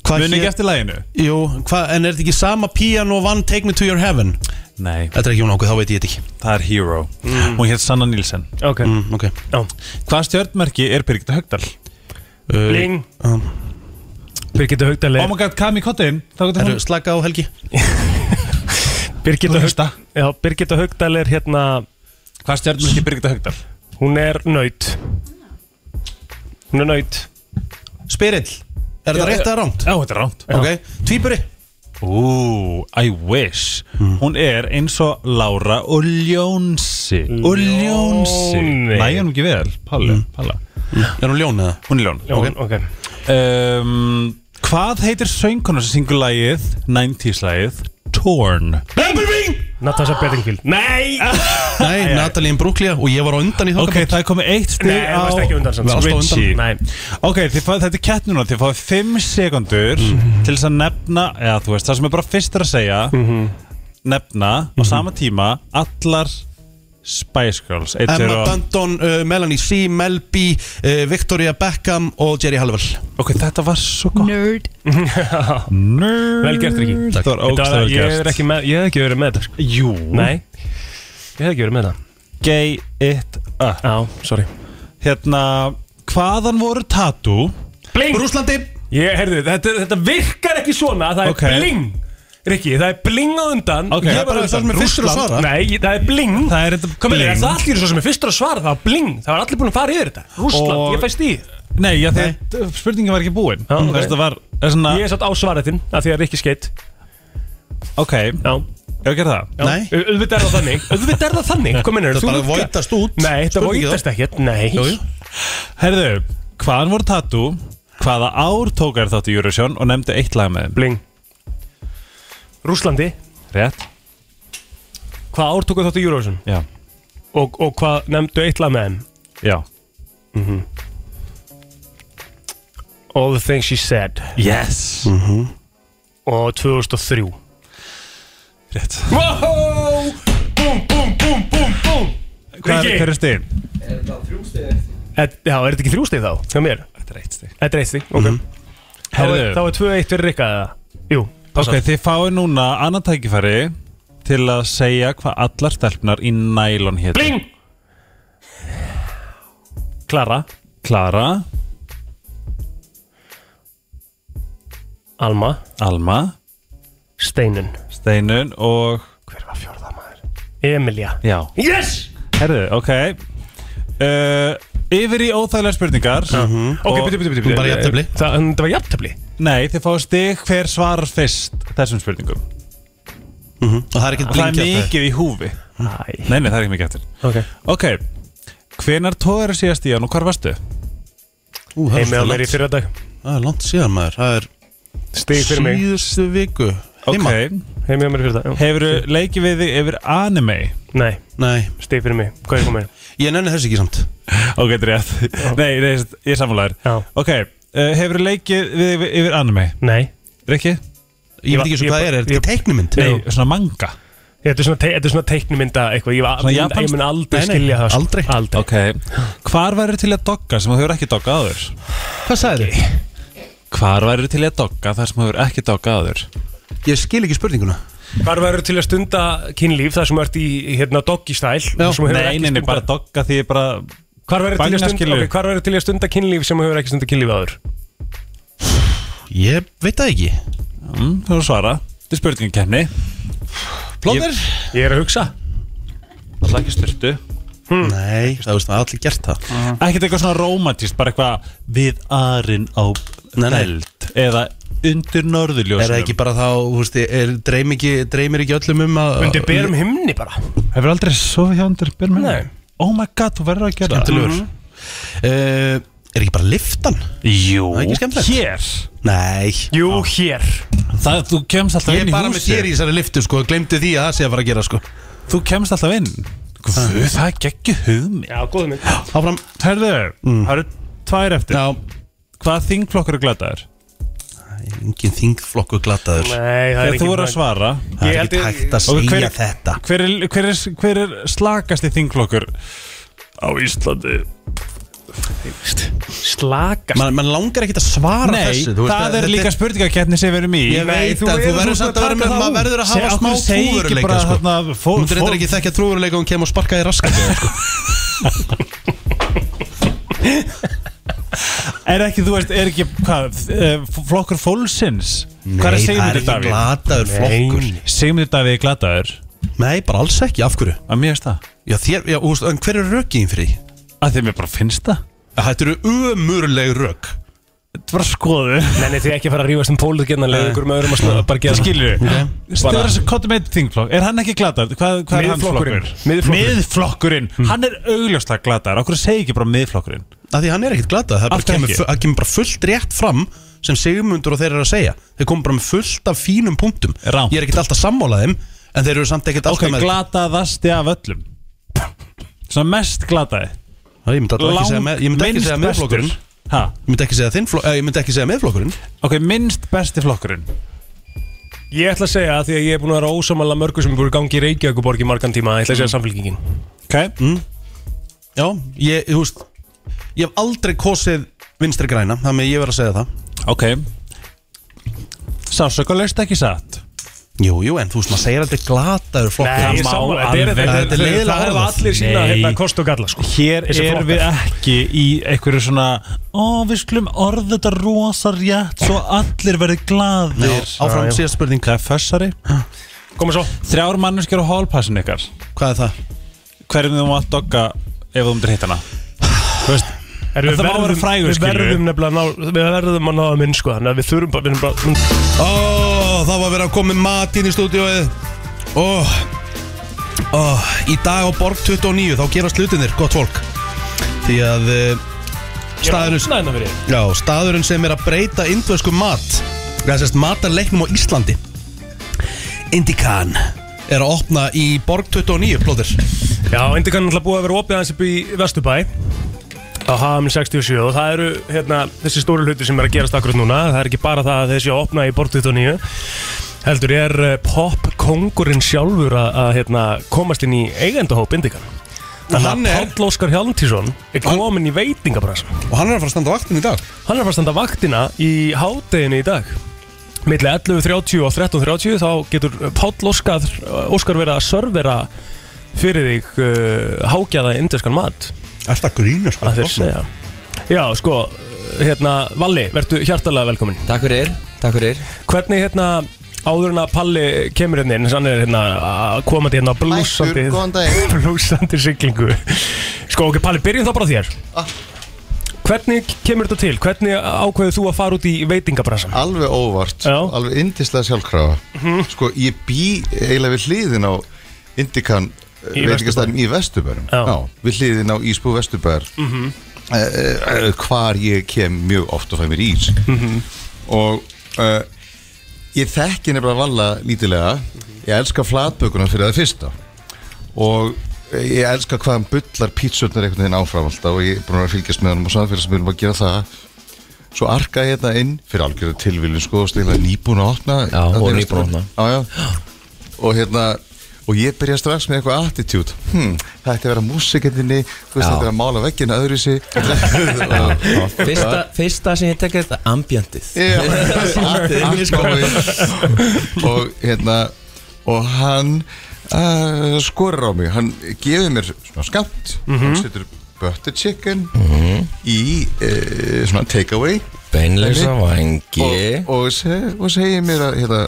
S1: hvað
S9: Muni
S1: hét-
S9: ekki eftir læginu?
S1: Jú, hva, en er þetta ekki sama piano One Take Me To Your Heaven?
S9: Nei,
S1: Þetta er ekki hún ákveð, þá veit ég þetta ekki
S9: það er Hero Hún hétt Sanna Nilsen
S2: Ok,
S1: mm, okay.
S2: já
S9: Hvað stjórnmerki er Birgitta Högdal?
S1: Uh,
S2: Bling
S1: um.
S2: Birgitta Haugdal
S9: Oh my god, Kami Kottin
S1: Herru, slaka á Helgi
S2: Birgitta
S9: Þú
S2: Haugdal
S9: veist það.
S2: Já, Birgitta Haugdal er hérna
S9: Hvað stjórnmerki er Birgitta Högdal?
S2: Hún er nöyt Hún er nöyt
S1: Spyrill, er þetta rétt eða rámt?
S9: Já, þetta er rámt
S1: Ok, tvíburi Hmm.
S9: Ú, I wish Hún er eins og Lára og Ljónsi
S1: Hmm.
S9: Og Ljónsi
S2: Ljóni.
S9: Næ, hann ekki vel, Palla, Palla.
S1: Er hún ljón eða?
S9: Hún er Ljón
S2: Ljón, ok,
S9: um, Hvað heitir söngkona sem syngur lagið 90s lagið Torn
S2: Natasha Bedingfield Nei
S1: Nei, Natalie Bruglia og ég var á undan í
S9: Ok,
S1: þokkabót
S9: það er komið eitt stig
S2: Nei,
S9: á
S2: það varst ekki undan samt
S1: Við varst á undan.
S9: Richie.
S2: Nei
S9: Ok, þið fáið, þetta er kett núna, þið fáið 5 sekundur
S1: Mhm.
S9: til þess að nefna, eða þú veist, það sem er bara fyrstur að segja,
S1: Mhm.
S9: nefna á sama tíma allar Spice Girls. Eitt er
S1: Emma
S9: á-
S1: Danton, uh, Melanie C, Mel B, uh, Victoria Beckham og Jerry Halliwell
S9: Ok, þetta var svo gott.
S8: Nerd
S9: Nerd.
S2: Vel gert, Riki
S9: Þetta var ógstæðar
S2: Ég er
S9: gert.
S2: ekki með Ég hef ekki verið með þetta sko.
S9: Jú.
S2: Nei Ég hef ekki verið með það
S9: Gay it up.
S2: Já, sorry
S9: Hérna, hvaðan voru tattoo?
S2: Bling
S1: Rúslandi
S2: Ég, heyrðu, þetta, þetta virkar ekki svona Það er
S9: Ok.
S2: bling Rikki, það er bling á undan
S9: Ok,
S2: ég
S9: það er
S2: var
S9: bara
S2: á undan.
S1: það sem er fyrstur að
S2: Rússland.
S1: svara.
S2: Nei, ég- það er bling
S9: Það er þetta
S2: Komið, er
S9: bling.
S2: það allir svo sem er fyrstur að svara Það var bling, það var allir búin að fara yfir þetta Rúsland,
S9: Og-
S2: ég fæst í
S9: Nei, já, þegar spurningin var ekki búin.
S2: Já, ok.
S9: Þetta var, það er svona,
S2: Ég er satt á svaretinn, af því að Rikki skeitt
S9: ok,
S2: Já,
S9: ég gerði það.
S2: já
S1: Nei.
S2: Au- Auðvitað er það þannig Auðvitað er það þannig Komið, er
S1: Það bara voidast út.
S2: Nei, þetta
S1: Spurning
S2: voitast ekkert Nei
S1: Jú, jú.
S9: Herðu, hvaðan voru tattoo? Hvaða ár tók er þátt í Eurovision og nefndi eitt lag með þeim?
S2: Bling Rúslandi
S9: Rétt?
S2: Hvað ár tóku þáttu Eurovision?
S9: Já.
S2: Og, og hvað nefndu eitt lag með þeim?
S9: Já.
S2: Mhm. All the things she said
S9: Yes!
S2: Og 2003
S9: Rétt.
S2: Wow! Búm, búm, búm, búm, búm
S9: Hvað er, hver er stíðin?
S2: Et, já, er þetta ekki þrjú stig þá? Hjá mér? Þetta er eitt stig Þetta er eitt stig, ok Þá er,
S9: Mm-hmm. Herðu.
S2: þá er 2-1 fyrir Rikka eða? Jú,
S9: Ok,
S2: passar.
S9: þið fáið núna annan tækifæri til að segja hvað allar stelpnar í nælon hétt
S2: Bling! Klara
S9: Klara
S2: Alma
S9: Alma
S2: Steinun
S9: Steinun og
S2: Hver var fjórða maður? Emilia
S9: Já
S2: Yes!
S9: Herðu, ok uh, Yfir í óþægilega spurningar
S2: Ok, byrju, byrju, byrju, byrju. Mhm. Bara jafntefli. Það það var jafntefli
S9: Nei, þið fáið stig hver svarar fyrst þessum spurningum
S1: Og það er ekkert
S9: Það er
S1: blink jafntefli.
S9: mikið í húfi
S2: Æ.
S9: Nei, nei, það er ekki mikið eftir
S2: Ok
S9: Ok, hvenar tóður síðast í hann og hvar varstu?
S1: Ú, það er
S9: Heimi á
S1: alltaf
S9: mér í
S1: langt.
S9: fyrradag.
S1: Það er langt síðan maður Það er
S2: Stig fyrir mig.
S1: Síðustu viku
S9: Ok
S2: Heimi á mér fyrir það
S9: Hefurðu leikið við þig yfir anime?
S2: Nei
S1: Nei
S2: Stig fyrir mig Hvað er hérna? komin?
S1: Ég nenni þessi ekki samt
S9: Ok, þetta er rétt Nei, nei, ég er samfélagur Ok, uh, hefurðu leikið við þig yfir anime?
S2: Nei
S9: Rikki?
S1: Ég veit ekki eins og hvað er, er þetta ekki teiknimynd?
S9: Nei, svona manga
S2: Þetta er svona, te- þetta er svona teiknumynda eitthvað Ég, var-
S9: Svona
S2: ég,
S9: japanskt?
S2: ég mun aldrei
S9: Nei, nei,
S2: skilja það sko.
S9: aldrei.
S2: Aldrei
S9: Ok Hvar væri til að dogga sem þú hefur ekki doggað áður?
S1: Hvað sagði þið?
S9: Hvar væri til að dogga þar sem þú hefur ekki doggað áður?
S1: Ég skil ekki spurninguna
S2: Hvar verður til að stunda kynlíf þar sem þú ert í hérna doggy style þar sem þú hefur
S9: Nei, nei,
S2: ekki
S9: nei,
S2: stundað-
S9: bara dogga því ég bara
S2: Hvar verður til,
S9: Banga
S2: að stunda-
S9: skilur.
S2: ok, hvar verður til að stunda kynlíf sem þú hefur ekki stunda kynlíf áður?
S1: Ég veit það ekki
S9: mm, Þú hefur svara Þetta er spurningin kenni
S1: Plóter
S2: Ég er að hugsa
S9: Það er ekki styrtu
S1: Hm. Nei, það veist það, allir gert það
S9: Ekkert eitthvað svona romantist, bara eitthvað við arinn á
S1: Nei, nei.
S9: dæld eða undir norðurljósum
S1: Er það ekki bara þá, þú veist, er, dreymir, ekki, dreymir ekki öllum um að
S2: Undir berum himni bara
S9: Hefur aldrei sofið hjá undir byrmum? Nei Oh my god, þú verður að gera það.
S1: Skemmtilegur
S9: Mhm.
S1: Eh, Er ekki bara liftan? Það
S9: Jú
S1: er ekki skemmtilegt
S2: Hér
S1: Nei Ah.
S2: Jú, hér
S9: Það, þú kemst alltaf
S1: Ég
S9: inn
S1: er
S9: í
S1: bara með
S9: húsið.
S1: þér í þessari liftu, sko Glemdi því að það sé að fara að gera, sko Ah.
S9: Þú kemst alltaf inn Guð, það er geggju hugmynd
S2: Já, góðum minn
S1: Áfram Mm.
S9: Herðu, það eru tvær eftir
S1: Já
S9: Hvaða þingflokkur er glataður?
S1: Engin þingflokku glataður
S2: Nei, það er
S9: Þegar
S2: ekki
S9: þú voru að svara
S1: Það er ekki hægt að
S9: Og
S1: segja þetta
S9: hver er, hver, er, hver er slakasti þingflokkur á Íslandi?
S2: Slakast
S1: Man, man langar ekkert að svara
S9: Nei,
S1: þessu þú veist
S9: það
S1: að-
S9: er
S1: þetta
S9: líka spurningakeppni sem við erum í
S1: Ég veit
S9: Nei,
S1: að þú verður samt að vera með maður verður að hafa smá trúveruleika sko.
S9: fó,
S1: Hún
S9: fó,
S1: reyndar ekki þekkja trúveruleika og hún kemur og sparka í raskat sko.
S9: Er ekki, þú veist, er ekki hvað, eh, flokkur fólksins
S1: Nei,
S9: Hvað er
S1: það er
S9: Sigmundur
S1: ekki
S9: Davíð?
S1: glataður flokkur. Nei.
S9: Sigmundur Davíð er glataður
S1: Nei, bara alls ekki, af hverju?
S9: Að mér veist það
S1: Já, þér, já, úst, en hver er rökiðin fyrir því?
S9: Að þið mér bara finnst það
S1: Þetta eru umurleg rök
S9: Þetta var skoðu
S2: Nei, nei, þið er ekki að fara að rífast um póluð Gerna leiður ykkur með öðrum að snöða Bara gera það.
S9: Skilur við
S2: Ok.
S9: Stöður þessu kottum eitt þingflokk Er hann ekki glataður? Hvað, hvað er hann
S2: Miðflokkurinn.
S9: flokkur?
S2: Miðflokkurinn. Hmm.
S9: Miðflokkurinn Hann er augljóslega glataður Okkur segir ekki bara miðflokkurinn
S1: Af því hann er ekkert glatað, það
S9: Af
S1: bara
S9: hverju
S1: kemur,
S9: ekki?
S1: fu- það kemur bara fullt rétt fram sem segjumundur og þeir eru að segja Þeir komum bara með fullt af fínum punktum
S9: Rangt.
S1: Ég er ekkert alltaf sammálað þeim En þeir eru samt ekkert
S9: Ok,
S1: alltaf með
S9: glataðasti af öllum Svona mest glataði
S1: Já, Ég myndi alltaf ekki segja, með, ég myndi ekki
S9: minnst
S1: segja
S9: bestur.
S1: meðflokkurinn
S9: Ha,
S1: Ég myndi ekki segja, þinn, flok- eh, ég myndi ekki segja meðflokkurinn
S9: Ok, minnst besti flokkurinn
S2: Ég ætla að segja að því að ég er búin að vera ósamalla mörgu sem er búin að gangi í Reykjavík og borgi margan tíma Ég ætla að segja Mm. samfélkingin
S9: Ok,
S1: Já, ég, þú veist Ég hef aldrei kosið vinstri græna Þannig að ég verð að segja það
S9: ok Sásöka löst ekki satt
S1: Jú, jú, en þú veist, maður segir aldrei glataður flokkur
S9: Nei,
S2: ég er
S9: má
S2: sammála.
S9: alveg-
S2: Þetta er-
S1: Þetta er
S2: þetta er-
S1: leiðilega
S2: Það hefur
S1: orðað.
S2: allir sína
S9: Nei.
S2: hérna kost og galla sko
S9: Hér
S2: Þessi
S9: er
S2: flokkar.
S9: við ekki í einhverju svona Ó, við skulum orða þetta rosa rétt Svo allir verði
S1: Já,
S9: glaðir
S1: Áfram síðast spurning
S9: Það er fössari
S2: Komum svo
S9: Þrjár manneskjur á hálpassin ykkar
S1: Hvað er það?
S9: Hverjum þú mátt dogga ef þú myndir hitt hana Þú veist
S2: Er, við
S9: Það má
S2: verðum-
S9: vera frægur,
S2: Við
S9: skilurðu.
S2: verðum nefnilega að ná Við verðum að náða minn sko Þannig að við þurfum bara, við erum bara
S1: Ó, það var verið að koma með mat inn í stúdíóið Ó, ó Í dag á Borg 29 Þá gerast hlutinir, gott fólk Því að eh, staðurinn,
S2: Opnaði hérna fyrir þér.
S1: já, staðurinn sem er að breyta indversku mat Það sést matarleiknum á Íslandi Indikan Er að opna í Borg 29, plóðir
S2: Já, indi kannan alltaf búið að vera opið aðeins upp í Vesturbæ á hafum 67 og það eru hérna, þessi stóru hluti sem er að gerast akkurat núna það er ekki bara það að þessi að opna í Borg 29 heldur er eh, popkóngurinn sjálfur að, að hérna, komast inn í eigendahóp Indikan Þannig að Páll Óskar Hjalmtísson er komin í veitingabransan
S1: Og hann er að fara að standa vaktin í dag
S2: Hann er að fara að standa vaktina í hádeginu í dag Milli 11.30 og 13.30 þá getur Páll Óskar, Óskar verið að servera fyrir þig uh, hágjaða indeskan mat
S1: Er það grínur sko?
S2: að þeir segja Já, sko, hérna, Valli, verðu hjartalega velkomin
S15: Takk fyrir, takk fyrir
S2: Hvernig, hérna, áður en að Palli kemur hérna inn, hann er hérna að komandi hérna blúsandi
S16: Mættur, góðan daginn.
S2: Blúsandi siglingu Sko, ok, Palli, byrjum þá bara á þér
S16: Ah.
S2: Hvernig kemur þetta til? Hvernig ákveðu þú að fara út í veitingabransan?
S16: Alveg óvart, alveg indislega sjálfkrafa
S2: Mhm.
S16: Sko, ég bý eiginlega við hliðin á Indikan
S2: Í
S16: veitingastæðum í Vesturbærum
S2: Já.
S16: Við hliðin á Ísbú Vesturbær mm
S2: Mhm.
S16: eh, Hvar ég kem mjög oft og fæ mér ís
S2: Mhm.
S16: Og uh, ég þekki nefnilega valla lítilega
S2: Mhm.
S16: Ég elska flatbökuna fyrir það fyrsta Og ég elska hvað hann bullar pítsurnar einhvern veginn áfram alltaf Og ég er búin að vera að fylgjast með hann og samfélagsmiðlum að gera það Svo arka ég hérna inn fyrir algjörðu tilviljun sko og stegla nýbúin að opna Já,
S15: og nýbúin að opna.
S16: Já, já Og hérna, og ég byrja strax með eitthvað attitude hmm, Það ætti að vera músikinni, þú veist
S15: Já.
S16: þetta er að mála veggina öðruvísi
S15: Fyrsta, fyrsta sem ég tek er þetta ambjöndið
S16: Já, allt komið. og hérna og hann uh, skorur á mig hann gefur mér svona skamt
S15: Mhm.
S16: hann setur butter chicken í uh, svona takeaway
S15: Beinlausa
S16: Dæmi.
S15: vængi.
S16: og, og, seg, og segir mér að hérna,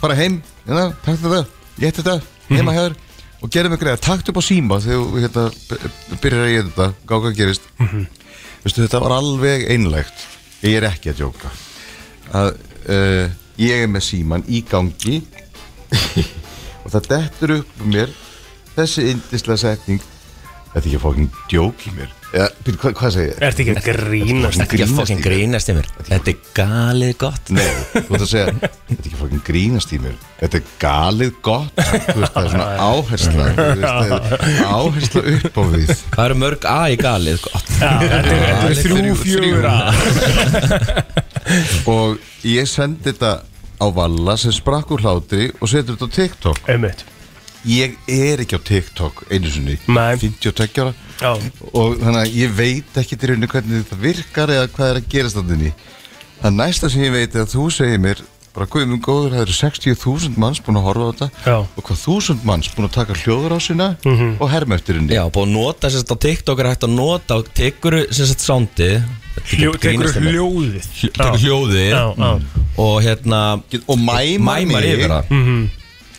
S16: fara heim, hérna, takk þetta ég þetta, heima mm hér og gerðu mig greið, takt upp á síma þegar þú, hérna, b- byrjar að ég þetta, gá hvað gerist Veistu, þetta var alveg einlægt ég er ekki að djóka að uh, ég er með síman í gangi og það dettur upp um mér þessi yndislega setning þetta er ekki að fókin djók í mér ja, byrju, hva, hvað segir ég?
S2: Ertu ekki að grínast?
S16: Ertu
S15: Ekki að fucking grínast í mér Þetta er galið gott
S16: Nei, þú ert að segja Þetta er ekki fólkin grínast í mér Þetta er galið gott Þú veist, það er svona áhersla þú veist, það er Áhersla upp á við
S15: Það eru mörg A í galið sko. gott
S16: þetta eru þrjú, fjögur
S2: A
S16: Og ég sendi þetta á Valla sem sprakk úr hlátri og setur þetta á TikTok
S2: Einmitt.
S16: Ég er ekki á TikTok einu sinni Nei. 52 ára
S2: Já.
S16: og þannig að ég veit ekki til rauninu hvernig þetta virkar eða hvað er að gerast þannig inni Það næsta sem ég veit er að þú segir mér bara guðmum góður, það eru 60.000 manns búin að horfa á þetta Já. Mhm. og hvað 1000 manns búin að taka hljóður á sína og herma eftir henni
S15: Já, búið að nota sérst á TikTok er hægt að nota og tekur sérst soundið
S2: Hljó- tekurðu hljóðið.
S15: Tekur
S2: Já.
S15: hljóðið
S2: Já, já.
S15: hérna. Og hérna
S16: Mm. Og mæmar mig.
S15: yfir það
S2: Mhm.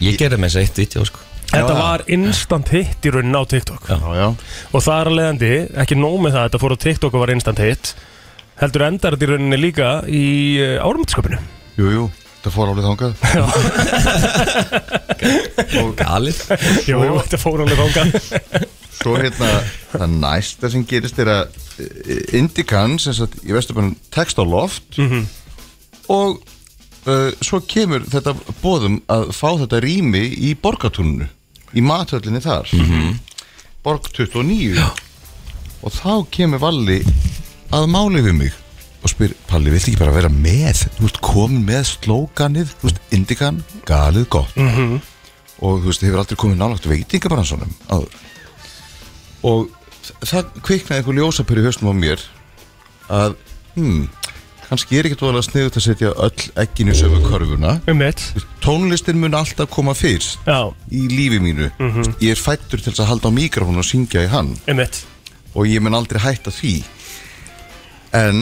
S15: Ég gerði með þess að eitt vídeo sko
S2: Þetta var instant hit í rauninni á TikTok
S15: já,
S16: já.
S2: Og það er að leiðandi, ekki nóg með það Þetta fór á TikTok og var instant hit Heldur endar þetta í rauninni líka í eh, árumöndskapinu
S16: Jú, jú, það fór alveg þangað
S15: Galið
S2: Jú, þetta fór alveg þangað
S16: Svo hérna, það næsta sem gerist er að Indikan, sem sagt, ég veist bara text á loft og uh, svo kemur þetta bóðum að fá þetta rými í borgatúnunu, í mathöllinni þar Borg 29 og þá kemur Valli að máli við mig og spyr, Palli, viltu ekki bara vera með þú ert komin með slókanið þú veist, Indikan, galið gott
S2: Mhm.
S16: og þú veist, hefur aldrei komið nálagt veitingabransunum áður og þa- það kviknaði einhver ljósapyr í hausnum á mér að hmm, kannski er ekkert voðalega sniðut að setja öll ekkinu sömu körfuna
S2: um mitt
S16: tónlistin mun alltaf koma fyrst
S2: Já.
S16: í lífi mínu
S2: Mhm.
S16: ég er fættur til þess að halda á mikrofónu og syngja í hann
S15: Um
S2: Einmitt.
S16: og ég mun aldrei hætta því en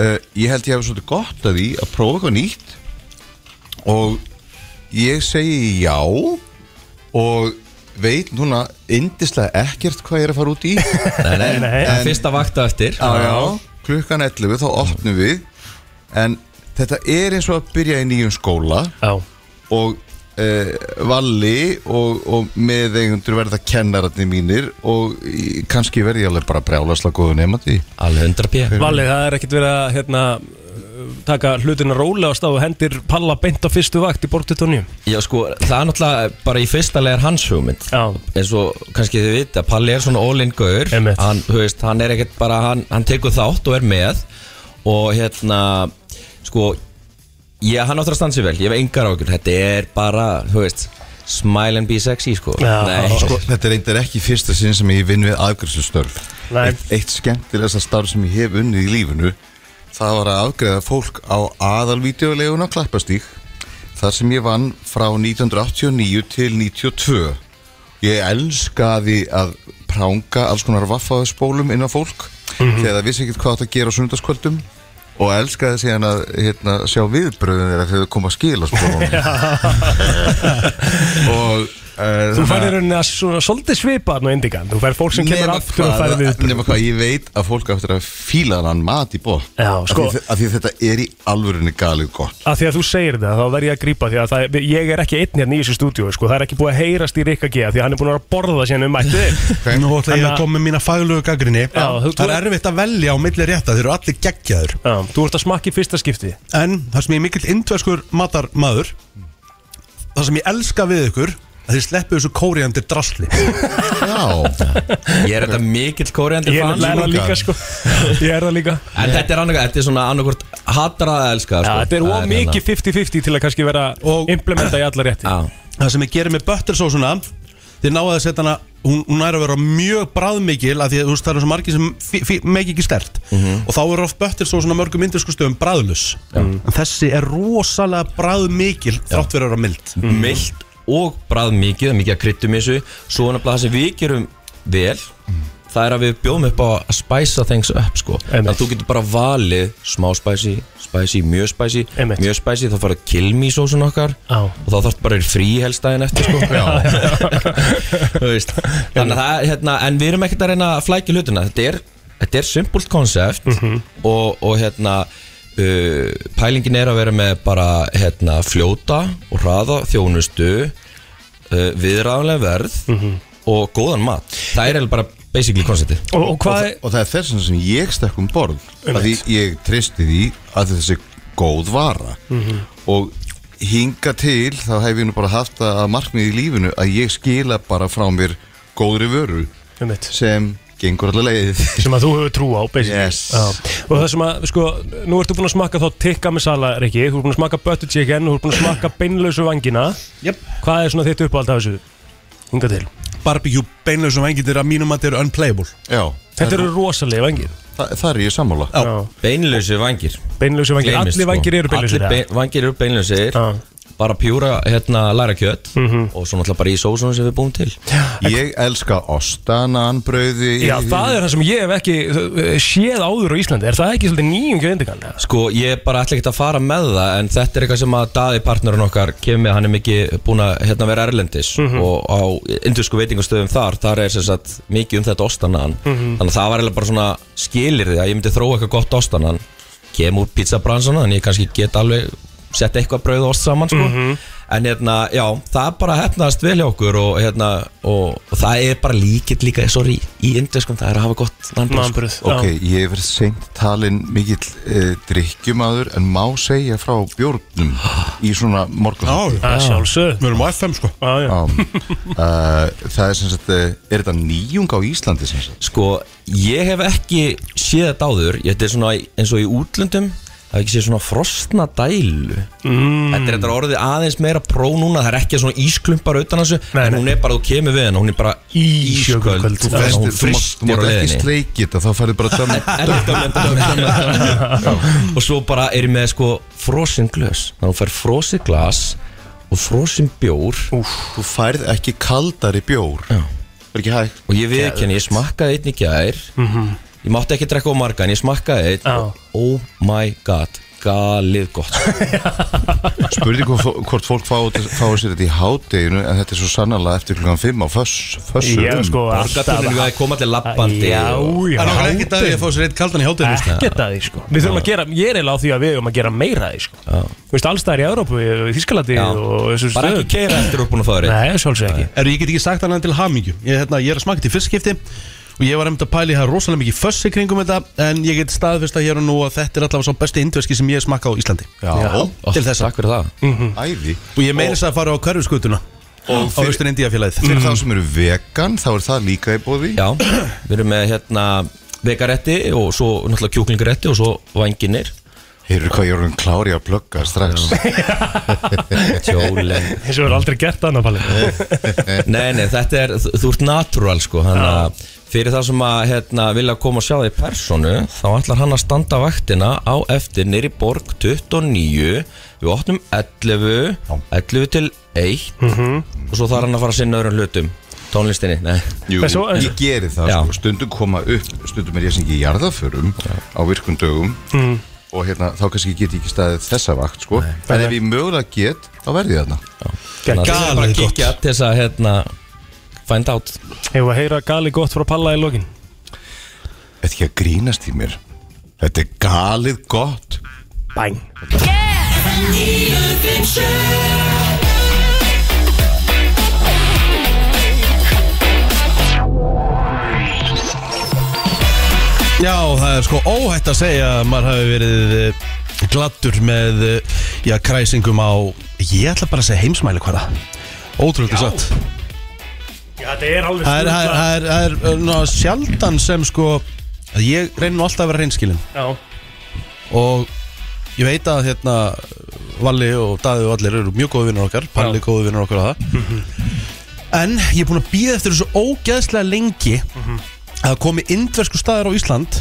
S16: uh, ég held ég hefði svolítið gott að því að prófa eitthvað nýtt og ég segi já og veit núna yndislega ekkert hvað ég er að fara út í
S15: Nei, nei,
S16: En-
S15: það er Fyrsta vakta eftir
S16: já, já, klukkan 11 þá opnum við en þetta er eins og að byrja í nýjum skóla
S2: já.
S16: og uh, Valli og, og meðeigundur verða kennararnir mínir og í- kannski verði ég alveg bara brjálasla góðu nefnandi
S15: alveg 100 pjö
S2: Valið, það er ekkert verið að hérna, uh, taka hlutina rólega á stað og hendir Palla beint á fyrstu vakt í Borg 29
S15: Já sko, það er náttúrulega bara í fyrsta legar hans hugmynd
S2: Já.
S15: En svo kannski þið vita, Palli er svona all-in gaur hann, þú veist, hann er ekkert bara, hann, hann tekur þátt og er með Og hérna, sko, ég, hann áttur að standa sér vel, ég hef engar ágjur Þetta er bara, þú veist, Smile and be sexy sko Nei.
S16: Sko, þetta er eindir ekki fyrsta sinn sem ég vinn við afgræðslustörf Eitt, eitt skemmtilegasta starf sem ég hef unnið í lífinu Það var að afgræða fólk á aðalvídeolegun á Klappastík Þar sem ég vann frá 1989 til 92 Ég elskaði að pranga alls konar vaffaðspólum inn á fólk Þegar það vissi ekkert hvað átt að gera á sundarskvöldum Og elskaði síðan að hérna, sjá viðbröðin þeirra þegar þau koma að skila spólum og uh,
S2: Þú færir henni að svona svolítið svipa nú indikan Þú færir fólk sem kemur aftur og færir við
S16: nema hvað, ég veit að fólk aftur að fíla hann mat í bóð
S2: Já, sko.
S16: af, því, af því þetta er í alvörunni galið gott
S2: að því að þú segir það, þá verð ég að grípa því að það, ég er ekki einn hérna í þessu stúdíu sko. það er ekki búið að heyrast í Rikka G af því að hann er búin að vera að borða síðan um mætti
S1: okay. Nú ætla ég
S2: Þannig að-
S1: að koma með mína faglögu gaggrinni
S2: þú-
S1: Það er erfitt að velja á milli rétta Þeir eru allir geggjaður
S2: Já, Þú ert að smakka í fyrsta skipti
S1: En það sem ég er mikill indverskur matarmaður Það sem ég elska við ykkur að Þið sleppu þessu kóriandir drasli
S15: Já Ég er þetta mikill kóriandi
S2: Ég er nefnilega líka, sko. Ég er það líka
S15: En þetta er annarkvæmt, þetta er svona annarkvæmt hattar að elska sko.
S2: Já, Þetta er
S15: Það
S2: ómikið 50-50 til að kannski vera implementa í alla rétti
S1: Það sem ég gerir með böttersósuna Þið náðu að setja hana Hún, hún er að vera mjög bræðmikil af Því að þú veist það eru svo margir sem fí- fí- megi ekki stert
S5: Mhm.
S1: Og þá eru oft böttersósuna mörgum indversku stöðum bræðlus En þessi er rosalega bræðmikil Þrátt fyrir að vera mild
S15: Mhm. Milt og bræð mikið, það er mikið að kryttum í þessu Svo er nefnilega það sem við gerum vel Það er að við bjóðum upp á að spæsa things up sko Þannig að þú getur bara valið smá spæsi, spæsi, mjög spæsi Mjög spæsi, þá farið kilmi í sósun okkar
S2: Já.
S15: Og þá þarf bara frí helstæðin eftir sko Þú veist Þannig að það, hérna, en við erum ekkert að reyna að flækja hlutina Þetta er, þetta er simpult konsept og, og hérna uh, pælingin er að vera með bara hérna, fljóta og hraða þjónustu uh, viðræðanlega verð og góðan mat Það er eiginlega bara basically konceptið
S2: og, og,
S16: og, það- og það er þess vegna sem ég stekk um borð af Því ég tristi því að þessi góð vara
S5: Mhm.
S16: Og hinga til þá hef ég nú bara haft það að markmið í lífinu Að ég skila bara frá mér góðri vöru
S2: Einmitt.
S16: Sem gengur allar leiðið
S2: sem að þú hefur trú á basically.
S16: Yes.
S2: Já. og það sem að sko, nú ertu búin að smakka þá tikka með sala Rikki, þú ert búin að smakka butter chicken þú ert búin að smakka beinlausu vangina
S1: yep.
S2: hvað er svona þitt uppáhald af þessu hinga til
S1: Barbecue beinlausum vengindir að mínum að þetta eru unplayable
S16: Já
S2: þetta eru rosalega vangir
S16: Þa, Það er ég sammála
S15: Beinlausu vangir sko.
S2: Beinlausu vangir, allir vangir eru beinlausir,
S15: Allir
S2: eða?
S15: bein, vangir eru beinlausir Bara pjúra hérna læra kjött
S2: Mhm.
S15: Og svo náttúrulega bara í sósunum sem við búum til
S16: Ég elska ostanan brauði
S2: Já, það er það sem ég hef ekki uh, séð áður á Íslandi, er það ekki svolítið nýjum gjöndingan?
S15: Sko, ég bara ætla ekki að fara með það En þetta er eitthvað sem að daði partnerinn okkar kemur með, hann er mikið búin að hérna, vera erlendis Og á indusku veitingustöðum þar Þar er sem sagt mikið um þetta ostanan
S5: Mhm.
S15: Þannig að það var eiginlega bara svona skilir því að ég myndi þróa eitthvað gott ostanan Kem úr pizzabransan En ég kannski get alveg sett eitthvað brauð og ost saman sko. En hérna, já, það bara hefnaðast vel hjá okkur og, hérna, og, og það er bara líkitt líka Sorry, í induskum það er að hafa gott landbröð sko.
S16: Ok, ég hef verið seint talin mikill uh, drikkjumadur en má segja frá bjórnum í svona morgun
S2: Já, sjálfsög
S1: Við erum á FM sko
S2: já,
S16: já. Uh, Það er sem sagt, eh, er þetta nýjung á Íslandi sem sagt?
S15: Sko, ég hef ekki séð þetta áður Ég- Þetta er svona í- eins og í útlöndum Það hef ekki séð svona frostna dælu Þetta er þetta orðið aðeins meira pró núna Það er ekki svona ísklumpar utan þessu En hún er bara, þú kemur við henn Hún er bara ísköld
S16: Þú festir- þú
S15: Þannig að Hún
S16: mátt- þú
S15: fristir á
S16: mátt ekki
S15: leðinni
S16: streikið þetta, þá færðu bara dömmen
S15: og svo bara er ég með sko frosin glös þannig að þú fær frosi glas og frosin bjór
S2: Úf.
S16: þú færð ekki kaldari bjór
S15: Já.
S16: er ekki hægt
S15: og ég við ekki ég smakkaði einn í gær ég mátti ekki drekka á marga en ég smakkaði einn og oh my god galið gott
S16: Spurði hvort, hvort fólk fá, fái sér þetta í hádeginu en þetta er svo sannarlega eftir klukkan 5 á föss, fössum
S2: Já, sko,
S15: Borgartúninu við að koma allir labbandi
S2: Já, já
S1: Það er náttúrulega ekkert að því að fá sér eitt kaldan í hátæðinu
S2: Ekkert að því, sko Við þurfum að gera, ég er eiginlega á því að við þurfum að gera meira að því, sko Þú veist, allstæðar í Európu, í Þískalandi
S15: Já.
S2: og þessu
S15: Bara ekki keyra eftir þú ert búin að fá þér einn.
S2: Nei, sjálfsög ekki
S1: Erðu, ég get ekki sagt annað en til hamingju Ég, hérna, ég er að smaka til fyrstskipti Og ég var einmitt að pæli það er rosalega mikið föss í kringum þetta En ég get staðfest að hér og nú að þetta er allavega svo besti indveski sem ég hef smakað á Íslandi
S16: Já.
S15: Ó,
S1: Til þess
S15: Takk fyrir það
S16: Æði
S1: Og ég meira þess að fara á hverfiskutuna
S16: Og
S1: Á austur Indíafélagið
S16: Fyrir þá sem eru vegan, þá er það líka í bóði
S15: Já, við erum með hérna vegaretti og svo náttúrulega kjúklingaretti og svo vanginir
S16: Heyrðu hvað ég er um klári að plugga strax
S15: Tjóli
S2: Þessu verður aldrei gert annað palið
S15: Nei, nei, þetta er, þú, þú ert natural sko hann að fyrir það sem að hérna, vilja koma og sjá þig í personu þá ætlar hann að standa vaktina á eftir nýri borg 29 við opnum 11 11 til 1 og svo þarf hann að fara að sinna öðrum hlutum tónlistinni, nei
S16: Jú, ég geri það
S15: Já.
S16: sko, stundum koma upp stundum er ég sem ekki í jarðaförum á virkum dögum
S2: Mm.
S16: og hérna, þá kannski get ég ekki staðið þessa vakt sko. en ef ég mögulega get, þá verði ég þarna
S15: Þannig að það er bara að
S16: Galið gott.
S15: kíkja til þess að hérna, find out
S2: Hefur að heyra gali gott frá palla í lokin
S16: Þetta er ekki að grínast í mér Þetta er galið gott
S2: Bæn
S1: Já, það er sko óhætt að segja að maður hafi verið eh, gladdur með eh, já, kræsingum á, ég ætla bara að segja heimsmæli hvaða Ótrúlega satt
S2: Þetta er alveg
S1: Það er, það er, það er, það er, er ná, sjaldan sem sko að ég reynir nú alltaf að vera reynskilin
S2: Já.
S1: og ég veit að hérna Valli og Daði og allir eru mjög góði vinnar okkar Palli góði vinnar okkar að það
S2: Mhm.
S1: en ég er búin að býða eftir þessu ógeðslega lengi
S2: Mhm.
S1: að það komi indversku staðar á Ísland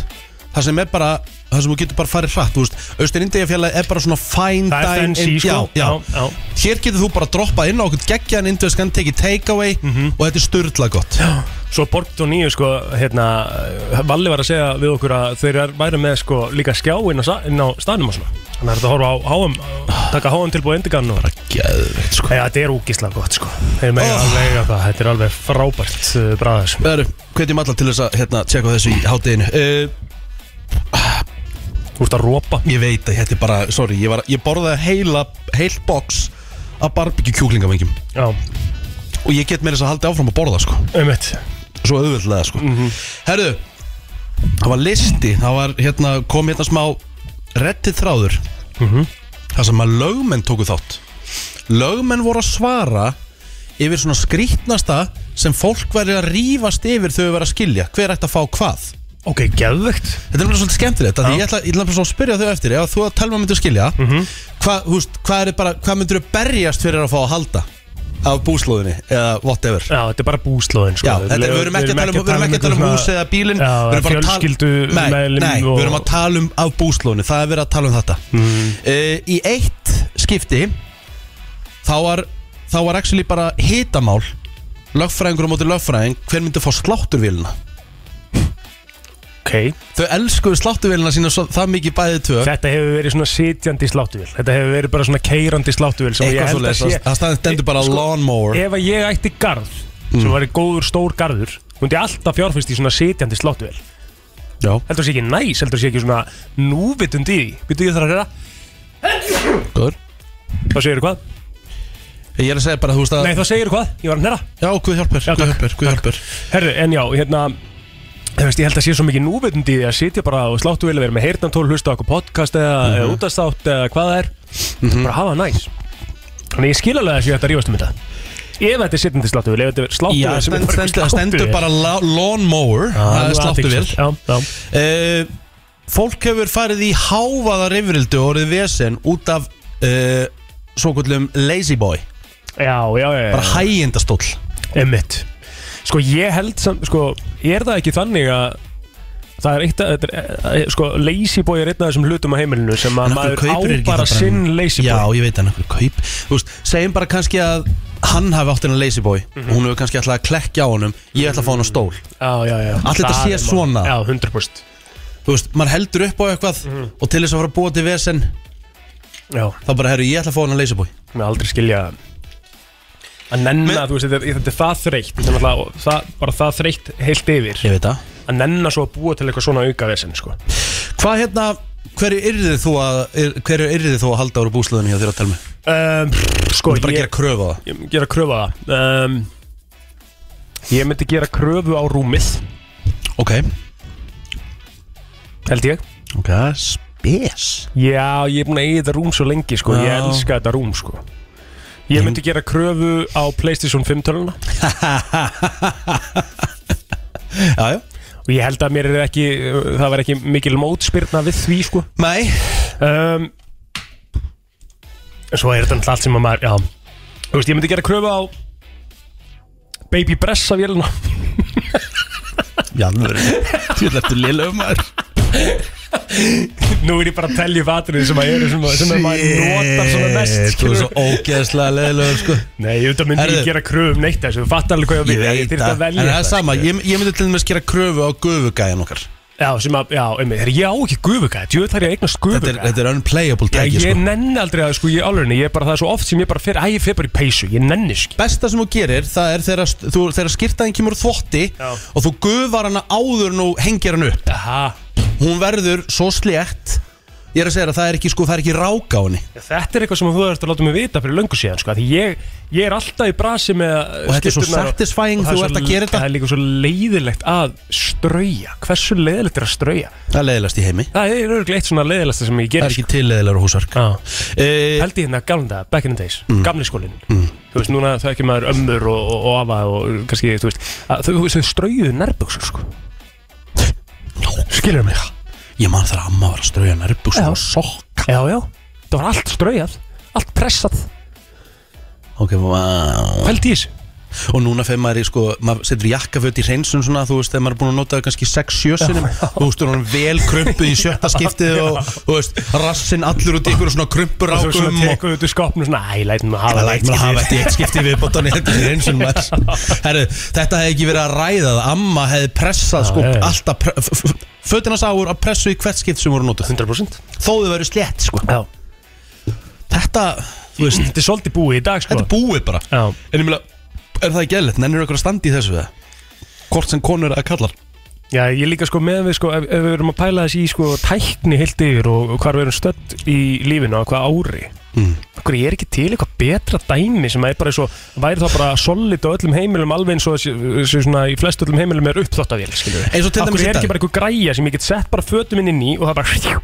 S1: það sem er bara það sem þú getur bara farið hratt, þú veist Austur Indíafjalli er bara svona fine
S2: Það er
S1: dine
S2: fancy,
S1: ind-
S2: sko.
S1: já, já.
S2: Já, já.
S1: hér getur þú bara að droppa inn á okkur geggjan indverskan, tekið takeaway og þetta er styrla gott
S2: Mhm. já. Svo Borgt og Nýju sko, hérna, Valli var að segja við okkur að þeir er- væru með sko líka skjá inn á, sa- inn á staðnum og svona Þannig að þetta horfa á háum, taka háum tilbúið endigann og
S1: Geðveikt sko Oh.
S2: Já, þetta er úkislega gott sko Þeir mega alveg eiga það, þetta er alveg frábært uh, bræðis
S1: Veru, hvetjum alla til þess að hérna, tjekka á þessu í hátteginu uh,
S2: Þú ert að rópa
S1: Ég veit að þetta er bara, sorry, ég, var, ég borðaði heila, heil box af barbecue kjúklingavengjum
S2: Já
S1: Og ég get meira þess að halda áfram að borða sko
S2: Einmitt Mhm.
S1: Svo auðvöldlega sko Herru, það var listi, það var hérna, kom hérna smá rettið þráður
S2: Mhm.
S1: Það sem að lögmenn tóku þátt Lögmenn voru að svara yfir svona skrýtnasta sem fólk verið að rífast yfir þau verið að skilja Hver ætti að fá hvað?
S2: Ok, geðvegt
S1: Þetta er mjög svolítið skemmtilegt af því Ég ætla, ég ætla bara svo að spyrja þau eftir Ef þú að telma myndir skilja
S2: Mhm.
S1: hvað, þú veist, hvað, er bara, hvað myndir þau berjast fyrir að fá að halda Af búslóðinni eða whatever
S2: Já, þetta er bara búslóðin sko.
S1: Já, þetta, við erum ekki að tala um, við erum ekki að tala um hús eða bílinn
S2: Já,
S1: við erum bara að tala-
S2: fjölskyldu
S1: Nei, nei, við erum að tala um af búslóðinu Það er verið að tala um þetta
S2: Mm.
S1: uh, Í eitt skipti Þá var Þá var actually bara hitamál Lögfræðingur á móti lögfræðing Hver myndi fá slátturvélina
S2: okay.
S1: Þau elskuðu slátturvélina sína svo, Það mikið bæðið tvö
S2: Þetta hefur verið svona sitjandi sláttuvél Þetta hefur verið bara svona keirandi sláttuvél sem ég
S1: Eitthvað
S2: held að
S1: svoleiðis,
S2: sé-
S1: það- það stendur- stendur bara
S2: Sko,
S1: lawnmower.
S2: Ef að ég ætti garð sem
S1: Mm.
S2: væri góður stór garður myndi ég alltaf fjárfyrst í svona sitjandi sláttuvél
S1: Já
S2: Heldur það sé ekki næs, heldur það sé ekki svona núvitund í því Býtu ég þarf að reyra
S1: Góður
S2: Þá segir hvað?
S1: Ég er að segja bara, þú veist að
S2: Nei, þá segir hvað? Ég var að hnera
S1: Já, guð hjálpar,
S2: já, guð
S1: hjálpar, guð hjálpar
S2: Herðu, en já, hérna Þú veist, ég held að sé svo mikið núvitund í því að sitja bara á sláttuvél vera með heyrnantól, hlusta á okkur podcast eða mm
S1: Mhm.
S2: -hmm. útastátt eða hvað það er bara hafa það næs Þannig ég skil alveg að þessu þetta rífast um þetta Ef þetta er sitjandi sláttuvél, ef þetta er sláttuvél
S1: Já,
S2: sem er
S1: stend,
S2: bara
S1: stend, stendur
S2: sláttuvél.
S1: bara la, lawnmower Það
S2: nú
S1: er sláttu vel
S2: athyglisvert. Já, já.
S1: Fólk hefur farið í hávaða rifrildu og orðið vesen út af uh, svo kvöldum lazy boy
S2: Já, já, já, já.
S1: Bara hægindastóll
S2: Emmitt Sko ég held samt, sko, er það ekki þannig að það er eitt að, þetta er, eh, sko, lazy boy er einn af þessum hlutum á heimilinu sem að maður á bara sinn lazy boy
S1: Já, ég veit hann okkur kaup Þú veist, segjum bara kannski að hann hafi átt hennar lazy boy Hún hefur kannski ætlað að klekkja á honum Ég ætla að fá hann á stól
S2: Mhm. Já, já, já
S1: Allt þetta
S2: Það
S1: sé
S2: er mál.
S1: svona
S2: Já, 100%
S1: Þú veist, maður heldur upp á eitthvað Og til þess að fara að búa til vesen
S2: Já
S1: Þá bara, herru, ég ætla að fá hann að leysabói
S2: Mér aldrei skilja að nenna, þú veist, þetta, er- þetta er það þreytt þetta er náttúrulega- og það, bara það þreytt heilt yfir
S1: Ég veit það
S2: að nenna svo að búa til eitthvað svona auka vesen, sko
S1: Hvað hérna, hverju yrðið þú að er, Hverju yrðið þú að halda úr búslöðinu hjá þér að telmi?
S2: um, Sko,
S1: Þú ert bara að
S2: ég-
S1: gera kröfu á það.
S2: Ég myndi gera kröfu á það um, Ég myndi gera kröfu á rúmið
S1: Ok
S2: Held ég
S1: Ok, spes
S2: Já, ég er búin að eiga þetta rúm svo lengi, sko Ég
S1: Já.
S2: elska þetta rúm, sko Ég myndi gera kröfu á Playstation 5 töluna
S1: Já, já
S2: Og ég held að mér er ekki Það var ekki mikil mótspyrna við því, sko
S1: Nei
S2: um, Svo er þetta náttúrulega allt sem að maður Já, þú veist, ég myndi gera kröfu á Baby Bressa vélina
S1: Janur Þú ert eftir liðlega maður
S2: Nú er ég bara að telja fatrið sem að eru sem, að- sem að maður notar svona mest
S1: Shit, Þú
S2: skilur.
S1: er svo ógeðslega leðilegur sko
S2: Nei, ég veit að myndi
S1: Herðu.
S2: ég gera kröfu um neitt þessu Þú fattar alveg hvað ég á við
S1: Ég
S2: þyrfti
S1: veit
S2: að
S1: það,
S2: velja
S1: en það er
S2: þetta,
S1: sama
S2: skilur.
S1: Ég, ég myndi til dæmis gera kröfu á gufugæjan okkar
S2: Já, sem að, já, einmitt, herri, ég á ekki gufugæði, djöð þarf ég að eignast gufugæði
S1: Þetta er- þetta er unplayable tæki,
S2: Já, ég
S1: sko.
S2: nenni aldrei að, sko, ég alveg, ég er bara, það er svo oft sem ég bara fer, æ, ég fer bara í peysu, ég nenni, sko
S1: Besta sem þú gerir, það er þegar, þú, þegar skýrtaðin kemur úr þvotti og þú gufar hana áður en þú hengir hana upp
S2: Aha.
S1: Hún verður svo slétt Ég er að segja þér að það er ekki, sko, það er ekki ráka á henni
S2: Þetta er eitthvað sem þú ert að láta mig vita fyrir löngu síðan, sko, af því ég, ég er alltaf í brasi með uh,
S1: Og þetta er svo
S2: skyrturnar og-
S1: satisfying
S2: og
S1: þú
S2: það er
S1: ert
S2: svo-
S1: að gera þetta.
S2: Það er líka svo leiðilegt að strauja, hversu leiðilegt er að strauja?
S1: Það er leiðilegast í heimi
S2: Það er örgulega eitt svona leiðilegsta sem ég
S1: Það
S2: gerir
S1: er ekki til leiðilegur húsverk Eh, Mm.
S2: Held ég hérna gamla dag, back in the days, gamli skólinn Þú veist, núna þau ekki maður ömmur og, og, og afa og kannski, þú veist að, Þau, þau straujuðu nærböksur, sko Skilur mig
S1: Ég man þar að amma var að strauja nærbúsum og sokka
S2: Já, já, það var allt straujað, allt pressað
S1: Ok, wow
S2: Held í þessu
S1: Og núna fyrir maður í sko, maður setur jakkaföt í hreinsun svona, þú veist, þegar maður er búin að nota það kannski 6-7 sinum, þú veist, þú er hann vel krumpuð í sjötta skiptið og, þú veist, rassinn allur út í ykkur og svona krumpur
S2: Og svo
S1: ákum
S2: svona
S1: og
S2: tekur þetta í skopnum svona, æ, lætum við hafa
S1: Það læt maður að hafa þetta í eitt skipti við bóttan í þetta í hreinsun maður. Herru, þetta hefði ekki verið að ræða það, amma hefði pressað sko,
S2: já, já.
S1: alltaf, pre f- f- f- fötin hans áur að pressu í hvert skipt sem voru notað
S2: 100%
S1: Þó þau verið slétt, sko
S2: Já
S1: Þetta, þú veist
S2: Þetta er svolítið búið í dag, sko
S1: Þetta er búið bara
S2: Já
S1: En ég meina, er það ekki eðlert, nennir ykkur að standa í þessu eða? Hvort sem konur eða kallar
S2: Já, ég líka sko meðan við sko, ef, ef við erum að pæla þessi í sko tækni heilt yfir og, og hvar við erum stödd í lífinu á hvað ári
S1: Mm.
S2: Akkur ég er ekki til eitthvað betra dæmi sem er bara svo, væri þá bara solid á öllum heimilum alveg eins og þessi þessi svona í flest öllum heimilum er uppþáttavél, skilur við
S1: Eins og til dæmis
S2: Akkur
S1: í
S2: er
S1: dag.
S2: ekki bara eitthvað græja sem ég get sett bara fötum inn í og það bara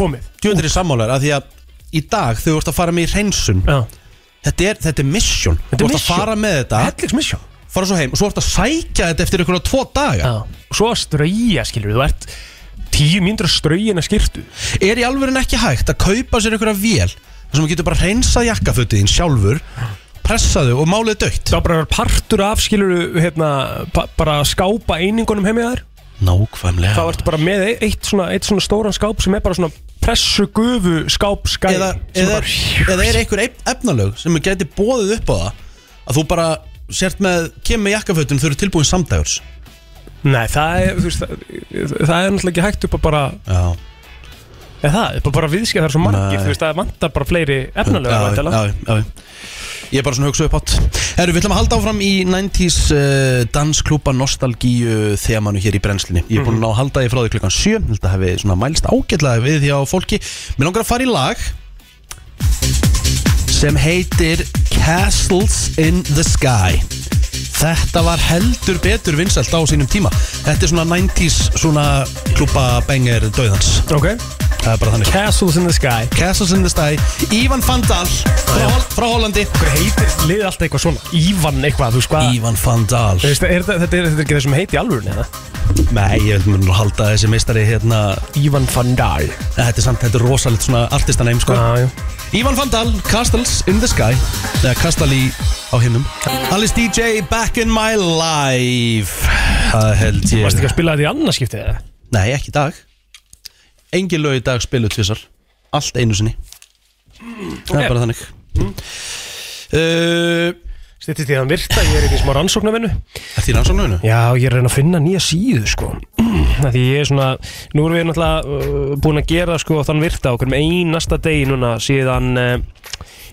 S2: komið
S1: Djöndir í sammálar að því að í dag þau vart að fara með í hreinsun
S2: Já.
S1: Þetta er, þetta er mission
S2: Þetta er
S1: Þú vart að
S2: mission.
S1: fara með þetta
S2: Helliks mission
S1: Fara svo heim og svo vart að sækja þetta eftir ykkur á tvo daga
S2: Já. og svo að strauja, skilur við, þú ert tíu mínútur að straujina skirtu
S1: Er í alvörin ekki hægt að kaupa sér ykkur að vél þar sem þú getur bara hreinsað jakkafötið þín sjálfur pressaðu og málið dögt
S2: Það bara partur af, skilur við, hérna, pa- bara að skápa einingunum heimið þær
S1: Nákvæmlega
S2: þá ertu bara með e- eitt svona, eitt svona stóran skáp sem er bara svona pressu gufu skáp skæ
S1: eða, eða, eða er einhver ef- efnalög sem geti bóðið upp á það að þú bara sért með kem með jakkafötun þau eru tilbúin samdægurs
S2: Nei, það er, þú veist, það, það er náttúrulega ekki hægt upp að bara
S1: Já
S2: eða það, upp að bara viðskja það er svo margir
S1: Nei.
S2: þú veist, það vantar bara fleiri efnulega
S1: já, já, já, já. Ég er bara svona hugsa upp átt Herru, við ætlum að halda áfram í 90s uh, dansklúpa nostalgíu þemanu hér í brennslinni Ég er búin að ná að halda því frá því klukkan 7 Þetta hefði svona mælst ágætlega við því á fólki Mér langar að fara í lag sem heitir Castles in the Sky Þetta var heldur betur vinsælt á sínum tíma Þetta er svona 90s svona klúpa bengar döðans
S2: Ok
S1: Það er bara þannig
S2: Castles in the Sky
S1: Castles in the Sky Ívan Fandal frá, Hol- frá Hollandi
S2: Hvað heitir liðið alltaf eitthvað svona? Ívan eitthvað, þú veist hvað
S1: Ívan Fandal
S2: Þú veist, er þetta, þetta, er, þetta er ekki þessum heiti í alvörun eða?
S1: Nei, ég vil mér halda þessi meistari hérna
S2: Ívan Fandal
S1: Þetta er samt, þetta er rosalegt svona artistaneim sko
S2: Já, já
S1: Ívan Fandal, Castles in the Sky Eða Castal í á himnum Alice DJ, Back in my life Það held ég
S2: Varst ekki að spila þetta í annarskiptið eða?
S1: Nei, ekki í dag Engi lög í dag spilu tvisar Allt einu sinni Það
S2: ok.
S1: er bara þannig uh,
S2: Stittist ég að hann virta, ég er ekki smá rannsóknarvinnu
S1: Þetta er rannsóknarvinnu?
S2: Já, ég er að reyna að finna nýja síðu sko Af Því ég er svona, nú erum við náttúrulega uh, búin að gera sko þann virta okkur með einasta degi núna síðan uh,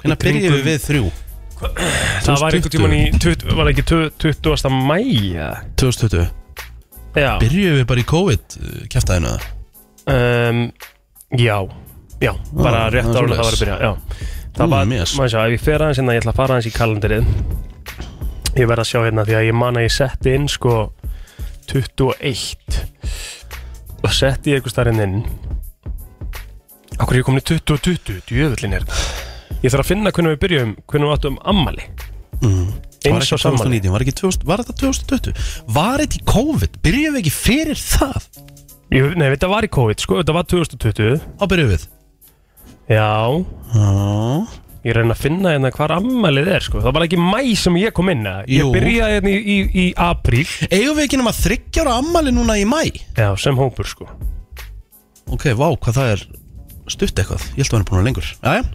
S1: Hérna byrjum við við þrjú
S2: Það var einhvern tíman í, 20, var það ekki 20. mæja
S1: 2020
S2: Já,
S1: Byrjuðum við bara í COVID kæftæðinu það
S2: um, já, já, bara
S1: Ah,
S2: rétt
S1: það er
S2: ára það var
S1: svoleiðis.
S2: að byrja Já, það
S1: Mm,
S2: var,
S1: yes.
S2: maður sjá, ef ég fer aðeins hérna, ég ætla að fara aðeins í kalendarið Ég verð að sjá hérna því að ég man að ég setti inn sko 21 og setti ég einhvers starinn inn Akkur er ég komin í 2020, djöfullin er þetta Ég þarf að finna hvernig við byrjum, hvernig við áttum ammali
S1: mm. Var
S2: Eins
S1: ekki
S2: og sammali
S1: 2019, var, ekki 2000, var þetta 2020? Var þetta í COVID? Byrjuðum við ekki fyrir það?
S2: Ég, nei, þetta var í COVID, sko, þetta var 2020
S1: Á byrjuðum við
S2: Já Ég er að reyna að finna hérna hvar ammælið er sko. Það var ekki mæ sem ég kom inn eða? Ég
S1: Jú.
S2: byrjaði hérna í, í, í apríl
S1: Eigum við ekki nema þryggjára ammali núna í mæ?
S2: Já, sem hópur sko
S1: Ok, vá, hvað það er stutt eitthvað Ég held að hann er búin að vera lengur Jæja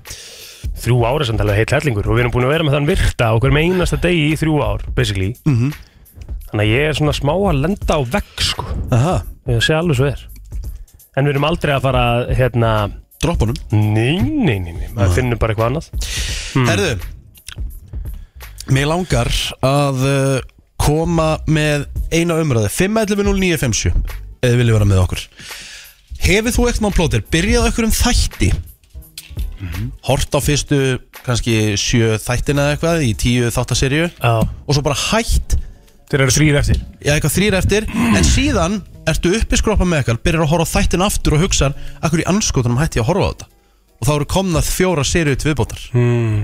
S2: Þrjú ára samt alveg heill hellingur og við erum búin að vera með þann virta á hverjum einasta degi í þrjú ár basically
S1: Mhm.
S2: Þannig að ég er svona smá að lenda á vegg sko
S1: Aha.
S2: Ég sé alveg svo er En við erum aldrei að fara að, hérna
S1: Droppunum?
S2: Nei, nei, nei, nei, maður finnur bara eitthvað annað Hmm.
S1: Herðu Mér langar að uh, koma með eina umræði 5.11.09.50 eða vilja vera með okkur Hefur þú ekkert mann plótir, byrjað okkur um þætti
S2: Mhm.
S1: Hort á fyrstu kannski sjö þættina eða eitthvað í tíu þáttaserju
S2: Já.
S1: og svo bara hætt
S2: Þeir eru þrýr eftir
S1: Já, eitthvað þrýr eftir en síðan ertu uppi skrópa með eitthvað byrjar að horfa á þættin aftur og hugsa akkur í anskotunum hætti ég að horfa á þetta og þá eru komnað fjóra serju til viðbótar
S2: mm.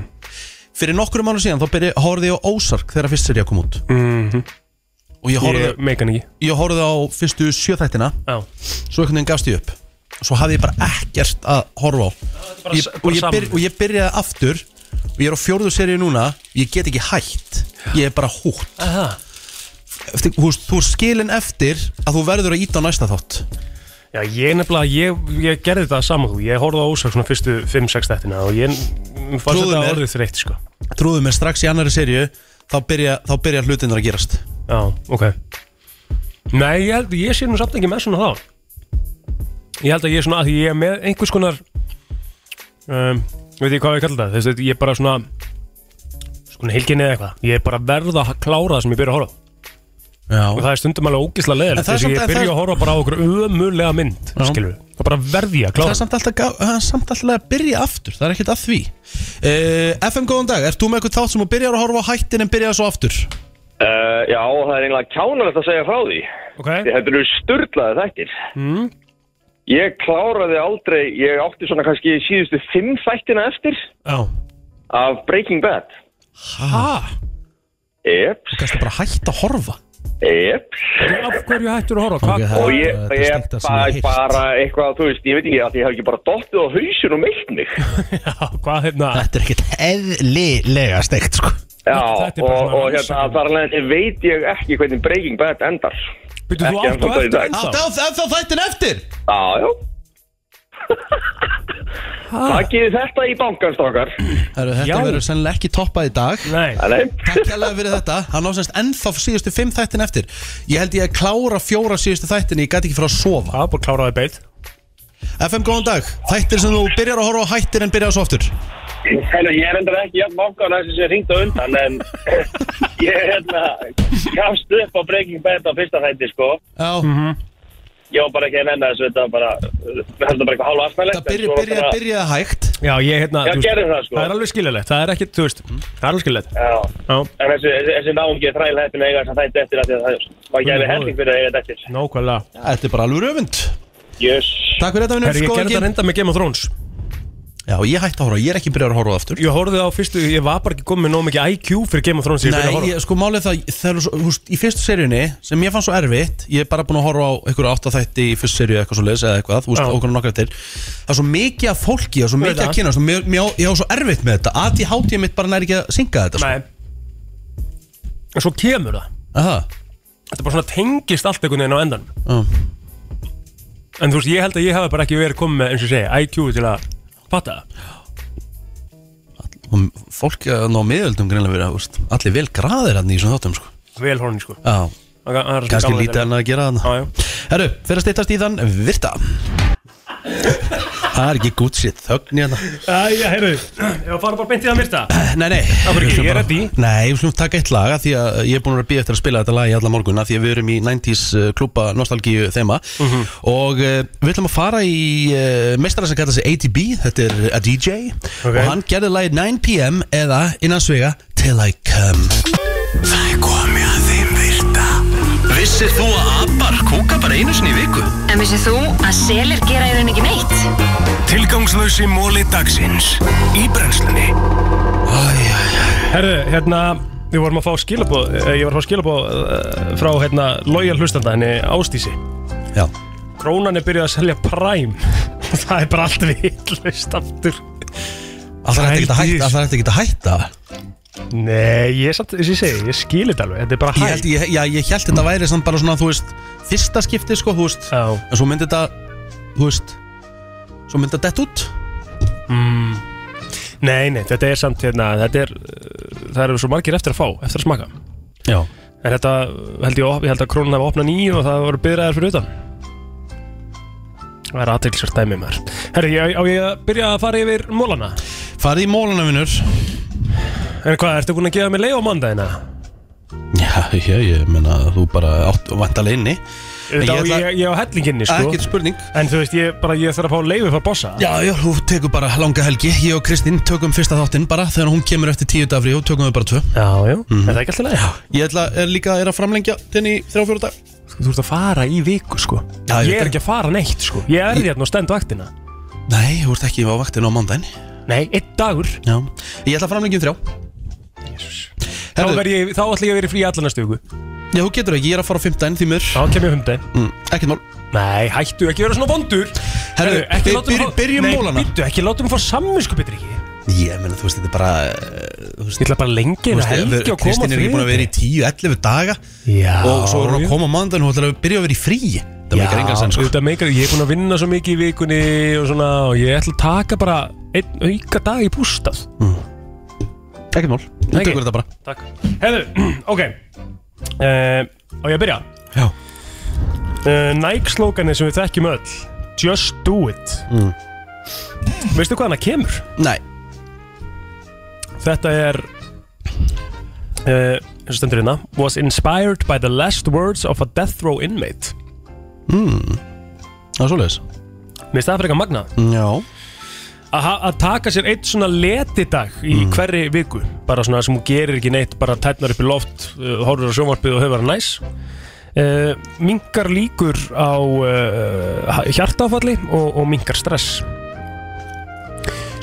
S1: fyrir nokkrum mánu síðan þá byrja, horfði ég á Ósark þegar fyrst serið kom út
S2: mm -hmm.
S1: og ég
S2: Ég meika hann
S1: horfði,
S2: ekki.
S1: ég horfði á fyrstu sjöþættina
S2: Já.
S1: svo einhvern veginn gafst ég upp svo hafði ég bara ekkert að horfa á
S2: bara
S1: ég,
S2: s- bara
S1: og, ég
S2: saman.
S1: byrj, og ég byrjaði aftur og ég er á fjórðu serið núna ég get ekki hætt, ég er bara hútt
S2: Aha.
S1: eftir, þú, veist, þú er skilin eftir að þú verður að íta á næsta þátt
S2: Já, ég nefnilega, ég, ég gerði þetta saman þú Ég horfði á ósak svona fyrstu 5-6 þættina og ég mér fannst
S1: Trúðu
S2: þetta
S1: mér.
S2: orðið þreytt sko
S1: trúðu mér strax í annari serju þá byrja, þá byrja hlutinir að gerast
S2: Já, ok Nei, ég held, ég sé nú samt ekki með svona þá Ég held að ég er svona, að því ég er með einhvers konar um, Veit ég hvað ég kalla það, þess að ég er bara svona Svona hilginni eða eitthvað Ég er bara að verða að klára það sem ég byrja að horfa á.
S1: Já.
S2: Og það er stundum alveg ógislega
S1: En það er
S2: leðilegt Þess að
S1: samt-
S2: ég
S1: en
S2: byrja
S1: það-
S2: að horfa bara á okkur ömulega mynd
S1: Já.
S2: Skilur Það bara verði ég að
S1: það
S2: klára
S1: er samt alltaf, gaf- það er samt alltaf að byrja aftur það er ekkert að því uh, FM góðan dag, ert þú með eitthvað þátt sem þú byrjar að horfa á hættin en byrjar svo aftur
S11: Uh, já, það er einlega kjánalegt að segja frá því.
S2: Okay.
S11: Þetta eru sturdlaði þættir.
S2: Mm.
S11: Ég kláraði aldrei, ég átti svona kannski síðustu fimm þættina eftir
S2: Já.
S11: af Breaking Bad.
S1: Hæ?
S11: Jep.
S1: Þú kannski bara hætt að horfa
S11: Jep.
S2: Af hverju hættur að horfa? Hvað-
S11: Og ég,
S1: þetta er
S11: ég
S1: steinda sem
S11: bara,
S1: ég heyrt.
S11: bara eitthvað, þú veist, ég veit ekki að ég hef ekki bara dottið á hausin og meitt mig.
S2: Hvað hérna?
S1: Þetta er ekkert eðlilega steikt sko
S11: Já,
S1: Þetta er
S11: og,
S1: bara svona
S11: og hérna, þar alveg veit ég ekki hvernig Breaking Bad endar.
S2: Býttu,
S11: þú átt og eftir ennþá?
S1: Áttu á- ennþá þættin eftir
S11: Já, já. Takkið þetta í bankan, strákar.
S1: Heru, Þetta
S11: Já.
S1: verður sennilega ekki toppað í dag
S2: Nei
S11: Nei, nei.
S1: Takk hérlega fyrir þetta Hann ásynst ennþá síðustu fimm þættin eftir Ég held ég að klára fjóra síðustu þættin Ég gæti ekki fyrir að sofa
S2: Það er búin að klára það beitt
S1: FM góðan dag Þættir sem þú byrjar að horfa á hættir en byrjar svo aftur
S11: Hérna, ég er endur ekki jafn bankan að þessi sem ringt á undan, en ég hérna, gafst upp á Breaking Bad á fyrsta þætti, sko.
S1: Já
S9: Mhm.
S11: Ég var bara ekki að nenna þessu, þetta var bara, þetta var bara eitthvað hálfa afsnæðilegt. Það byrja, byrja,
S1: byrja hægt.
S2: Já, ég hérna
S11: Já,
S2: þú veist,
S11: gerðu það, sko.
S2: er alveg skiljalegt, það er ekki, þú veist Það er alveg skiljalegt
S11: Já,
S2: Já,
S11: en þessi, þessi, þessi náungi er þræl heppin að eiga þess að þætti eftir að því að það var gæfi
S2: Guð minn
S11: helling fyrir að eiga þetta eftir.
S2: nákvæmlega
S1: Þetta er bara alveg röfund
S11: Jés.
S1: Takk fyrir þetta vinnur
S2: Herri, ég gerði þetta reynda með Game of Thrones
S1: Já, ég hætti að horfa, ég er ekki byrjar að horfa á það aftur
S2: Ég horfði á fyrstu, ég var bara ekki komið með nóg mikið IQ fyrir Game of Thrones þegar ég
S1: Nei,
S2: byrjaði
S1: ég, sko málið það, það er, svo- þú veist, í fyrstu seríunni sem ég fann svo erfitt, ég er bara búin að horfa á einhverju áttaþætti í fyrstu seríu eitthvað svo leis eða eitthvað, þú veist, okkur nokkra til það er svo mikið af fólki, það er svo
S2: Veit
S1: mikið
S2: það.
S1: að kynna svo, mér, mér, á- ég á svo erfitt með þetta að ég hátíð mitt bara næri ekki að synga þetta sko.
S2: horfa Nei En svo kemur það
S1: Aha,
S2: Þetta bara svona tengist allt einhvern veginn á endan
S1: Já.
S2: En þú veist, ég held að ég hafi bara ekki verið komið með, eins og ég segi, IQ til að fatta það
S1: og fólki að ná miðöldum greinlega verið, þú veist, allir vel graðir hann í svona þáttum, sko.
S2: Vel horni, sko
S1: Já,
S2: Það er- það er svo
S1: kannski
S2: gaman
S1: lítið
S2: þetta.
S1: hann að gera
S2: Já, já.
S1: hann. Herru, fyrir að steytast í þann, virta. Það er ekki gútt sér þögn í hérna.
S2: Æ, já, heyrðu, ég var að fara bara beint í það myrta
S1: Nei, nei
S2: Það ekki, ég er
S1: Bara-
S2: reddi
S1: Nei, við slumum taka eitt lag af Því að ég er búin að vera að bíða eftir að spila þetta lag í alla morgunna Því að við erum í 90s uh, klúpa nostalgíu þema
S2: Mhm.
S1: Og uh, við ætlum að fara í uh, meistara sem kallar sig ATB Þetta er eh, a DJ Og hann gerði lagið 9pm eða innan svega Till I Come
S6: Það er komið að þeim virta Vissir þú að abar kúka bara einu sinni í viku?
S17: En vissið þú að selir gera í rauninni ekki neitt?
S6: Tilgangslösi móli dagsins Í brennslunni
S2: Herðu, hérna, við vorum að fá skilabóð Ég var að fá skilabóð uh, frá, hérna, lojal hlustanda henni Ástísi
S1: Já
S2: Krónan er byrjuð að selja Prime það er bara allt vitlaust aftur
S1: Alltaf er þetta ekki að hætta, alltaf er þetta ekki að hætta
S2: Nei, ég, samt, eins og ég segi, ég skil þetta alveg Þetta er bara
S1: Ég held,
S2: hætt
S1: ég, já, ég held þetta væri samt bara svona, þú veist, fyrsta skipti, sko, þú veist
S2: Já.
S1: En svo myndi þetta, þú veist, svo myndi þetta dett út
S2: mm. Nei, nei, þetta er samt hérna, þetta er, uh, það eru svo margir eftir að fá, eftir að smaka
S1: Já
S2: En þetta, held ég, op- ég held að krónan hafa opnað nýju og það voru byrjaðar fyrir utan Það er aðtilsvært dæmi maður Herri, ég, á ég að byrja að fara yfir mólana?
S1: Farið í mólana, vinnur
S2: En hvað, ertu búin að gefa mér leið á mandagina?
S1: Já, já, ég meina að þú bara átt vantalega inni En
S2: Ég, ég, ég, ég á hellinginni, sko
S1: Ekkert spurning
S2: En þú veist, ég, bara, ég þarf að fá leiði fyrir að bossa
S1: Já, já, þú tekur bara langa helgi Ég og Kristín tökum fyrsta þáttinn bara Þegar hún kemur eftir tíu dagfrí og tökum við bara tvö Mhm.
S2: Já, já, er það ekki alltaf leið?
S1: Ég ætla er líka er að framlengja þinn í þrjá fjóru dag
S2: Sko, þú ert að fara í viku, sko
S1: Já,
S2: Ég
S1: veit
S2: er ekki að fara neitt, sko Ég er hérna og stend vaktina
S1: Nei, þú ert ekki á vaktinu á mandaginn
S2: Nei, einn dagur
S1: Já, ég ætla að framlengja um þrjá
S2: Þá, verð ég, þá ætla ég að vera í frí allan næstu viku
S1: Já, þú getur ekki, ég er að fara á fimmtaginn því mér
S2: Þá kem ég á fimmtaginn
S1: mm, Ekkert mál
S2: Nei, hættu ekki að vera svona vondur
S1: Herru,
S2: ekki
S1: by-
S2: látum
S1: byrj-
S2: fá-
S1: byrjum mólana.
S2: Nei, býttu, ekki látum fá samvinsku betur ekki
S1: Ég meina, þú veist, þetta er bara eh, þú veist,
S2: Ég ætla bara lengi
S1: þú
S2: en
S1: veist,
S2: helgi
S1: ver-
S2: og koma
S1: Kristín er ekki búin að vera í tíu, 11 daga
S2: Já
S1: Og svo er hún að koma á mandaginn og ætlar að byrja að vera í frí Það meikar engan sens, sko
S2: Þetta meikar, ég er búin að vinna svo mikið í vikunni og svona og ég ætla að taka bara einn auka dag í bústað
S1: Ekkert mál, þú
S2: Ekki.
S1: tekur Mm. þetta bara
S2: Takk Hefðu, ok uh, Á ég að byrja?
S1: Já
S2: uh, Nike slókanið sem við þekkjum öll Just do it
S1: Mm.
S2: Veistu hvað hana kemur?
S1: Nei
S2: Þetta er uh, eins og stendur hérna Was inspired by the last words of a death row inmate
S1: mm. Það er svoleiðis
S2: Mér finnst það fyrir eitthvað magnað
S1: Já
S2: að ha- að taka sér eitt svona letidag í
S1: Hmm.
S2: hverri viku bara svona sem hún gerir ekki neitt bara tætnar upp í loft, uh, horfur á sjónvarpið og hefur það næs uh, mingar líkur á uh, hjartáfalli og, og mingar stress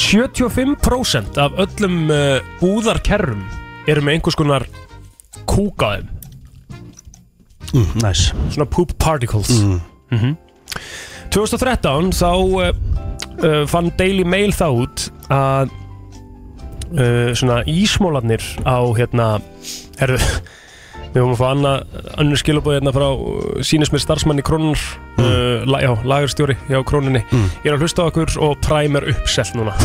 S2: 75% af öllum uh, búðarkerrum eru með einhvers konar kúkaðum
S1: mm, Næs
S2: svona poop particles
S1: Mm.
S2: Mhm. 2013 þá uh, uh, fann Daily Mail þá út að uh, svona ísmólarnir á hérna herðu við höfum að fá annað önnur skilabóð hérna frá sínismir starfsmanni krónur
S1: Mm.
S2: uh, la, já, lagerstjóri hjá krónunni ég er að hlusta á okkur og præmer uppselt núna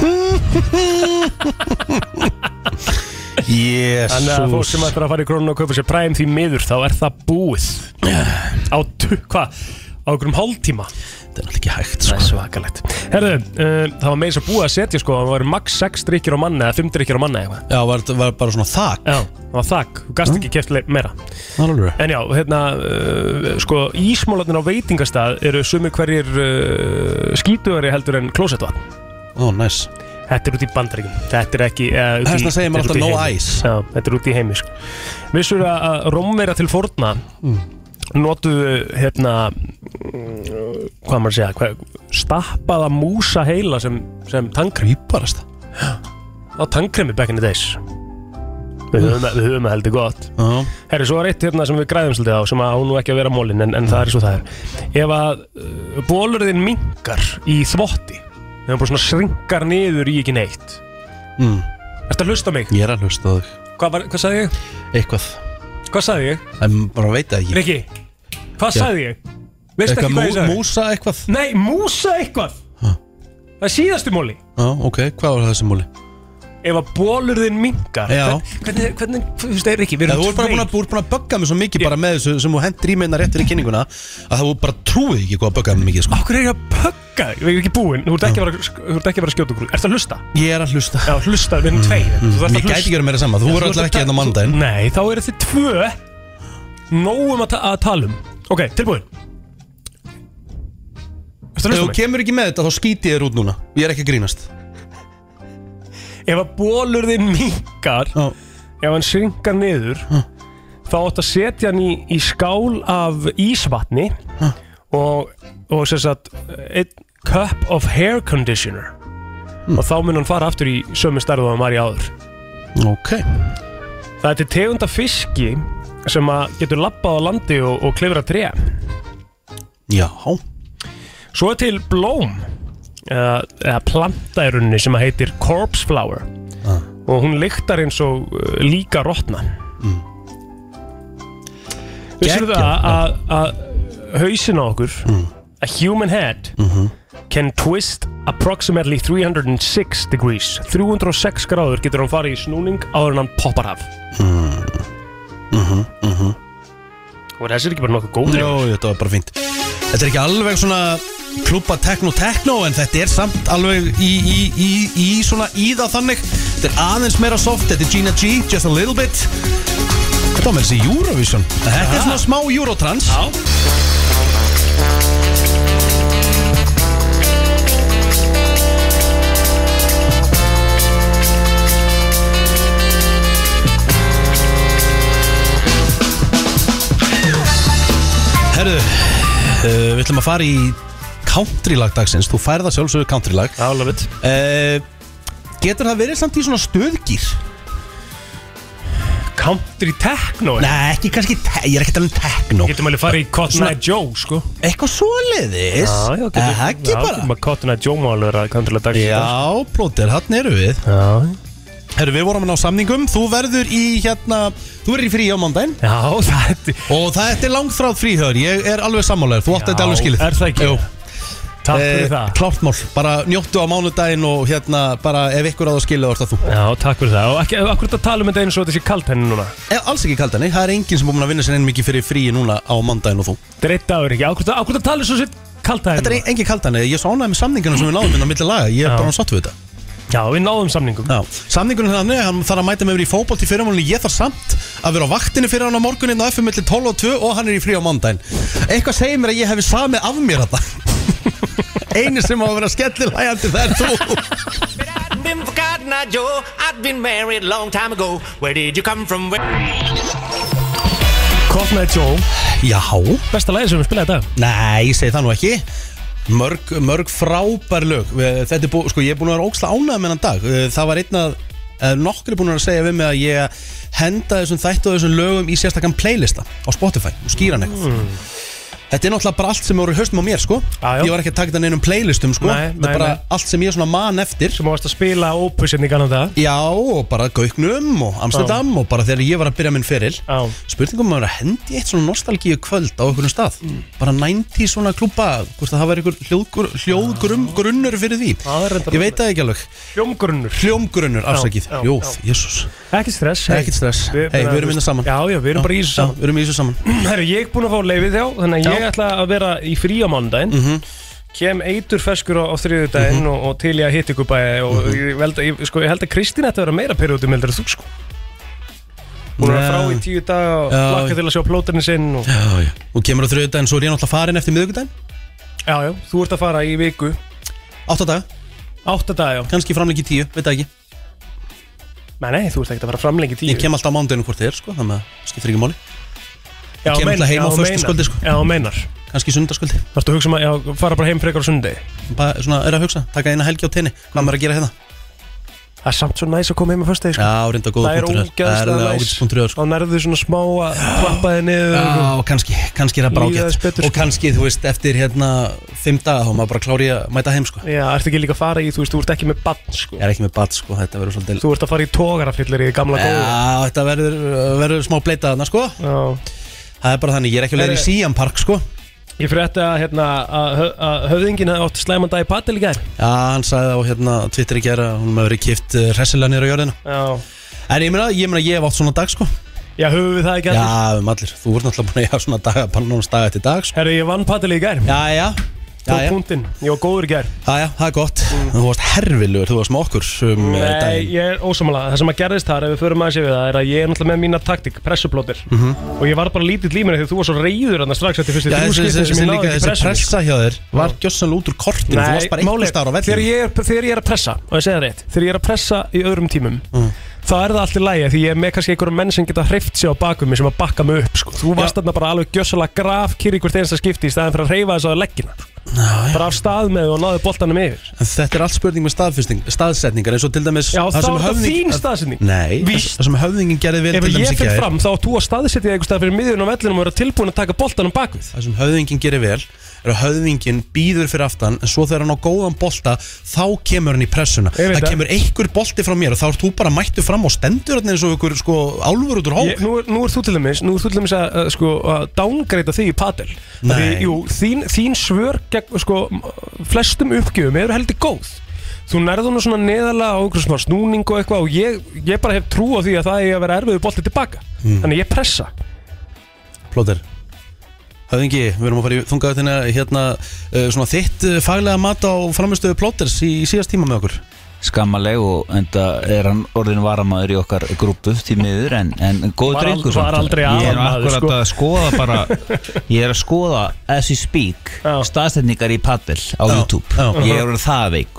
S2: Þannig að fólk
S1: Jésús
S2: sem ætlar að fara í krónun og kaupa sér præm því miður þá er það búið á, tu- hvað, á okkur um hálftíma
S1: Þetta er alltaf ekki hægt sko.
S2: Það er svakalegt Herðu, uh, það var með þess að búið að setja sko það var max 6 drikkir á manni eða 5 drikkir á manni eitthvað
S1: Já, var, var bara svona þak
S2: Já, það var þakk, þú gast ekki keft meira
S1: Alveg.
S2: En já, hérna, uh, sko ísmólarnir á veitingastað eru sumir hverjir uh, skítugari heldur en klósettvatn
S1: Ó, næs
S2: Þetta er út í bandaríkum Þetta er ekki uh,
S1: Þess vegna segir maður alltaf no ice.
S2: Já, þetta er út í heimis sko- Vissur að að Rómverja til forna
S1: Mm.
S2: notuðu hérna mm, hvað maður að segja hvað, stappaða músa heila sem, sem tangrem
S1: Íbarasta
S2: á tangremi back in the days Við höfum, við höfum að heldur gott
S1: Já.
S2: Herri, svo er eitt hérna sem við græðum svolítið á sem að á nú ekki að vera mólin en, en það er svo það er Ef að uh, bólurðin minkar í þvotti ef hann bara svona srinkar niður í ekki neitt
S1: mm.
S2: Ertu að hlusta á mig?
S1: Ég er að hlusta á þig
S2: Hvað, var, hvað sagði ég?
S1: Eitthvað
S2: Hvað sagði ég?
S1: Það bara veit það ekki
S2: Rikki, hvað
S1: Já.
S2: sagði ég? Veistu
S1: Eitthvað
S2: ekki hvað ég
S1: mú-
S2: sagði?
S1: Músa eitthvað?
S2: Nei, músa eitthvað Það er síðastu móli
S1: Já, ok, hvað var það sem múli?
S2: Ef að bólurðin minkar
S1: Já.
S2: Hvernig, hvernig, þú veist, er ekki Við
S1: Þú
S2: erum
S1: ert bara búin að, búin að bögga mig svo mikið bara með þessu sem þú hendur í mig hérna rétt fyrir kynninguna að þú bara trúið ekki hvað að bögga mig mikið sko.
S2: Akkur er ég að pögga þig? Við erum ekki búin Þú ert ekki að vera- þú ert ekki að vera að skjóta okkur Ertu að hlusta?
S1: Ég er að hlusta
S2: Já, hlusta, við erum tveir
S1: Mm,
S2: Þú þarft að
S1: Ég gæti
S2: hlusta.
S1: ekki verið meira sama, þú
S2: Já,
S1: voru alltaf
S2: ert
S1: ekki
S2: að-
S1: hérna á mandaginn
S2: Nei, þá eru þið tvö Nóum að, ta að tala um Ok, tilbúin Ef
S1: þú kemur ekki með þetta þá skýti ég þér út núna Ég er ekki að grínast
S2: Ef að bólur þið minkar Ef hann synkar niður Þá átt að setja hann í, í skál af ísvatni Og, og sem sagt Einn cup of hair conditioner Og þá mun hann fara aftur í sömu starðu að maður í áður
S1: Ok
S2: Það er til tegunda fiski sem að getur lappað á landi og, og klifra tré.
S1: Já
S2: Svo er til blóm eða, eða planta í rauninni sem að heitir corpse flower
S1: Ah.
S2: og hún lyktar eins og uh, líka rotna mm. Vissirðu það að, að hausin á okkur
S1: Mm.
S2: a human head
S1: Mhm.
S2: can twist approximately 306 degrees 306 gráður getur hann farið í snúning áður en hann poppar af og þessi er ekki bara nokkuð góður
S1: Jó, þetta var bara fínt Þetta er ekki alveg svona klúpa tekno-tekno en þetta er samt alveg í, í, í, í svona í það þannig Þetta er aðeins meira soft, þetta er Gina G, just a little bit
S2: sko.
S1: Þetta var með þessi Eurovision Þetta er svona smá Eurotrans Já Herru, uh, við ætlum að fara í countrylag dagsins, þú færð að sjálfsögðu countrylag Eh,
S2: Já, love it
S1: Getur það verið samt í svona stöðgýr?
S2: Country techno?
S1: Nei, ekki kannski, te- ég er ekki að tala um techno
S2: Getum alveg farið í Cotton
S1: Svona-
S2: Eye Joe sko
S1: Eitthvað svoleiðis
S2: Já, já, getur
S1: Eh, Ekki
S2: já,
S1: bara
S2: getum að Cotton Eye Joe málur að kandilega dag
S1: Já, plóter, hann eru við
S2: Já
S1: Herru, við vorum að ná samningum Þú verður í hérna Þú verður í frí á mándaginn
S2: Já, það er
S1: Og það er langþráð fríhör Ég er alveg sammálaður Þú átt
S2: Já,
S1: þetta alveg skilið
S2: er það ekki?
S1: Jú
S2: Takk fyrir það.
S1: Eh, Klárt mál Bara njóttu á mánudaginn Og hérna Bara ef ykkur á það skilið Þá ert það þú
S2: Já, takk fyrir það Og ekki, akkur þetta tala um þetta eins og þetta sé kalt henni núna
S1: e, Alls ekki kaldan Það er enginn sem búin að vinna sér einn mikið fyrir fríi núna Á mándaginn og þú
S2: Dreitt dagur ekki Akkur þetta tala um svo sitt kalt henni
S1: Þetta er engin kaldan Ég er svo ánægð með samningunum sem við náðum Minna milli laga Ég er bara sátt við þetta
S2: Já, við náðum samningum
S1: Já, samningunum þannig, hann þarf að mæta með mér í fótbolt í fyrramálunni, ég þarf samt að vera á vaktinu fyrir hann á morgunin á FM millir 12 og 2 og hann er í frí á mandaginn Eitthvað segir mér að ég hefði samið af mér þetta Einu sem á að vera skellilægjandi það er þú
S18: I've been forgotten, I Joe. I've been married a long time ago. Where did you come from? Where...
S2: Cotton Eye Joe
S1: Já
S2: Besta lagi sem við spilaði þetta
S1: Nei, ég segi það nú ekki Mörg, mörg frábær lög Eh, Þetta er búið, sko, ég er búin að vera óksla ánægð með hann dag Eh, Það var einn að eh, nokkri búin að segja við mig að ég henda þessum þættu og þessum lögum í sérstakann playlista á Spotify og skýra hann eitthvað
S2: Hmm.
S1: Þetta er náttúrulega bara allt sem voru í haustum á mér sko
S2: já.
S1: Ég var ekki að taka þetta neinum playlistum sko
S2: Nei,
S1: Þetta
S2: nei,
S1: er bara
S2: nei.
S1: allt sem ég svona man eftir
S2: Sem varst að spila opus hérna í ganum það
S1: Já og bara Gauknum og Amsterdam og bara þegar ég var að byrja minn feril Spurningum maður að hendi eitt svona nostalgíu kvöld á einhvern stað
S2: Mm.
S1: Bara 90 svona klúpa Hvort að það var einhver hljóðgr, hljóðgrunnur fyrir því
S2: reyndar
S1: Ég veit það ekki alveg
S2: Hljómgrunnur
S1: Hljómgrunnur,
S2: Já,
S1: afsakið
S2: já,
S1: Jóð,
S2: já.
S1: jésús
S2: Ekkert stress
S1: Ekkert stress. Hey, við erum hérna saman.
S2: Já, já, við erum bara í þessu saman
S1: Við erum í þessu saman
S2: Herru, ég er búin að fá leifið þjá Þannig að
S1: Já. Mhm.
S2: ég ætla að vera í frí á mándaginn Kem eitur feskur á, á þriðjudaginn og, og til ég að hitta ykkur bæði Og
S1: Mhm.
S2: ég, velda, ég, sko, ég held að Kristín ætti að vera meira perjóti meldur þú sko Hún er að frá í tíu dag og
S1: Já.
S2: lakka til að sjá plóterni sinn og,
S1: Já, já Og kemur á þriðudaginn, svo er ég náttúrulega farin eftir miðvikudaginn
S2: Já, já, þú ert að fara í viku
S1: Átta daga
S2: Átta daga, já
S1: Kanski framlengi í tíu, veit það ekki
S2: Nei, nei, þú ert ekkert að fara framlengi í tíu
S1: Ég kem alltaf á mándaginn hvort þið er, sko Þannig að skiptir ekki máli Ég
S2: Já,
S1: kem
S2: meinar-
S1: alltaf heim á
S2: já,
S1: föstudagskvöldi,
S2: meinar.
S1: sko.
S2: Já, meinar
S1: Kanski sundarskvöldi
S2: Varstu að hugsa um að já, fara bara heim frekar á sundegi
S1: Bara svona, er að hugsa, taka eina helgi á tenni Hvað maður að gera hérna?
S2: Það er samt svo næs að koma heim á föstudegi sko.
S1: Já, reynda góða
S2: Það er
S1: punktur þar. Það er
S2: ógeðslega næs
S1: ágætis punktur þar,
S2: Þá nærðu svona smá að klappa þig niður
S1: Já,
S2: og-
S1: og kannski, kannski er það bara
S2: Líða sko. þess
S1: ágætt Og kannski, þú veist, eftir hérna Fimm daga, þá er maður bara klári að mæta heim, sko
S2: Já, ertu ekki líka að fara í, þú veist, þú ert ekki með bann sko.
S1: Ég er ekki með bat, sko, þetta verður svolítið
S2: Þú ert að fara í tógarafyllir í gamla
S1: Já,
S2: góða
S1: þetta verður, uh, verður smá bleita þarna, sko
S2: Já
S1: Það er bara þannig, ég er ekki að leiða í
S2: Herri-
S1: Sian Park, sko
S2: Ég frétti að, hérna, að, hö- að höfðingin hafði átt slæman dag í patil í gær
S1: Já, hann sagði á, hérna, Twitter í gera Hún maður verið kipt hressilega niður á jörðina
S2: Já
S1: En ég meina, ég meina, ég hef átt svona dag, sko
S2: Já, höfum við það ekki
S1: Já, við erum allir, þú ert náttúrulega búin að ég hafa svona dag Bara nónast dag eftir dag, sko
S2: Herru, ég vann patil í gær
S1: Já, já
S2: Tók
S1: já.
S2: punktinn, ég var góður í gær
S1: Já, já, það er gott Þú varst herfilegur, þú varst með okkur um eh,
S2: Mm. Nei,
S1: daginn.
S2: ég er ósamalega, það sem að gerðist þar ef við förum aðeins yfir það er að ég er náttúrulega með mína taktik, pressuplótir
S1: Mhm.
S2: og ég var bara lítill í mér þegar þú var svo reyður þarna strax eftir fyrstu
S1: Já,
S2: þrjú
S1: þessi,
S2: skiptin
S1: þessi,
S2: sem ég
S1: þessi,
S2: náði
S1: líka,
S2: ekki
S1: þessi
S2: pressunni, sko.
S1: pressa hjá þér var gjössan út úr kortinu þú varst bara einhvers staðar á
S2: þegar
S1: vellinu
S2: ég, er, þegar ég er að pressa og ég segja það rétt, þegar ég er að pressa í öðrum tímum
S1: Mm.
S2: þá er það allt í lægi því ég er með kannski einhverjum menn sem geta hreift sér á bakum mig sem að bakka mig upp sko. þú varst þarna bara alveg gjössalega graf kýri hvert einasta skipti í staðan fyrir að hreyfa þess að leggina bara af stað með og náði boltanum yfir
S1: En þetta er allt spurning með staðfyrsting, staðsetningar eins og til dæmis
S2: Já,
S1: það
S2: þá
S1: sem
S2: er þetta
S1: höfðing-
S2: þín staðsetning.
S1: Nei,
S2: Víst.
S1: það sem höfðingin gerði vel
S2: Ef
S1: til dæmis
S2: ég
S1: í
S2: fyrir
S1: gær.
S2: fram þá átt þú að staðsetja eitthvað stað fyrir miðjun á vellinum og vera tilbúin að taka boltanum bakvið
S1: það sem höfðingin gerir vel er að höfðingin býður fyrir aftan en svo þegar hann á góðan bolta þá kemur hann í pressuna það kemur einhver bolti frá mér og þá ert þú bara mættu fram og stendur hann eins og einhver sko álfur út úr
S2: Ég,
S1: hók
S2: nú, er- nú er þú til dæmis, nú er þú til dæmis að, að, sko, að downgreita þig í padel Af því,
S1: Nei.
S2: jú, þín, þín svör gegn sko, m- flestum uppgjöfum eru heldur góð þú nærðu nú svona neðalega á einhverjum smá snúning og eitthvað og ég, ég bara hef trú á því að það er að vera erfiður bolti tilbaka
S1: Mm.
S2: þannig ég pressa
S1: Plóter Höfðingi, við erum að fara í þungaðutina hérna, uh, svona þitt uh, faglega mat á framistöðu Plóters í síðast tíma með okkur
S19: skammaleg og enda er hann orðin varamaður í okkar grúpu því miður en, en góð
S2: Var
S19: drengur
S2: ald- var
S19: samt.
S2: aldrei
S19: ég er
S2: aðalmaður,
S19: akkurat
S2: sko.
S19: að skoða bara ég er að skoða as we speak staðstendingar í paddel á YouTube ég er orðin það veik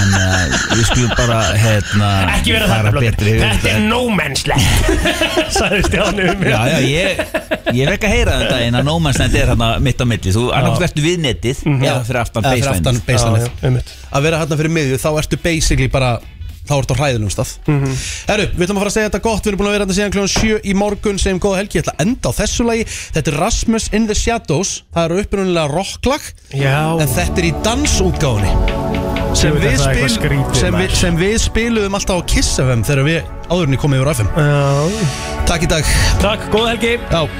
S19: en uh, við skulum bara hérna,
S2: Ekki vera
S19: fara
S2: þarna blóttir,
S19: betri yfir
S2: þetta er no man's land sagði Stjáni um mig.
S19: Já, já, ég, ég fekk að heyra þetta en að nómannsnætt er hérna mitt á milli þú annars verður við netið
S1: Mhm.
S19: eða fyrir aftan
S1: Eða fyrir aftan baseline.
S2: einmitt.
S1: að vera hérna fyrir miðju þá ertu basically bara þá ertu á hræðunum stað
S2: Mhm.
S1: Herru, við ætlum að fara að segja þetta gott við erum búin að vera hérna síðan kljóðan 7 í morgun segjum góða helgi, ég ætla að enda á þessu lagi þetta er Rasmus in the Shadows það eru upprunulega rocklag
S2: Já.
S1: en þetta er í dansútgáðunni sem,
S2: Jú,
S1: við
S2: þetta er eitthvað
S1: spil,
S2: skrítið,
S1: sem, við,
S2: maður.
S1: sem við spiluðum alltaf á Kiss FM þegar við áðurinni komum yfir FM
S2: Já.
S1: Takk í dag
S2: Takk, góða helgi
S1: Já